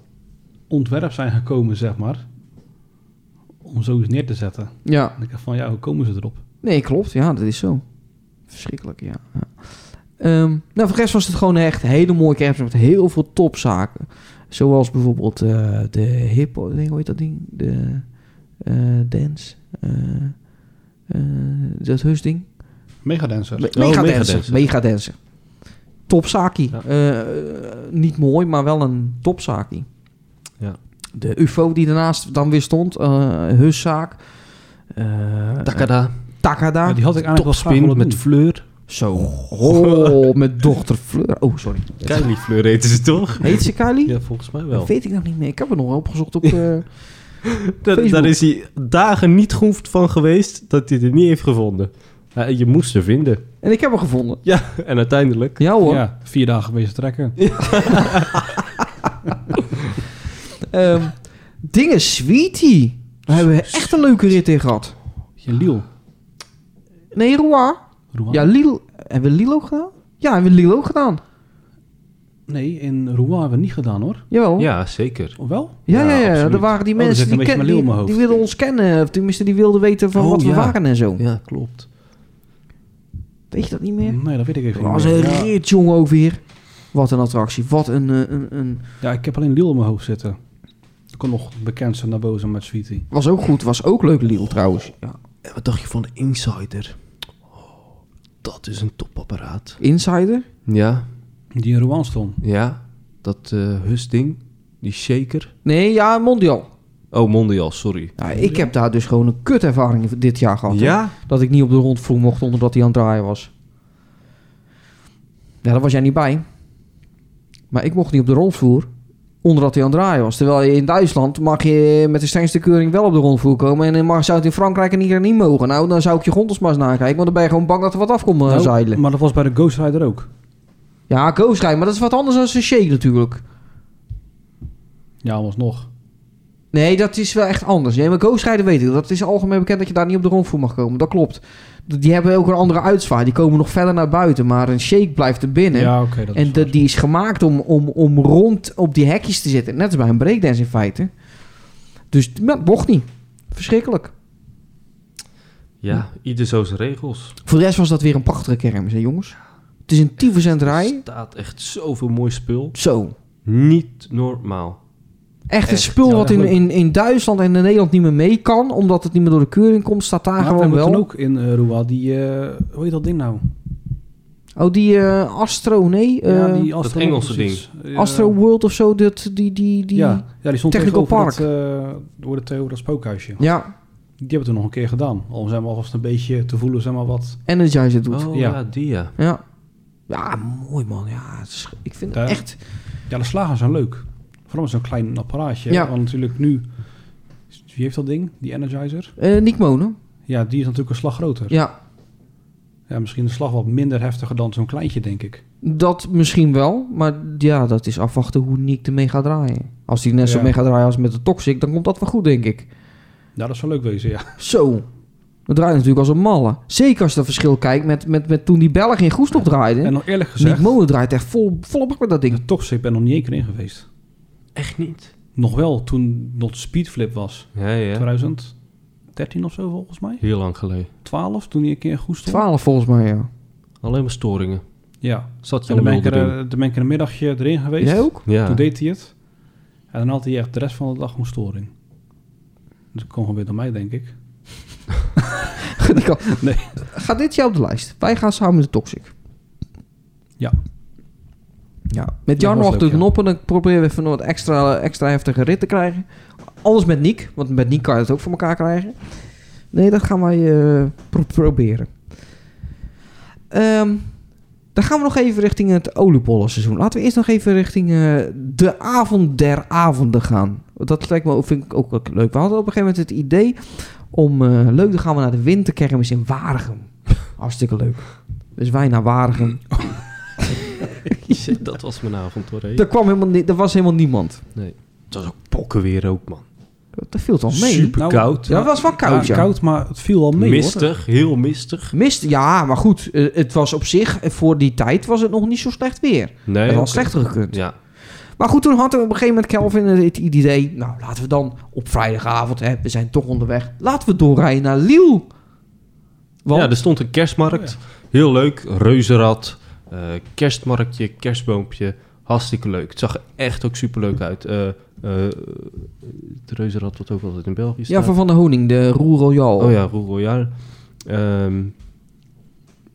Speaker 6: ontwerp zijn gekomen, zeg maar. Om zoiets neer te zetten.
Speaker 4: Ja.
Speaker 6: En ik dacht van, ja, hoe komen ze erop?
Speaker 4: Nee, klopt. Ja, dat is zo. Verschrikkelijk, ja. ja. Ehm, nou, voor de rest was het gewoon echt een hele mooie kermis met heel veel topzaken. Zoals bijvoorbeeld eh, de hippo... Nee, hoe heet dat ding? De eh, dance... eh, eh, dat heusding.
Speaker 6: Megadancer.
Speaker 4: Me-
Speaker 5: Oh,
Speaker 4: Megadancer.
Speaker 5: Megadancer.
Speaker 4: Megadancer. Topzaakie.
Speaker 5: Ja.
Speaker 4: Eh, eh, niet mooi, maar wel een topzaakie.
Speaker 5: Ja.
Speaker 4: De UFO die daarnaast dan weer stond, eh Huszaak. Eh,
Speaker 5: Takada.
Speaker 4: Takada.
Speaker 6: Ja, die had ik eigenlijk wel graag
Speaker 5: Topspin
Speaker 6: willen
Speaker 5: met
Speaker 6: doen.
Speaker 5: Fleur.
Speaker 4: Zo. Oh, met dochter Fleur. Oh, sorry.
Speaker 5: Kylie Fleur heten ze toch?
Speaker 4: Heet ze Kylie?
Speaker 5: Ja, volgens mij wel.
Speaker 4: Dat weet ik nog niet meer. Ik heb het nog wel opgezocht op... eh,
Speaker 5: Dat,
Speaker 4: Facebook.
Speaker 5: daar is hij dagen niet groeft van geweest dat hij het niet heeft gevonden. Ja, je moest ze vinden.
Speaker 4: en ik heb hem gevonden.
Speaker 5: Ja, en uiteindelijk.
Speaker 4: Ja hoor.
Speaker 6: Ja, vier dagen bezig trekken.
Speaker 4: Ehm, dingen, Sweetie. Daar hebben we echt een leuke rit in gehad.
Speaker 6: Je Liel.
Speaker 4: Nee, Roa.
Speaker 6: Rouen?
Speaker 4: Ja, Lilo. Hebben we Lilo gedaan? Ja, hebben we Lilo gedaan.
Speaker 6: Nee, in Rouen hebben we niet gedaan hoor.
Speaker 4: Jawel. Ja,
Speaker 5: Ja, zeker.
Speaker 6: Of wel?
Speaker 4: ja, ja.
Speaker 6: absoluut.
Speaker 4: Er waren die
Speaker 6: Oh, er
Speaker 4: mensen
Speaker 6: zit een
Speaker 4: die,
Speaker 6: beetje
Speaker 4: ken,
Speaker 6: mijn lul in
Speaker 4: die,
Speaker 6: mijn
Speaker 4: die
Speaker 6: hoofd.
Speaker 4: wilden ons kennen. Of tenminste, die wilden weten van
Speaker 6: Oh,
Speaker 4: wat we
Speaker 6: ja.
Speaker 4: waren en zo.
Speaker 5: Ja, klopt.
Speaker 4: Weet je dat niet meer?
Speaker 6: Nee, dat weet ik even
Speaker 4: Dat
Speaker 6: niet
Speaker 4: was
Speaker 6: meer.
Speaker 4: een
Speaker 6: Ja.
Speaker 4: rit, jongen, ook weer. Wat een attractie. Wat een... eh, een, een
Speaker 6: Ja, ik heb alleen Lille in mijn hoofd zitten. Ik kon nog bekend zijn naar boven met Sweetie.
Speaker 4: was ook goed. Was ook leuk, Lilo, trouwens. Ja.
Speaker 5: En wat dacht je van de Insider? Oh, dat is een topapparaat.
Speaker 4: Insider.
Speaker 5: Ja,
Speaker 6: Die in Rouen stond.
Speaker 5: ja. Dat eh husding, die shaker.
Speaker 4: Nee, ja, Mondial.
Speaker 5: Oh, Mondial, sorry.
Speaker 4: Ja, ik heb daar dus gewoon een kutervaring dit jaar gehad. hoor.
Speaker 5: Ja?
Speaker 4: Dat ik niet op de rondvloer mocht omdat hij aan het draaien was. Ja, daar was jij niet bij. Maar ik mocht niet op de rondvloer omdat hij aan het draaien was. Terwijl je in Duitsland mag je met de strengste keuring wel op de rondvloer komen. En dan mag, zou het in Frankrijk en hier niet mogen. Nou, dan zou ik je gondels maar eens nakijken. Want dan ben je gewoon bang dat er wat afkomt eh,
Speaker 6: Nou,
Speaker 4: zeilen.
Speaker 6: maar dat was bij de Ghost Rider ook.
Speaker 4: Ja, koosrij, maar dat is wat anders dan een shake natuurlijk.
Speaker 6: Ja, was nog.
Speaker 4: Nee, dat is wel echt anders. Nee, maar Ghostrijder weet ik. Dat is algemeen bekend dat je daar niet op de rondvoer mag komen. Dat klopt. D- Die hebben ook een andere uitzwaai. Die komen nog verder naar buiten. Maar een shake blijft er binnen.
Speaker 6: Ja, oké. dat is
Speaker 4: en de-
Speaker 6: waar.
Speaker 4: die is gemaakt om, om, om rond op die hekjes te zitten. Net als bij een breakdance in feite. Dus ja, dat mocht niet. Verschrikkelijk.
Speaker 5: Ja, ieder zo zijn regels.
Speaker 4: Voor de rest was dat weer een prachtige kermis, hè jongens. Het is een tyfuscent
Speaker 5: Er
Speaker 4: rij.
Speaker 5: staat echt zoveel mooi spul.
Speaker 4: Zo.
Speaker 5: Niet normaal.
Speaker 4: Echt het
Speaker 5: Echt.
Speaker 4: spul
Speaker 6: Ja,
Speaker 4: wat
Speaker 6: dat
Speaker 4: in,
Speaker 6: is
Speaker 4: in, in Duitsland en in Nederland niet meer mee kan. Omdat het niet meer door de keuring komt. Staat daar
Speaker 6: Maar
Speaker 4: gewoon
Speaker 6: we hebben
Speaker 4: wel.
Speaker 6: toen ook in eh Rouen die... eh, hoe heet dat ding nou?
Speaker 4: Oh, die eh, Astro, nee. eh,
Speaker 6: die
Speaker 5: Engelse
Speaker 6: precies. Eh,
Speaker 4: Astro World of zo, dat, die, die, die...
Speaker 6: Ja, ja, die stond
Speaker 4: Technical
Speaker 6: tegenover dat, eh, door het tegenover dat spookhuisje.
Speaker 4: Ja,
Speaker 6: Die hebben we toen nog een keer gedaan. Al zijn we alvast een beetje te voelen, zeg maar wat.
Speaker 4: Energizer doet.
Speaker 5: Oh
Speaker 6: Ja.
Speaker 5: ja, die ja.
Speaker 4: Ja. Ja, mooi man. Ja, het is- ik vind
Speaker 6: Ja.
Speaker 4: het echt...
Speaker 6: Ja, de slagen zijn leuk. Vooral met zo'n klein apparaatje.
Speaker 4: Ja.
Speaker 6: Want natuurlijk nu... Wie heeft dat ding? Die Energizer?
Speaker 4: eh Nick Monen.
Speaker 6: Ja, die is natuurlijk een slag groter.
Speaker 4: Ja,
Speaker 6: Ja, misschien een slag wat minder heftiger dan zo'n kleintje, denk ik.
Speaker 4: dat misschien wel. Maar ja, dat is afwachten hoe Nick ermee gaat draaien. Als hij net zo
Speaker 6: Ja.
Speaker 4: mee gaat draaien als met de Toxic, dan komt dat wel goed, denk ik.
Speaker 6: Ja, Nou, dat zou leuk wezen, ja.
Speaker 4: Zo. Dat draait natuurlijk als een malle. Zeker als je dat verschil kijkt met, met, met toen die Belg in Goes nog draaide.
Speaker 6: En nog eerlijk
Speaker 4: Nick
Speaker 6: gezegd,
Speaker 4: Monen draait echt vol, volle bak met dat ding.
Speaker 6: de Toxic ben nog niet één keer in geweest.
Speaker 5: Echt niet.
Speaker 6: Nog wel toen dat Speedflip was.
Speaker 5: Ja, ja.
Speaker 6: 2013 of zo volgens mij.
Speaker 5: Heel lang geleden.
Speaker 6: 12, toen hij een keer in Goes stond.
Speaker 4: 12 volgens mij, ja.
Speaker 5: Alleen maar storingen.
Speaker 6: Ja.
Speaker 5: Zat je
Speaker 6: En dan
Speaker 5: al
Speaker 6: ben ik
Speaker 5: wilde
Speaker 6: er,
Speaker 5: doen.
Speaker 6: eh, dan ben ik er een middagje erin geweest.
Speaker 4: Jij ook? (laughs)
Speaker 5: Ja. (laughs)
Speaker 6: Toen deed hij het. En dan had hij echt de rest van de dag gewoon storing. Dus dat kwam gewoon weer door mij, denk ik.
Speaker 4: Dat kan.
Speaker 6: Nee.
Speaker 4: Gaat dit jaar op de lijst. Wij gaan samen met de Toxic.
Speaker 6: Ja.
Speaker 4: Ja. Met
Speaker 6: Ja,
Speaker 4: Jarno
Speaker 6: was
Speaker 4: achter
Speaker 6: leuk,
Speaker 4: de
Speaker 6: ja.
Speaker 4: knoppen. Dan proberen we even wat extra, extra heftige rit te krijgen. Alles met Niek. Want met Niek kan je het ook voor elkaar krijgen. Nee, dat gaan wij eh, pro- proberen. Ehm, dan gaan we nog even richting het oliepollenseizoen. Laten we eerst nog even richting eh, de avond der avonden gaan. Dat lijkt me, ook- vind ik ook wel leuk. We hadden op een gegeven moment het idee om... eh, leuk, dan gaan we naar de winterkermis in Waregem. (laughs) Hartstikke leuk. Dus wij naar Waregem.
Speaker 5: Shit, dat was mijn avond hoor. hé.
Speaker 4: Er, kwam helemaal ni- er was helemaal niemand.
Speaker 5: Het was ook pokken weer ook, man.
Speaker 4: Dat viel toch mee?
Speaker 5: Super koud.
Speaker 4: Ja, Nou, dat was wel koud, ja.
Speaker 6: Ja, koud, maar het viel al mee, hoor.
Speaker 5: mistig, heel mistig.
Speaker 4: Mist, ja, maar goed. eh, het was op zich, eh, voor die tijd was het nog niet zo slecht weer.
Speaker 5: Nee,
Speaker 4: het
Speaker 5: oké.
Speaker 4: had slechter gekund.
Speaker 5: Ja,
Speaker 4: Maar goed, toen had er op een gegeven moment Kelvin het idee... Nou, laten we dan op vrijdagavond, hè, we zijn toch onderweg... Laten we doorrijden naar Lille. Want,
Speaker 5: ja, dus- er stond een
Speaker 6: Oh,
Speaker 5: kerstmarkt. Heel leuk. Reuzenrad. eh, kerstmarktje, kerstboompje. Hartstikke leuk. Het zag er echt ook super leuk uit. Eh, eh, het reuzenrad wat ook altijd in België staat.
Speaker 4: ja, van Van de Honing, de Roer Royal.
Speaker 5: Oh ja, Roel Royal. Ehm,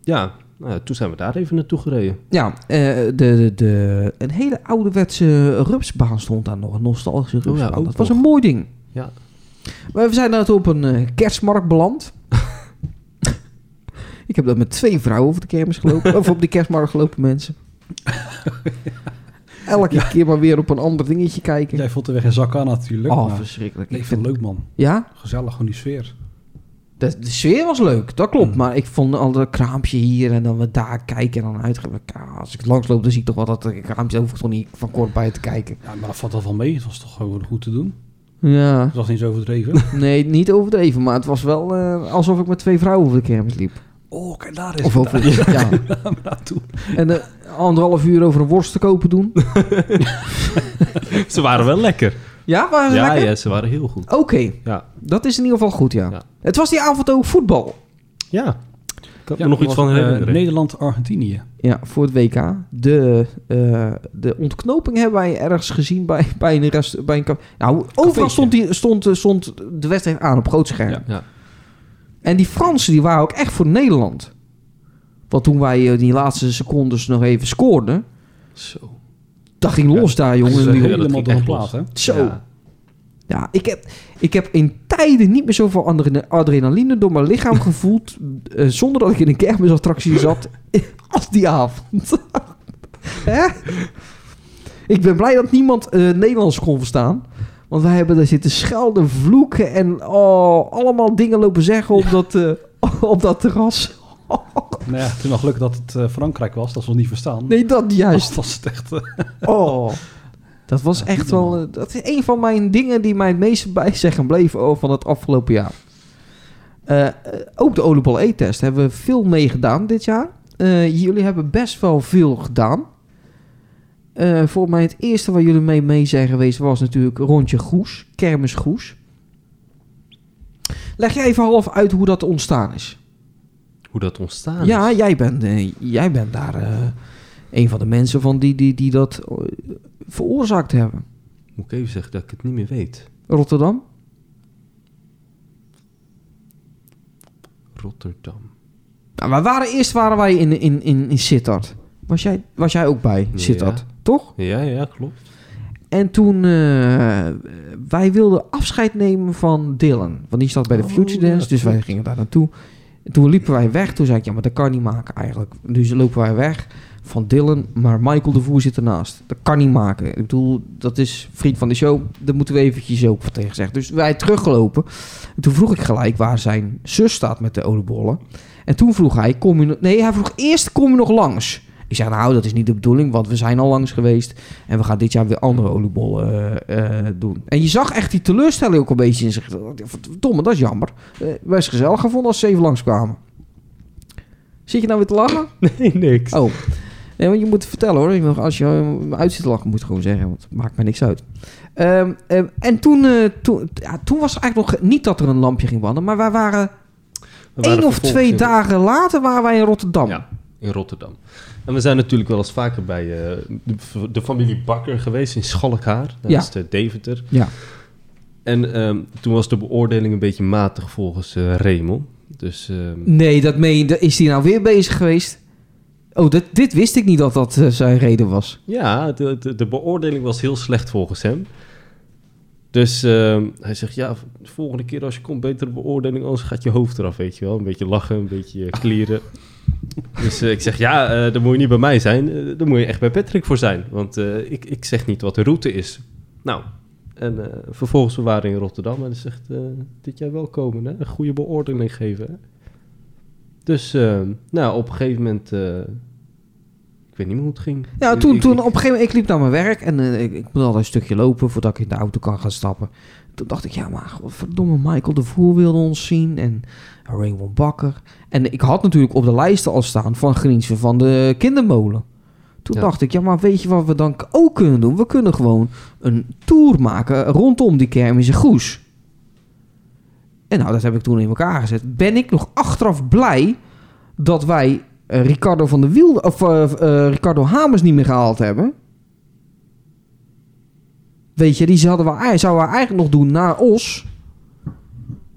Speaker 5: ja, nou ja, toen zijn we daar even naartoe gereden.
Speaker 4: Ja, eh, de, de, de, een hele ouderwetse rupsbaan stond daar nog. Een nostalgische
Speaker 5: Oh ja,
Speaker 4: rupsbaan.
Speaker 5: ook
Speaker 4: dat was
Speaker 5: nog.
Speaker 4: een mooi ding.
Speaker 5: Ja.
Speaker 4: Maar we zijn net op een eh, kerstmarkt
Speaker 5: (laughs)
Speaker 4: beland. Ik heb dat met twee vrouwen over de kermis gelopen. of op de kerstmarkt gelopen
Speaker 5: (laughs)
Speaker 4: mensen. Elke keer maar weer op een ander dingetje kijken.
Speaker 6: Jij voelt er weer geen zak aan, natuurlijk.
Speaker 4: oh,
Speaker 6: maar-
Speaker 4: verschrikkelijk.
Speaker 6: Nee,
Speaker 4: Ik
Speaker 6: ik vind
Speaker 4: vind-
Speaker 6: het leuk, man.
Speaker 4: Ja?
Speaker 6: Gezellig, gewoon die sfeer.
Speaker 4: De, de sfeer was leuk, dat klopt. Maar ik vond al dat kraampje hier en dan we daar kijken en dan uitgaan. Ja, als ik langs loop, dan zie ik toch wel dat er kraampje hoef ik toch niet van kort bij te kijken.
Speaker 6: Ja, maar dat valt al wel mee. Het was toch gewoon goed te doen.
Speaker 4: Ja,
Speaker 6: Het
Speaker 4: (laughs)
Speaker 6: was niet zo overdreven.
Speaker 4: nee, niet overdreven. Maar het was wel eh, alsof ik met twee vrouwen over de kermis liep.
Speaker 6: Oh, kijk, daar is
Speaker 4: Of over, ja. (laughs)
Speaker 6: het naartoe.
Speaker 4: En eh, anderhalf uur over een worst te kopen doen.
Speaker 5: (laughs) Ze waren wel lekker.
Speaker 4: Ja, waren ze
Speaker 5: Ja,
Speaker 4: lekker?
Speaker 5: ja, ze waren heel goed.
Speaker 4: Oké,
Speaker 5: Ja,
Speaker 4: dat is in ieder geval goed, ja.
Speaker 5: Ja.
Speaker 4: Het was die avond ook voetbal.
Speaker 5: ja. Ik kan
Speaker 6: Ja,
Speaker 5: me nog
Speaker 6: dat
Speaker 5: iets
Speaker 6: was,
Speaker 5: van
Speaker 6: eh,
Speaker 5: herinneren.
Speaker 6: Nederland-Argentinië.
Speaker 4: Ja, voor het WK. De, eh, de ontknoping hebben wij ergens gezien bij, (laughs) bij een rest... Bij een ka- nou, overal
Speaker 6: Cafeetje.
Speaker 4: stond, die, stond, eh, stond de wedstrijd aan op groot scherm.
Speaker 6: Ja.
Speaker 5: Ja.
Speaker 4: En die Fransen die waren ook echt voor Nederland. Want toen wij eh, die laatste secondes nog even scoorden...
Speaker 5: Zo.
Speaker 4: Dat ging los daar,
Speaker 6: Dat
Speaker 4: jongen.
Speaker 6: is
Speaker 4: Ja,
Speaker 5: ging
Speaker 6: helemaal door de
Speaker 5: echt
Speaker 6: plaat,
Speaker 5: los.
Speaker 6: hè?
Speaker 4: Zo.
Speaker 5: Ja.
Speaker 4: Ja, ik heb, ik heb in tijden niet meer zoveel adre- adrenaline door mijn lichaam gevoeld... eh, zonder dat ik in een kermisattractie zat (laughs) als die avond. (laughs) Hè? Ik ben blij dat niemand eh, Nederlands kon verstaan. Want wij hebben daar zitten schelden, vloeken en oh, allemaal dingen lopen zeggen op, dat, eh, (laughs) op dat terras.
Speaker 6: Nou ja, toen nog geluk dat het eh, Frankrijk was, dat ze ons niet verstaan.
Speaker 4: Nee, dat juist.
Speaker 6: Dat was het echt... eh,
Speaker 4: Oh. Dat was echt wel... eh, dat is een van mijn dingen die mij het (laughs) meest bij zijn gebleven over van het afgelopen jaar. Eh, eh, ook de oliebol E-test hebben we veel meegedaan dit jaar. Eh, jullie hebben best wel veel gedaan. Eh volgens mij het eerste waar jullie mee, mee zijn geweest was natuurlijk rondje Goes. Kermis Goes. Leg jij even half uit hoe dat ontstaan is.
Speaker 5: Hoe dat ontstaan is.
Speaker 4: Ja, jij bent, eh, jij bent daar eh, een van de mensen van die, die, die dat eh, veroorzaakt hebben.
Speaker 5: Moet ik even zeggen dat ik het niet meer weet.
Speaker 4: Rotterdam?
Speaker 5: Rotterdam.
Speaker 4: Nou, wij waren, eerst waren wij in, in, in, in Sittard. Was jij, was jij ook bij Sittard,
Speaker 5: Ja.
Speaker 4: toch?
Speaker 5: Ja, ja, klopt.
Speaker 4: En toen, eh, wij wilden afscheid nemen van Dylan. Want die zat bij de
Speaker 5: Oh,
Speaker 4: Future
Speaker 5: ja,
Speaker 4: Dance, dus wij
Speaker 5: klopt.
Speaker 4: gingen daar naartoe. En toen liepen wij weg, toen zei ik, ja, maar dat kan niet maken eigenlijk. Dus lopen wij weg van Dylan, maar Michael de Voer zit ernaast. Dat kan niet maken. Ik bedoel, dat is vriend van de show, daar moeten we eventjes ook wat tegen zeggen. Dus wij teruggelopen. En toen vroeg ik gelijk waar zijn zus staat met de oliebollen. En toen vroeg hij, kom je... no- Nee, hij vroeg eerst, kom je nog langs? Ik zei, nou, dat is niet de bedoeling, want we zijn al langs geweest. En we gaan dit jaar weer andere oliebollen eh, eh, doen. En je zag echt die teleurstelling ook een beetje in zich. Verdomme, dat is jammer. Eh best gezellig gevonden als ze even langskwamen. Zit je nou weer te lachen?
Speaker 5: Nee, niks.
Speaker 4: Oh. Nee, want je moet het vertellen hoor. Je mag- Als je eh, uit zit te lachen, moet je het gewoon zeggen. Want het maakt me niks uit. Ehm, ehm, en toen, eh, toen, ja, toen was het eigenlijk nog niet dat er een lampje ging branden. Maar wij waren
Speaker 5: We waren
Speaker 4: één of
Speaker 5: vervolgens
Speaker 4: twee
Speaker 5: in-
Speaker 4: dagen later waren wij in Rotterdam.
Speaker 5: Ja, in Rotterdam. En we zijn natuurlijk wel eens vaker bij eh, de, de familie Bakker geweest in Schalkhaar. Dat
Speaker 4: Ja.
Speaker 5: is de Deventer.
Speaker 4: Ja.
Speaker 5: En ehm, toen was de beoordeling een beetje matig volgens eh Remel. Dus ehm,
Speaker 4: Nee, dat meen je- dat- Is die nou weer bezig geweest? Oh, dat, dit wist ik niet dat dat eh, zijn reden was.
Speaker 5: ja, de, de, de beoordeling was heel slecht volgens hem. Dus ehm, hij zegt, ja, de volgende keer als je komt, betere beoordeling, anders gaat je hoofd eraf, weet je wel. Een beetje lachen, een beetje eh, klieren.
Speaker 4: (laughs)
Speaker 5: dus eh, ik zeg, ja, eh dan moet je niet bij mij zijn, eh, dan moet je echt bij Patrick voor zijn. Want eh, ik, ik zeg niet wat de route is. Nou, en eh, vervolgens, we waren in Rotterdam en hij zegt, eh, dit jaar wel komen, hè? een goede beoordeling geven. Hè? Dus, eh, nou, op een gegeven moment, eh, ik weet niet meer hoe het ging.
Speaker 4: Ja,
Speaker 5: Ik-
Speaker 4: toen,
Speaker 5: ik-
Speaker 4: toen op
Speaker 5: ik-
Speaker 4: een gegeven moment, ik liep naar mijn werk en eh, ik, ik moet altijd een stukje lopen voordat ik in de auto kan gaan stappen. Toen dacht ik, ja maar verdomme, Michael de Voer wilde ons zien en Raymond Bakker. En ik had natuurlijk op de lijst al staan van Griensven van de kindermolen. Toen
Speaker 5: Ja.
Speaker 4: dacht ik, ja maar weet je wat we dan k- ook kunnen doen? We kunnen gewoon een tour maken rondom die kermische goes. En nou, dat heb ik toen in elkaar gezet. Ben ik nog achteraf blij dat wij eh, Ricardo van der Wiel of eh, eh, Ricardo Hamers niet meer gehaald hebben? Weet je, die zouden we, ei- zouden we eigenlijk nog doen na Os.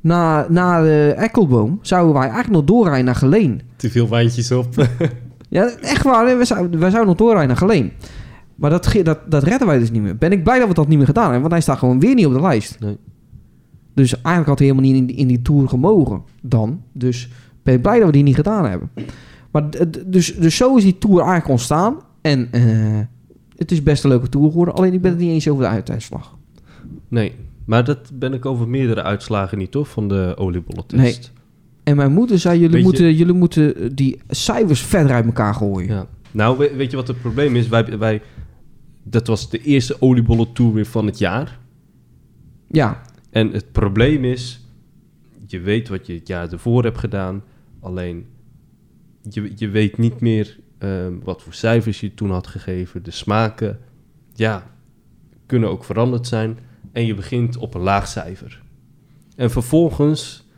Speaker 4: Na, na de Ekkelboom zouden wij eigenlijk nog doorrijden naar Geleen.
Speaker 5: Te veel wijntjes op.
Speaker 4: Ja, echt waar. hè. We zouden, we zouden nog doorrijden naar Geleen. Maar dat, ge- dat, dat redden wij dus niet meer. Ben ik blij dat we dat niet meer gedaan hebben, want hij staat gewoon weer niet op de lijst.
Speaker 5: Nee.
Speaker 4: Dus eigenlijk had hij helemaal niet in, die- in die tour gemogen dan. Dus ben ik blij dat we die niet gedaan hebben. Maar d- d- dus, dus zo is die tour eigenlijk ontstaan. En eh, het is best een leuke tour geworden. Alleen ik ben het niet eens over de uitslag.
Speaker 5: (laughs) Nee, maar dat ben ik over meerdere uitslagen niet, toch? Van de oliebollentest.
Speaker 4: En mijn moeder zei, jullie,
Speaker 5: Beetje-
Speaker 4: moeten, jullie moeten eh, die cijfers verder uit elkaar gooien.
Speaker 5: Ja. Nou, we- weet je wat het probleem is? Wij, wij, dat was de eerste oliebollentour weer van het jaar.
Speaker 4: ja.
Speaker 5: En het probleem is, je weet wat je het jaar ervoor hebt gedaan. Alleen je, je weet niet meer ehm, wat voor cijfers je toen had gegeven. De smaken, ja, kunnen ook veranderd zijn. En je begint op een laag cijfer. En vervolgens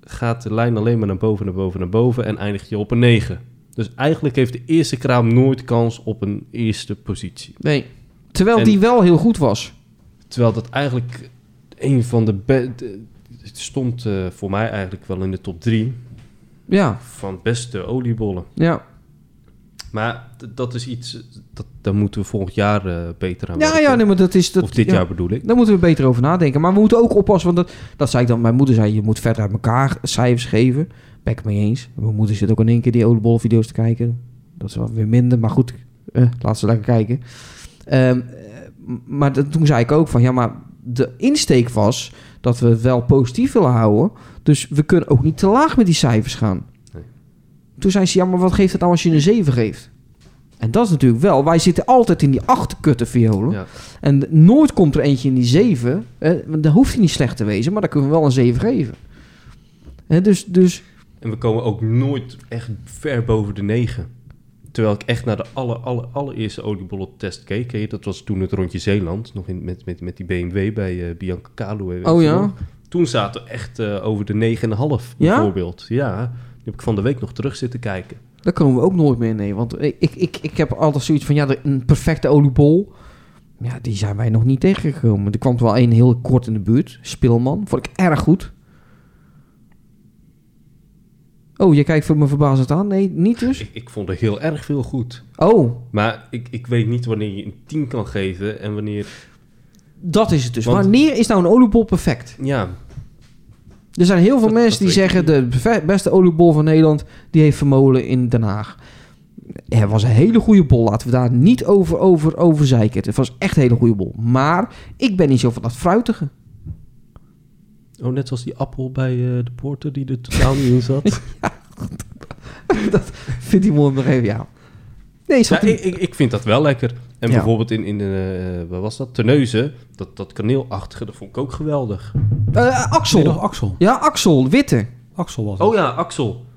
Speaker 5: gaat de lijn alleen maar naar boven, naar boven, naar boven en eindig je op een 9. Dus eigenlijk heeft de eerste kraam nooit kans op een eerste positie.
Speaker 4: Nee. Terwijl
Speaker 5: En-
Speaker 4: die wel heel goed was.
Speaker 5: Terwijl dat eigenlijk een van de... be- de- Het stond eh, voor mij eigenlijk wel in de top 3
Speaker 4: Ja,
Speaker 5: van beste oliebollen.
Speaker 4: ja.
Speaker 5: Maar d- dat is iets, eh, dat, daar moeten we volgend jaar eh, beter aan
Speaker 4: Ja,
Speaker 5: werken.
Speaker 4: ja, nee, maar dat is... Dat,
Speaker 5: of dit
Speaker 4: ja.
Speaker 5: jaar bedoel ik.
Speaker 4: Daar moeten we beter over nadenken. Maar we moeten ook oppassen, want dat, dat zei ik dan. Mijn moeder zei, je moet verder uit elkaar cijfers geven. Ben ik het mee eens. Mijn moeder zit ook in één keer die oliebollenvideo's te kijken. Dat is wel weer minder, maar goed. eh, laat ze lekker kijken. Ehm, eh, maar dat, toen zei ik ook van, ja, maar de insteek was dat we het wel positief willen houden. Dus we kunnen ook niet te laag met die cijfers gaan.
Speaker 5: Nee.
Speaker 4: Toen zei ze, ja, maar wat geeft het nou als je een 7 geeft? En dat is natuurlijk wel, wij zitten altijd in die achterkutte violen.
Speaker 5: Ja.
Speaker 4: En nooit komt er eentje in die 7. Eh, want dan hoeft hij niet slecht te wezen, maar dan kunnen we wel een 7 geven. Hè, dus, dus
Speaker 5: En we komen ook nooit echt ver boven de 9. Terwijl ik echt naar de aller, aller, allereerste oliebollentest keek. hè. Dat was toen het rondje Zeeland. Nog in, met, met, met die BMW bij eh, Bianca Kalu. weet
Speaker 4: Oh
Speaker 5: je
Speaker 4: ja?
Speaker 5: nog. Toen zaten we echt eh, over de 9,5
Speaker 4: Ja?
Speaker 5: bijvoorbeeld. Ja, die heb ik van de week nog terug zitten kijken.
Speaker 4: daar komen we ook nooit meer nee. Want ik, ik, ik, ik heb altijd zoiets van, ja, de- een perfecte oliebol. Ja, die zijn wij nog niet tegengekomen. Er kwam er wel één heel kort in de buurt. Speelman. Vond ik erg goed. Oh, je kijkt voor me verbazend aan. Nee, niet dus.
Speaker 5: Ik, ik vond er heel erg veel goed.
Speaker 4: Oh,
Speaker 5: Maar ik, ik weet niet wanneer je een 10 kan geven en wanneer...
Speaker 4: dat is het dus.
Speaker 5: Want-
Speaker 4: Wanneer is nou een oliebol perfect?
Speaker 5: Ja,
Speaker 4: Er zijn heel veel
Speaker 5: Dat-
Speaker 4: mensen
Speaker 5: dat
Speaker 4: die
Speaker 5: weet ik
Speaker 4: zeggen... de beve- beste oliebol van Nederland, die heeft vermolen in Den Haag. Het was een hele goede bol. Laten we daar niet over, over, over zeiken. Het was echt een hele goede bol. Maar ik ben niet zo van dat fruitige. (laughs)
Speaker 5: oh, net zoals die appel bij eh, de porter die er totaal niet in zat.
Speaker 4: Vindt die mooi nog even, ja. Nee,
Speaker 5: Ja,
Speaker 4: zat
Speaker 5: ik, ik, ik vind dat wel lekker. En
Speaker 4: Ja.
Speaker 5: bijvoorbeeld in, in eh, waar was dat? Terneuzen, dat, dat kaneelachtige, dat vond ik ook geweldig.
Speaker 4: eh,
Speaker 6: Nee, dat
Speaker 4: Axel.
Speaker 6: was Axel.
Speaker 4: Ja, Axel, witte.
Speaker 6: Axel was
Speaker 5: Oh
Speaker 6: het.
Speaker 5: ja, Axel.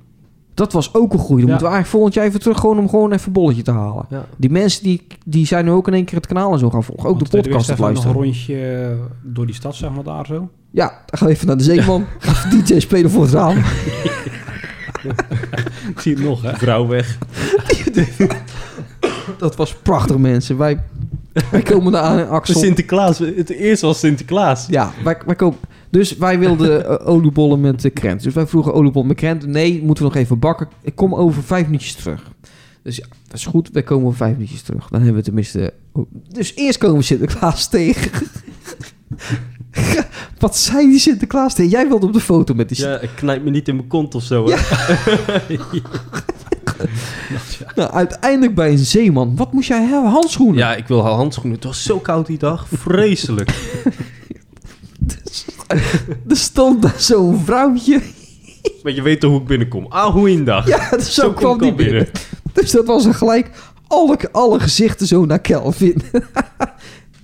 Speaker 4: Dat was ook een goede. Dan
Speaker 6: Ja.
Speaker 4: moeten we eigenlijk volgend jaar even terug... gewoon om gewoon even een bolletje te halen.
Speaker 5: Ja.
Speaker 4: Die mensen die, die zijn nu ook in één keer het kanaal en zo gaan volgen. Ook
Speaker 6: Want
Speaker 4: de
Speaker 6: tweede
Speaker 4: podcast
Speaker 6: wedstrijd
Speaker 4: te
Speaker 6: was
Speaker 4: luisteren.
Speaker 6: Nog een rondje eh, door die stad, zeg maar daar zo.
Speaker 4: Ja, dan gaan we even naar de Zeeman. DJ spelen voor het raam.
Speaker 6: Ik zie het nog, hè?
Speaker 5: Vrouw weg.
Speaker 4: Dat was prachtig, mensen. Wij, wij komen daar aan in
Speaker 5: (laughs)
Speaker 4: Axel.
Speaker 5: (laughs) Sinterklaas, het eerste was Sinterklaas.
Speaker 4: Ja, wij, wij komen... Dus wij wilden eh, oliebollen met eh, krent. Dus wij vroegen oliebollen met krent. Nee, moeten we nog even bakken. Ik kom over vijf minuutjes terug. Dus ja, dat is goed. Wij komen over vijf minuutjes terug. Dan hebben we tenminste... oh, Dus eerst komen we Sinterklaas tegen. (laughs) Wat zei die Sinterklaas tegen? Jij wilde op de foto met die
Speaker 5: Ja, ik knijp me niet in mijn kont of zo. hè.
Speaker 4: Nou, uiteindelijk bij een zeeman. Wat moest jij hebben? Handschoenen?
Speaker 5: Ja, ik wil haar handschoenen. Het was zo koud die dag. (laughs) Vreselijk.
Speaker 4: Er stond daar zo'n vrouwtje. (laughs)
Speaker 5: maar je weet toch hoe ik binnenkom. Ah, hoe in dag.
Speaker 4: Ja, dus zo,
Speaker 5: Zo
Speaker 4: kwam die binnen. Dus dat was er gelijk alle, alle gezichten zo naar Kelvin. (laughs)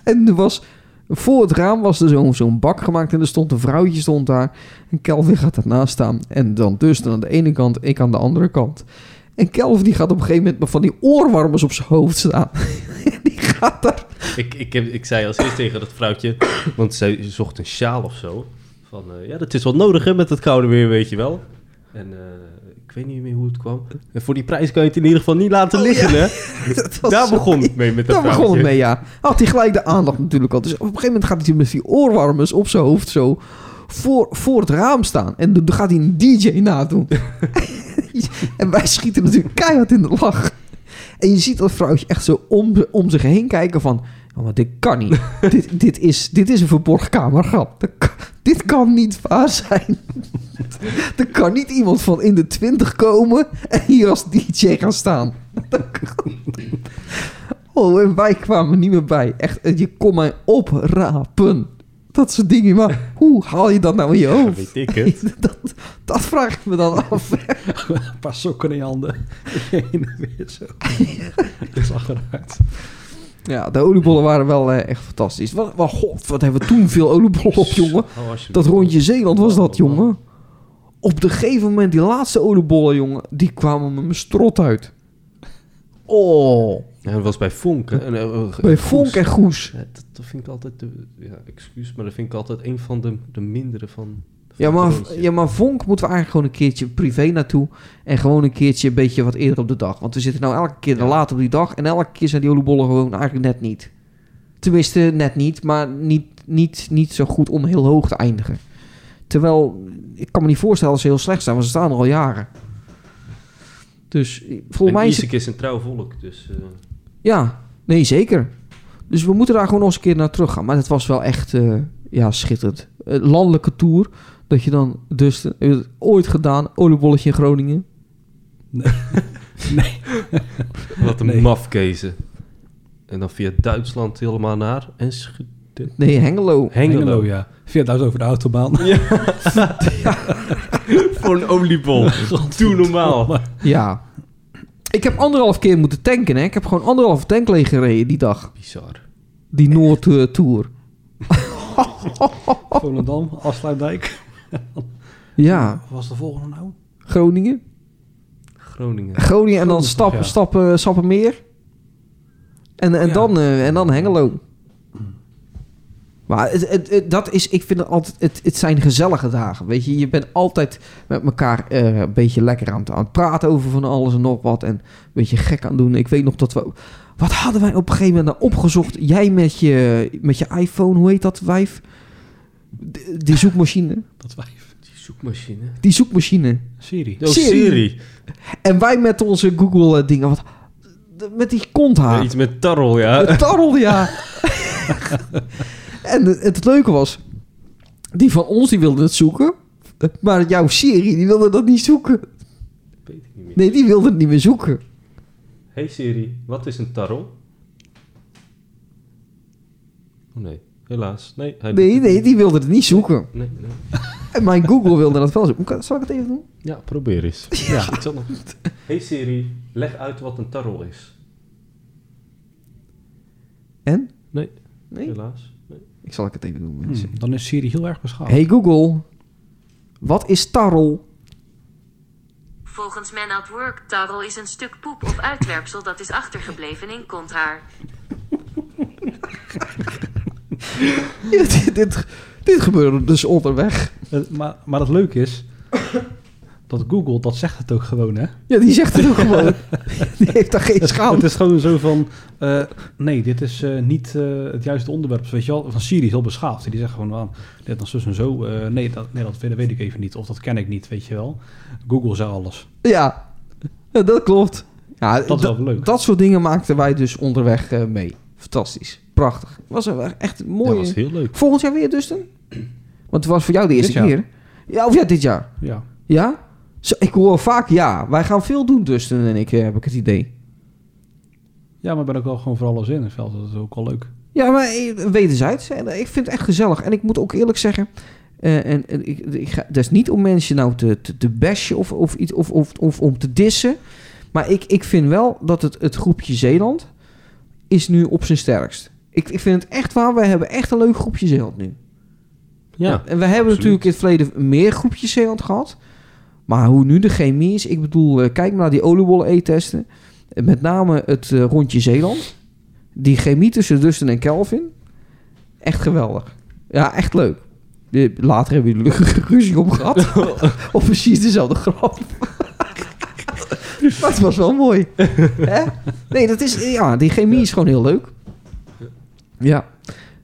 Speaker 4: en er was, voor het raam was er zo'n zo'n bak gemaakt en er stond een vrouwtje stond daar. En Kelvin gaat daarnaast staan. En dan dus dan aan de ene kant, ik aan de andere kant. En Kelvin die gaat op een gegeven moment met van die oorwarmers op zijn hoofd staan. (laughs) En die gaat daar...
Speaker 5: Ik, ik, heb, ik zei als eerst tegen dat vrouwtje, (coughs) want zij zocht een sjaal of zo. Van, eh, ja, dat is wel nodig hè, met het koude weer, weet je wel. En eh, ik weet niet meer hoe het kwam. En voor die prijs kan je het in ieder geval niet laten liggen, hè.
Speaker 4: Oh, (laughs) dat was
Speaker 5: Daar
Speaker 4: zo-
Speaker 5: begon het mee met dat
Speaker 4: Daar
Speaker 5: vrouwtje.
Speaker 4: begon het mee, ja. Had hij gelijk de aandacht natuurlijk al. Dus op een gegeven moment gaat hij natuurlijk met die oorwarmers op zijn hoofd zo voor, voor het raam staan. En dan gaat hij een DJ nadoen.
Speaker 5: (laughs)
Speaker 4: (laughs) en wij schieten natuurlijk keihard in de lach. En je ziet dat vrouwtje echt zo om, om zich heen kijken van... "Oh, maar dit kan
Speaker 5: (laughs)
Speaker 4: niet. dit, dit, is, dit is een verborgen kamergrap. Dat kan- dit kan niet waar zijn. (laughs) er kan niet iemand van in de twintig komen... en hier als DJ gaan staan. (laughs) Oh, en wij kwamen niet meer bij. Echt, eh, je kon mij oprapen. Dat soort dingen. Maar hoe haal je dat nou in je
Speaker 5: Ja,
Speaker 4: hoofd?
Speaker 5: weet ik het.
Speaker 4: dat, dat vraag ik me dan af.
Speaker 6: Pas sokken in je handen. (laughs) Heen en weer zo. Dus achteruit.
Speaker 4: ja, de oliebollen waren wel eh, echt fantastisch. Wat, wat, god, wat hebben we toen veel oliebollen op, (laughs) jongen.
Speaker 5: Oh, alsjeblieft.
Speaker 4: Dat rondje Zeeland was dat, jongen. Op een gegeven moment, die laatste oliebollen, jongen, die kwamen met mijn strot uit. Oh,
Speaker 5: Ja, dat was bij Fonk, hè? En, eh, eh,
Speaker 4: bij
Speaker 5: Goes.
Speaker 4: Vonk en Goes.
Speaker 5: Ja, dat, dat vind ik altijd, de, ja, excuus, maar dat vind ik altijd een van de, de mindere van... van
Speaker 4: Ja
Speaker 5: het
Speaker 4: maar,
Speaker 5: rondje.
Speaker 4: ja, maar Vonk moeten we eigenlijk gewoon een keertje privé naartoe. En gewoon een keertje een beetje wat eerder op de dag. Want we zitten nou elke keer laat op die dag. En elke keer zijn die oliebollen gewoon eigenlijk net niet. Tenminste, net niet. Maar niet, niet, niet zo goed om heel hoog te eindigen. Terwijl, ik kan me niet voorstellen dat ze heel slecht zijn. Want ze staan er al jaren. Dus eh, volgens
Speaker 5: en
Speaker 4: mij... is het-
Speaker 5: Isaac is een trouw volk, dus... eh,
Speaker 4: ja, nee, zeker. Dus we moeten daar gewoon nog eens een keer naar terug gaan. Maar het was wel echt eh, ja, schitterend. Eh, landelijke tour. Dat je dan dus eh, ooit gedaan, oliebolletje in Groningen.
Speaker 5: wat een
Speaker 6: Nee.
Speaker 5: mafkezen. En dan via Duitsland helemaal naar en Hengelo.
Speaker 4: Nee, Hengelo.
Speaker 6: Hengelo, ja. 4000 over de autobaan.
Speaker 5: Voor een oliebol. Doe normaal.
Speaker 4: Ja. Ik heb anderhalf keer moeten tanken, hè. Ik heb gewoon anderhalf tank leeg gereden die dag.
Speaker 5: Bizar.
Speaker 4: Die eh, Noord-tour.
Speaker 6: (laughs) Volendam, Afsluitdijk.
Speaker 4: Ja,
Speaker 6: Was de volgende nou?
Speaker 4: Groningen.
Speaker 5: Groningen.
Speaker 4: Groningen en dan stap,
Speaker 6: ja.
Speaker 4: stappen, Sappemeer. En, en,
Speaker 6: Ja.
Speaker 4: dan, eh, en dan Hengelo. Maar het, het, het- dat is, ik vind het altijd, het, het zijn gezellige dagen. Weet je, je bent altijd met elkaar eh, een beetje lekker aan het, aan het praten over van alles en nog wat. En een beetje gek aan het doen. Ik weet nog dat we, wat hadden wij op een gegeven moment nou opgezocht? Jij met je, met je iPhone, hoe heet dat wijf? De- die zoekmachine.
Speaker 6: Dat wijf.
Speaker 5: Die zoekmachine.
Speaker 4: Die zoekmachine.
Speaker 6: Siri.
Speaker 5: Oh,
Speaker 4: Siri.
Speaker 5: Siri.
Speaker 4: En wij met onze Google eh, dingen, wat, met die konthaar.
Speaker 5: Ja, Iets met tarrel, ja.
Speaker 4: Het tarrel, ja. en het, het leuke was, die van ons die wilde het zoeken, maar jouw Siri die wilde dat niet zoeken.
Speaker 5: Weet ik niet meer.
Speaker 4: Nee, die wilde het niet meer zoeken.
Speaker 5: Hey Siri, wat is een tarrel? Oh nee, helaas. Nee, hij doet
Speaker 4: Nee,
Speaker 5: het
Speaker 4: nee,
Speaker 5: niet.
Speaker 4: die wilde het niet zoeken.
Speaker 5: Nee, nee.
Speaker 4: En mijn Google wilde dat wel zoeken. Kan- Zal ik het even doen?
Speaker 5: Ja, probeer eens. Ja. ik zal nog- Hey Siri, leg uit wat een tarrel is.
Speaker 4: En?
Speaker 5: Nee,
Speaker 4: Nee?
Speaker 5: helaas. Nee.
Speaker 4: Ik zal ik het even doen. mensen.
Speaker 6: Hm, dan is Siri heel erg beschaafd.
Speaker 4: Hey Google, wat is tarrel?
Speaker 7: Volgens Man at Work, tarrel is een stuk poep of uitwerpsel dat is achtergebleven in kontraar.
Speaker 4: Ja, dit, dit, dit gebeurde dus onderweg.
Speaker 6: Eh, maar, maar het leuke is (coughs) dat Google, dat zegt het ook gewoon, hè?
Speaker 4: Ja, die zegt het ook gewoon. Die heeft daar geen schaamte.
Speaker 6: Het is gewoon zo van, eh, nee, dit is eh, niet eh, het juiste onderwerp. Weet je wel, van Siri is heel beschaafd. En die zegt gewoon, van, dit dan zus en zo. Eh, nee, dat, nee, dat weet, weet ik even niet. Of dat ken ik niet, weet je wel. Google zei alles.
Speaker 4: Ja, Ja, dat klopt. Ja,
Speaker 6: Dat is wel leuk.
Speaker 4: Dat soort dingen maakten wij dus onderweg eh, mee. Fantastisch. Prachtig. Was een- echt een mooie...
Speaker 5: Dat was heel leuk.
Speaker 4: Volgend jaar weer, Dustin? Want het was voor jou de eerste
Speaker 6: Dit jaar.
Speaker 4: keer. Ja, of ja, dit jaar.
Speaker 6: Ja.
Speaker 4: Ja? Zo, ik hoor vaak ja. Wij gaan veel doen, Dustin en ik, eh, heb ik het idee.
Speaker 6: ja, maar ik ben ook wel gewoon voor alles in. Ik vind dat is ook wel leuk.
Speaker 4: Ja, maar eh, wederzijds. En eh, ik vind het echt gezellig. En ik moet ook eerlijk zeggen... eh, en, en ik, ik ga, dat is niet om mensen nou te, te, te bashen of, of, iets, of, of, of om te dissen. Maar ik, ik vind wel dat het, het groepje Zeeland is nu op zijn sterkst. Ik, ik vind het echt waar. We hebben echt een leuk groepje Zeeland nu.
Speaker 5: Ja.
Speaker 4: En we hebben
Speaker 5: absoluut.
Speaker 4: natuurlijk in het verleden meer groepjes Zeeland gehad. Maar hoe nu de chemie is, ik bedoel, eh, kijk maar naar die oliebollen eettesten. En Met name het eh, rondje Zeeland. Die chemie tussen Dustin en Kelvin. Echt geweldig. Ja, echt leuk. Eh, Later hebben jullie (laughs) er ruzie om (laughs) gehad. of precies dezelfde grap. maar het was wel mooi. Hè? Nee, dat is, ja, die chemie is gewoon heel leuk. Ja.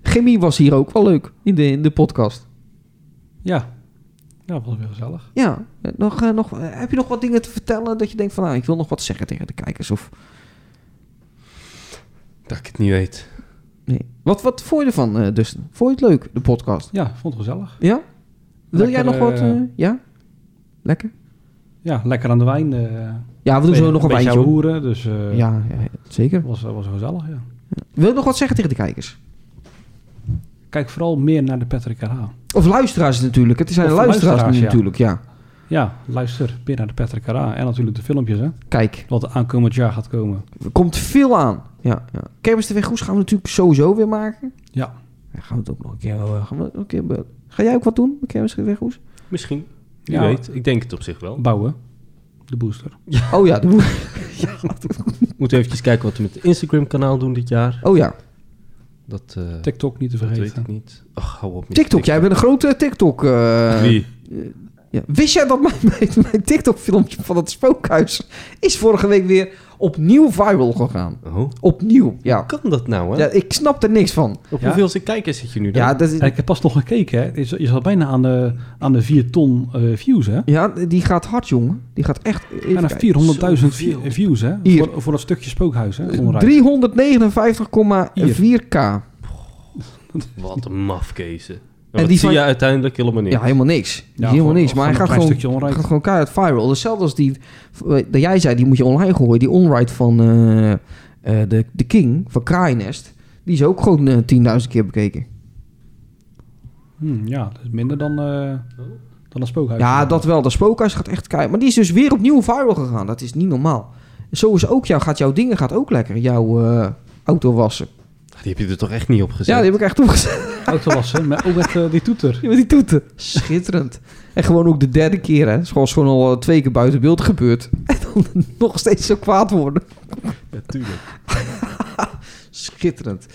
Speaker 4: Chemie was hier ook wel leuk in de, in de podcast.
Speaker 6: Ja. Ja, dat was weer gezellig.
Speaker 4: Ja, eh, nog, eh, nog, eh, heb je nog wat dingen te vertellen dat je denkt van, nou, ik wil nog wat zeggen tegen de kijkers? Of,
Speaker 5: Dat ik het niet weet.
Speaker 4: nee. wat, wat vond je ervan, eh Dustin? Vond je het leuk, de podcast?
Speaker 6: Ja, vond het gezellig.
Speaker 4: Ja? Wil jij nog
Speaker 6: Lekker,
Speaker 4: wat?
Speaker 6: eh,
Speaker 4: eh, ja? Lekker?
Speaker 6: Ja, lekker aan de wijn. eh
Speaker 4: Ja, we doen zo nog een
Speaker 6: beetje
Speaker 4: wijntje. op.
Speaker 6: hoeren, dus eh ja.
Speaker 4: Ja, ja, zeker.
Speaker 6: was, was gezellig, ja.
Speaker 4: Wil je nog wat zeggen tegen de kijkers?
Speaker 6: Kijk vooral meer naar de Patrick H.
Speaker 4: Of luisteraars natuurlijk. Het zijn
Speaker 6: Of
Speaker 4: luisteraars,
Speaker 6: luisteraars,
Speaker 4: nu
Speaker 6: ja.
Speaker 4: natuurlijk, ja.
Speaker 6: Ja, luister meer naar de Patrick H. En natuurlijk de filmpjes, hè.
Speaker 4: Kijk,
Speaker 6: Wat aankomend jaar gaat komen.
Speaker 4: er komt veel aan. Ja, ja. Kermis TV Goes gaan we natuurlijk sowieso weer maken.
Speaker 6: Ja.
Speaker 4: Ja, gaan we het ook nog een keer... eh, gaan we, een keer be- ga jij ook wat doen met Kermis TV Goes?
Speaker 5: Misschien. Wie
Speaker 6: Ja.
Speaker 5: weet, ik denk het op zich wel.
Speaker 6: Bouwen. De booster.
Speaker 4: Oh ja, de-
Speaker 5: Moeten we eventjes kijken wat we met het Instagram-kanaal doen dit jaar.
Speaker 4: (laughs) oh ja.
Speaker 5: Dat, eh,
Speaker 6: TikTok niet te
Speaker 5: dat weet
Speaker 6: vergeten.
Speaker 5: ik niet. Ach, hou op met
Speaker 4: TikTok, jij bent een grote TikTok... eh,
Speaker 5: Wie?
Speaker 4: Ja. Wist jij dat mijn, (laughs) mijn- mijn TikTok-filmpje van het spookhuis is vorige week weer opnieuw viral gegaan?
Speaker 5: Oh,
Speaker 4: Opnieuw, ja.
Speaker 5: kan dat nou, hè?
Speaker 4: Eh, ja ik snap er niks van.
Speaker 5: Op
Speaker 6: Ja.
Speaker 5: hoeveelste kijkers zit je nu dan?
Speaker 4: Ja, dat is,
Speaker 6: En ik heb pas nog gekeken, hè. Je, je zat bijna aan de, aan de 4 ton eh, views, hè.
Speaker 4: ja die gaat hard, jongen. Die gaat echt... even
Speaker 6: Bijna
Speaker 4: kijken.
Speaker 6: 400.000 vi- views, hè.
Speaker 4: Hier. Eh,
Speaker 6: Voor, voor dat stukje spookhuis, hè. omrijden.
Speaker 4: 359,4k.
Speaker 5: Wat een mafkezen.
Speaker 4: En die
Speaker 5: En die zie
Speaker 4: van-
Speaker 5: je uiteindelijk helemaal niet.
Speaker 4: Ja, helemaal niks.
Speaker 6: Ja,
Speaker 4: helemaal
Speaker 6: gewoon-
Speaker 4: niks. Maar hij
Speaker 6: gewoon
Speaker 4: gaat
Speaker 6: een
Speaker 4: gewoon,
Speaker 6: klein stukje onride.
Speaker 4: gaat gewoon keihard viral. Hetzelfde als die... eh, Dat jij zei, die moet je online gooien. Die onride van eh, eh, de, de King, van Kraaienest. Die is ook gewoon eh, 10.000 keer bekeken.
Speaker 6: Hm, ja, dat is minder dan, eh, dan een spookhuis.
Speaker 4: Ja, dat wel. Dat spookhuis gaat echt keihard. Maar die is dus weer opnieuw viral gegaan. Dat is niet normaal. Zo is ook jou, gaat jouw dingen gaat ook lekker. Jouw eh, auto wassen.
Speaker 5: Die heb je er toch echt niet op gezet?
Speaker 4: Ja, die heb ik echt opgezet
Speaker 6: Auto wassen, maar ook met eh, die toeter.
Speaker 4: met die toeten. Schitterend. En gewoon ook de derde keer, hè. Het is gewoon- is gewoon al eh, twee keer buiten beeld gebeurd. (laughs) En dan nog steeds zo kwaad worden.
Speaker 5: natuurlijk.
Speaker 4: (laughs) Schitterend.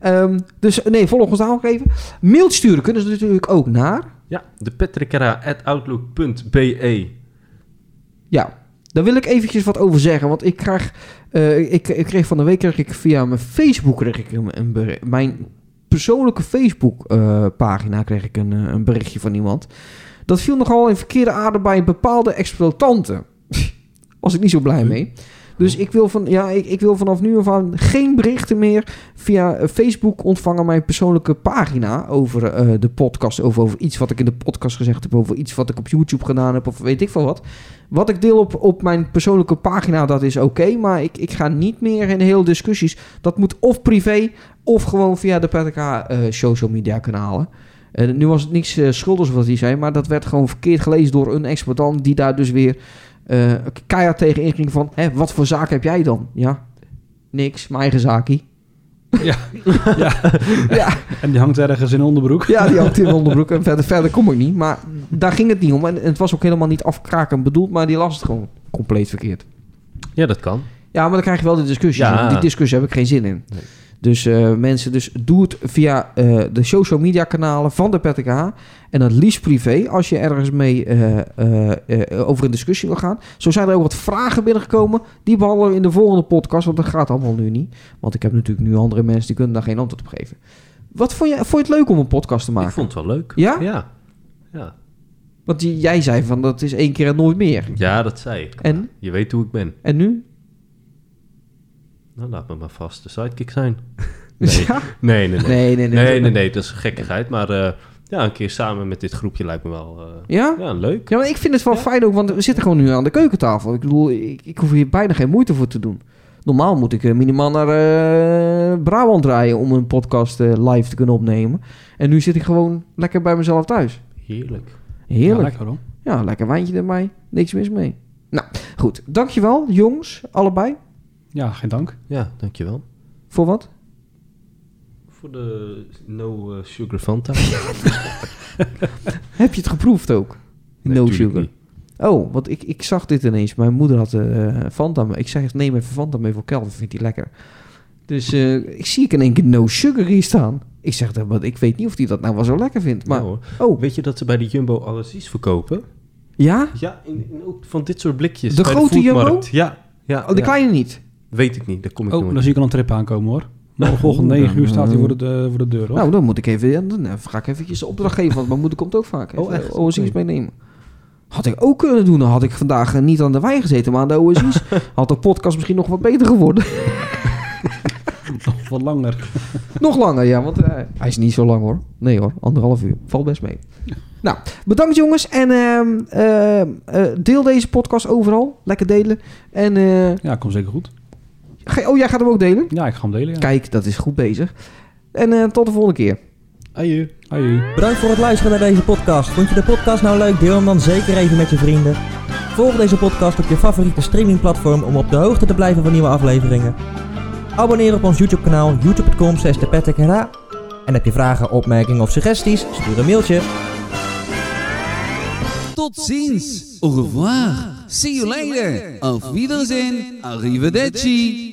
Speaker 4: Ehm, dus nee, volg ons daar ook even. Mail sturen kunnen ze natuurlijk ook naar.
Speaker 5: Ja, de petrikera.outlook.be.
Speaker 4: Ja, daar wil ik eventjes wat over zeggen. Want ik krijg, eh, ik, ik kreeg van de week kreeg ik via mijn Facebook kreeg ik een, een bericht. Mijn persoonlijke Facebook eh, pagina kreeg ik een, eh, een berichtje van iemand. Dat viel nogal in verkeerde aarde bij bepaalde exploitanten. (laughs) Was ik niet zo blij mee. Dus ik wil, van, ja, ik, ik wil vanaf nu af aan geen berichten meer via eh, Facebook ontvangen. Mijn persoonlijke pagina over eh, de podcast. Over, over iets wat ik in de podcast gezegd heb. Over iets wat ik op YouTube gedaan heb. Of weet ik veel wat. Wat ik deel op, op mijn persoonlijke pagina, dat is oké. maar ik, ik ga niet meer in heel discussies. Dat moet of privé of gewoon via de PTK eh, social media kanalen. Eh, nu was het niks eh, schuldigs wat die zei, maar dat werd gewoon verkeerd gelezen door een exploitant die daar dus weer eh keihard tegen inging van... Hè, wat voor zaak heb jij dan? Ja, niks, mijn eigen zaakie. (laughs)
Speaker 6: En die hangt ergens in een onderbroek.
Speaker 4: Ja, die had in de onderbroek en verder, verder kom ik niet. Maar daar ging het niet om en, en het was ook helemaal niet afkrakend bedoeld, maar die las het gewoon compleet verkeerd.
Speaker 5: Ja, dat kan.
Speaker 4: Ja, maar dan krijg je wel de discussie.
Speaker 5: Ja.
Speaker 4: Die discussie heb ik geen zin in.
Speaker 5: Nee.
Speaker 4: Dus eh, mensen, dus doe het via eh, de social media kanalen van de PTK. En dan liefst privé, als je ergens mee eh, eh, eh, over een discussie wil gaan. Zo zijn er ook wat vragen binnengekomen. Die behandelen we in de volgende podcast, want dat gaat allemaal nu niet. Want ik heb natuurlijk nu andere mensen, die kunnen daar geen antwoord op geven. Wat vond je, vond je het leuk om een podcast te
Speaker 5: Ik
Speaker 4: maken?
Speaker 5: vond het wel leuk.
Speaker 4: Ja?
Speaker 5: Ja, ja.
Speaker 4: Want die- jij zei van, dat is één keer en nooit meer.
Speaker 5: Ja, dat zei ik.
Speaker 4: En?
Speaker 5: Je weet hoe ik ben.
Speaker 4: En nu?
Speaker 5: Nou, laat me maar vast de sidekick zijn. Nee.
Speaker 4: (laughs) Ja?
Speaker 5: Nee, nee, nee.
Speaker 4: Nee,
Speaker 5: Nee,
Speaker 4: nee, nee.
Speaker 5: nee, nee, Dat is gekkigheid. Maar eh, ja, een keer samen met dit groepje lijkt me wel eh,
Speaker 4: Ja?
Speaker 5: ja, leuk.
Speaker 4: Ja, maar ik vind het wel fijn ook, want we zitten gewoon nu aan de keukentafel. Ik bedoel, ik, ik hoef hier bijna geen moeite voor te doen. Normaal moet ik eh, minimaal naar eh, Brabant rijden om een podcast eh, live te kunnen opnemen. En nu zit ik gewoon lekker bij mezelf thuis.
Speaker 5: Heerlijk.
Speaker 6: Ja,
Speaker 4: Heerlijk.
Speaker 6: lekker hoor.
Speaker 4: Ja, lekker wijntje erbij. Niks mis mee. Nou, goed. Dankjewel, jongens, allebei.
Speaker 6: Ja, geen dank.
Speaker 5: Ja, dankjewel.
Speaker 4: Voor wat?
Speaker 5: Voor de No eh, Sugar
Speaker 4: (laughs)
Speaker 5: Fanta.
Speaker 4: Heb je het geproefd ook?
Speaker 5: Nee,
Speaker 4: no
Speaker 5: tuurlijk
Speaker 4: sugar.
Speaker 5: niet.
Speaker 4: Oh, want ik, ik zag dit ineens. Mijn moeder had eh Fanta. mee. Ik zei, neem even Fanta mee voor Kelvin, vindt hij lekker. Dus eh, ik zie ik in één keer no sugar hier staan. Ik zeg, dan, want ik weet niet of hij dat nou wel zo lekker vindt. Maar,
Speaker 5: Ja, hoor.
Speaker 4: oh,
Speaker 5: Weet je dat ze bij de Jumbo allergies verkopen?
Speaker 4: ja?
Speaker 5: Ja, in, in ook van dit soort blikjes.
Speaker 4: De
Speaker 5: bij
Speaker 4: grote
Speaker 5: foodmarkt.
Speaker 4: Jumbo?
Speaker 5: Ja. ja
Speaker 4: Oh, de
Speaker 5: ja.
Speaker 4: kleine niet.
Speaker 5: Weet ik niet, daar kom ik
Speaker 6: Oh,
Speaker 5: nooit.
Speaker 6: dan zie ik al een trip aankomen hoor. Morgenochtend
Speaker 4: Oeh,
Speaker 6: 9 uur staat hij
Speaker 4: dan,
Speaker 6: voor de, de- voor de deur hoor.
Speaker 4: Nou, dan moet ik even, ja, dan eh, ga ik eventjes de opdracht geven. Want mijn moeder komt ook vaak.
Speaker 5: Oh,
Speaker 4: Even eh,
Speaker 5: echt?
Speaker 4: OSI's
Speaker 5: Oké.
Speaker 4: meenemen. Had ik ook kunnen doen. Dan had ik vandaag eh, niet aan de wijn gezeten, maar aan de OSI's.
Speaker 5: (laughs)
Speaker 4: had de podcast misschien nog wat beter geworden.
Speaker 6: Nog wat langer.
Speaker 4: Nog langer, ja, want eh, hij is niet zo lang hoor. Nee hoor, anderhalf uur. Valt best mee. Nou, bedankt jongens. En ehm, ehm, eh, deel deze podcast overal. Lekker delen. En, eh,
Speaker 6: Ja, komt zeker goed.
Speaker 4: ge- oh, jij gaat hem ook delen?
Speaker 6: Ja, ik ga hem delen. Ja.
Speaker 4: Kijk, dat is goed bezig. En eh, tot de volgende keer.
Speaker 5: Aju.
Speaker 6: Hoi.
Speaker 2: Bedankt voor het luisteren naar deze podcast. Vond je de podcast nou leuk? Deel hem dan zeker even met je vrienden. Volg deze podcast op je favoriete streamingplatform om op de hoogte te blijven van nieuwe afleveringen. Abonneer op ons YouTube kanaal youtube.com slash de Patrick en Ra. En heb je vragen, opmerkingen of suggesties? Stuur een mailtje.
Speaker 8: Tot ziens. Au revoir. See you later. Auf Wiedersehen. Arrivederci.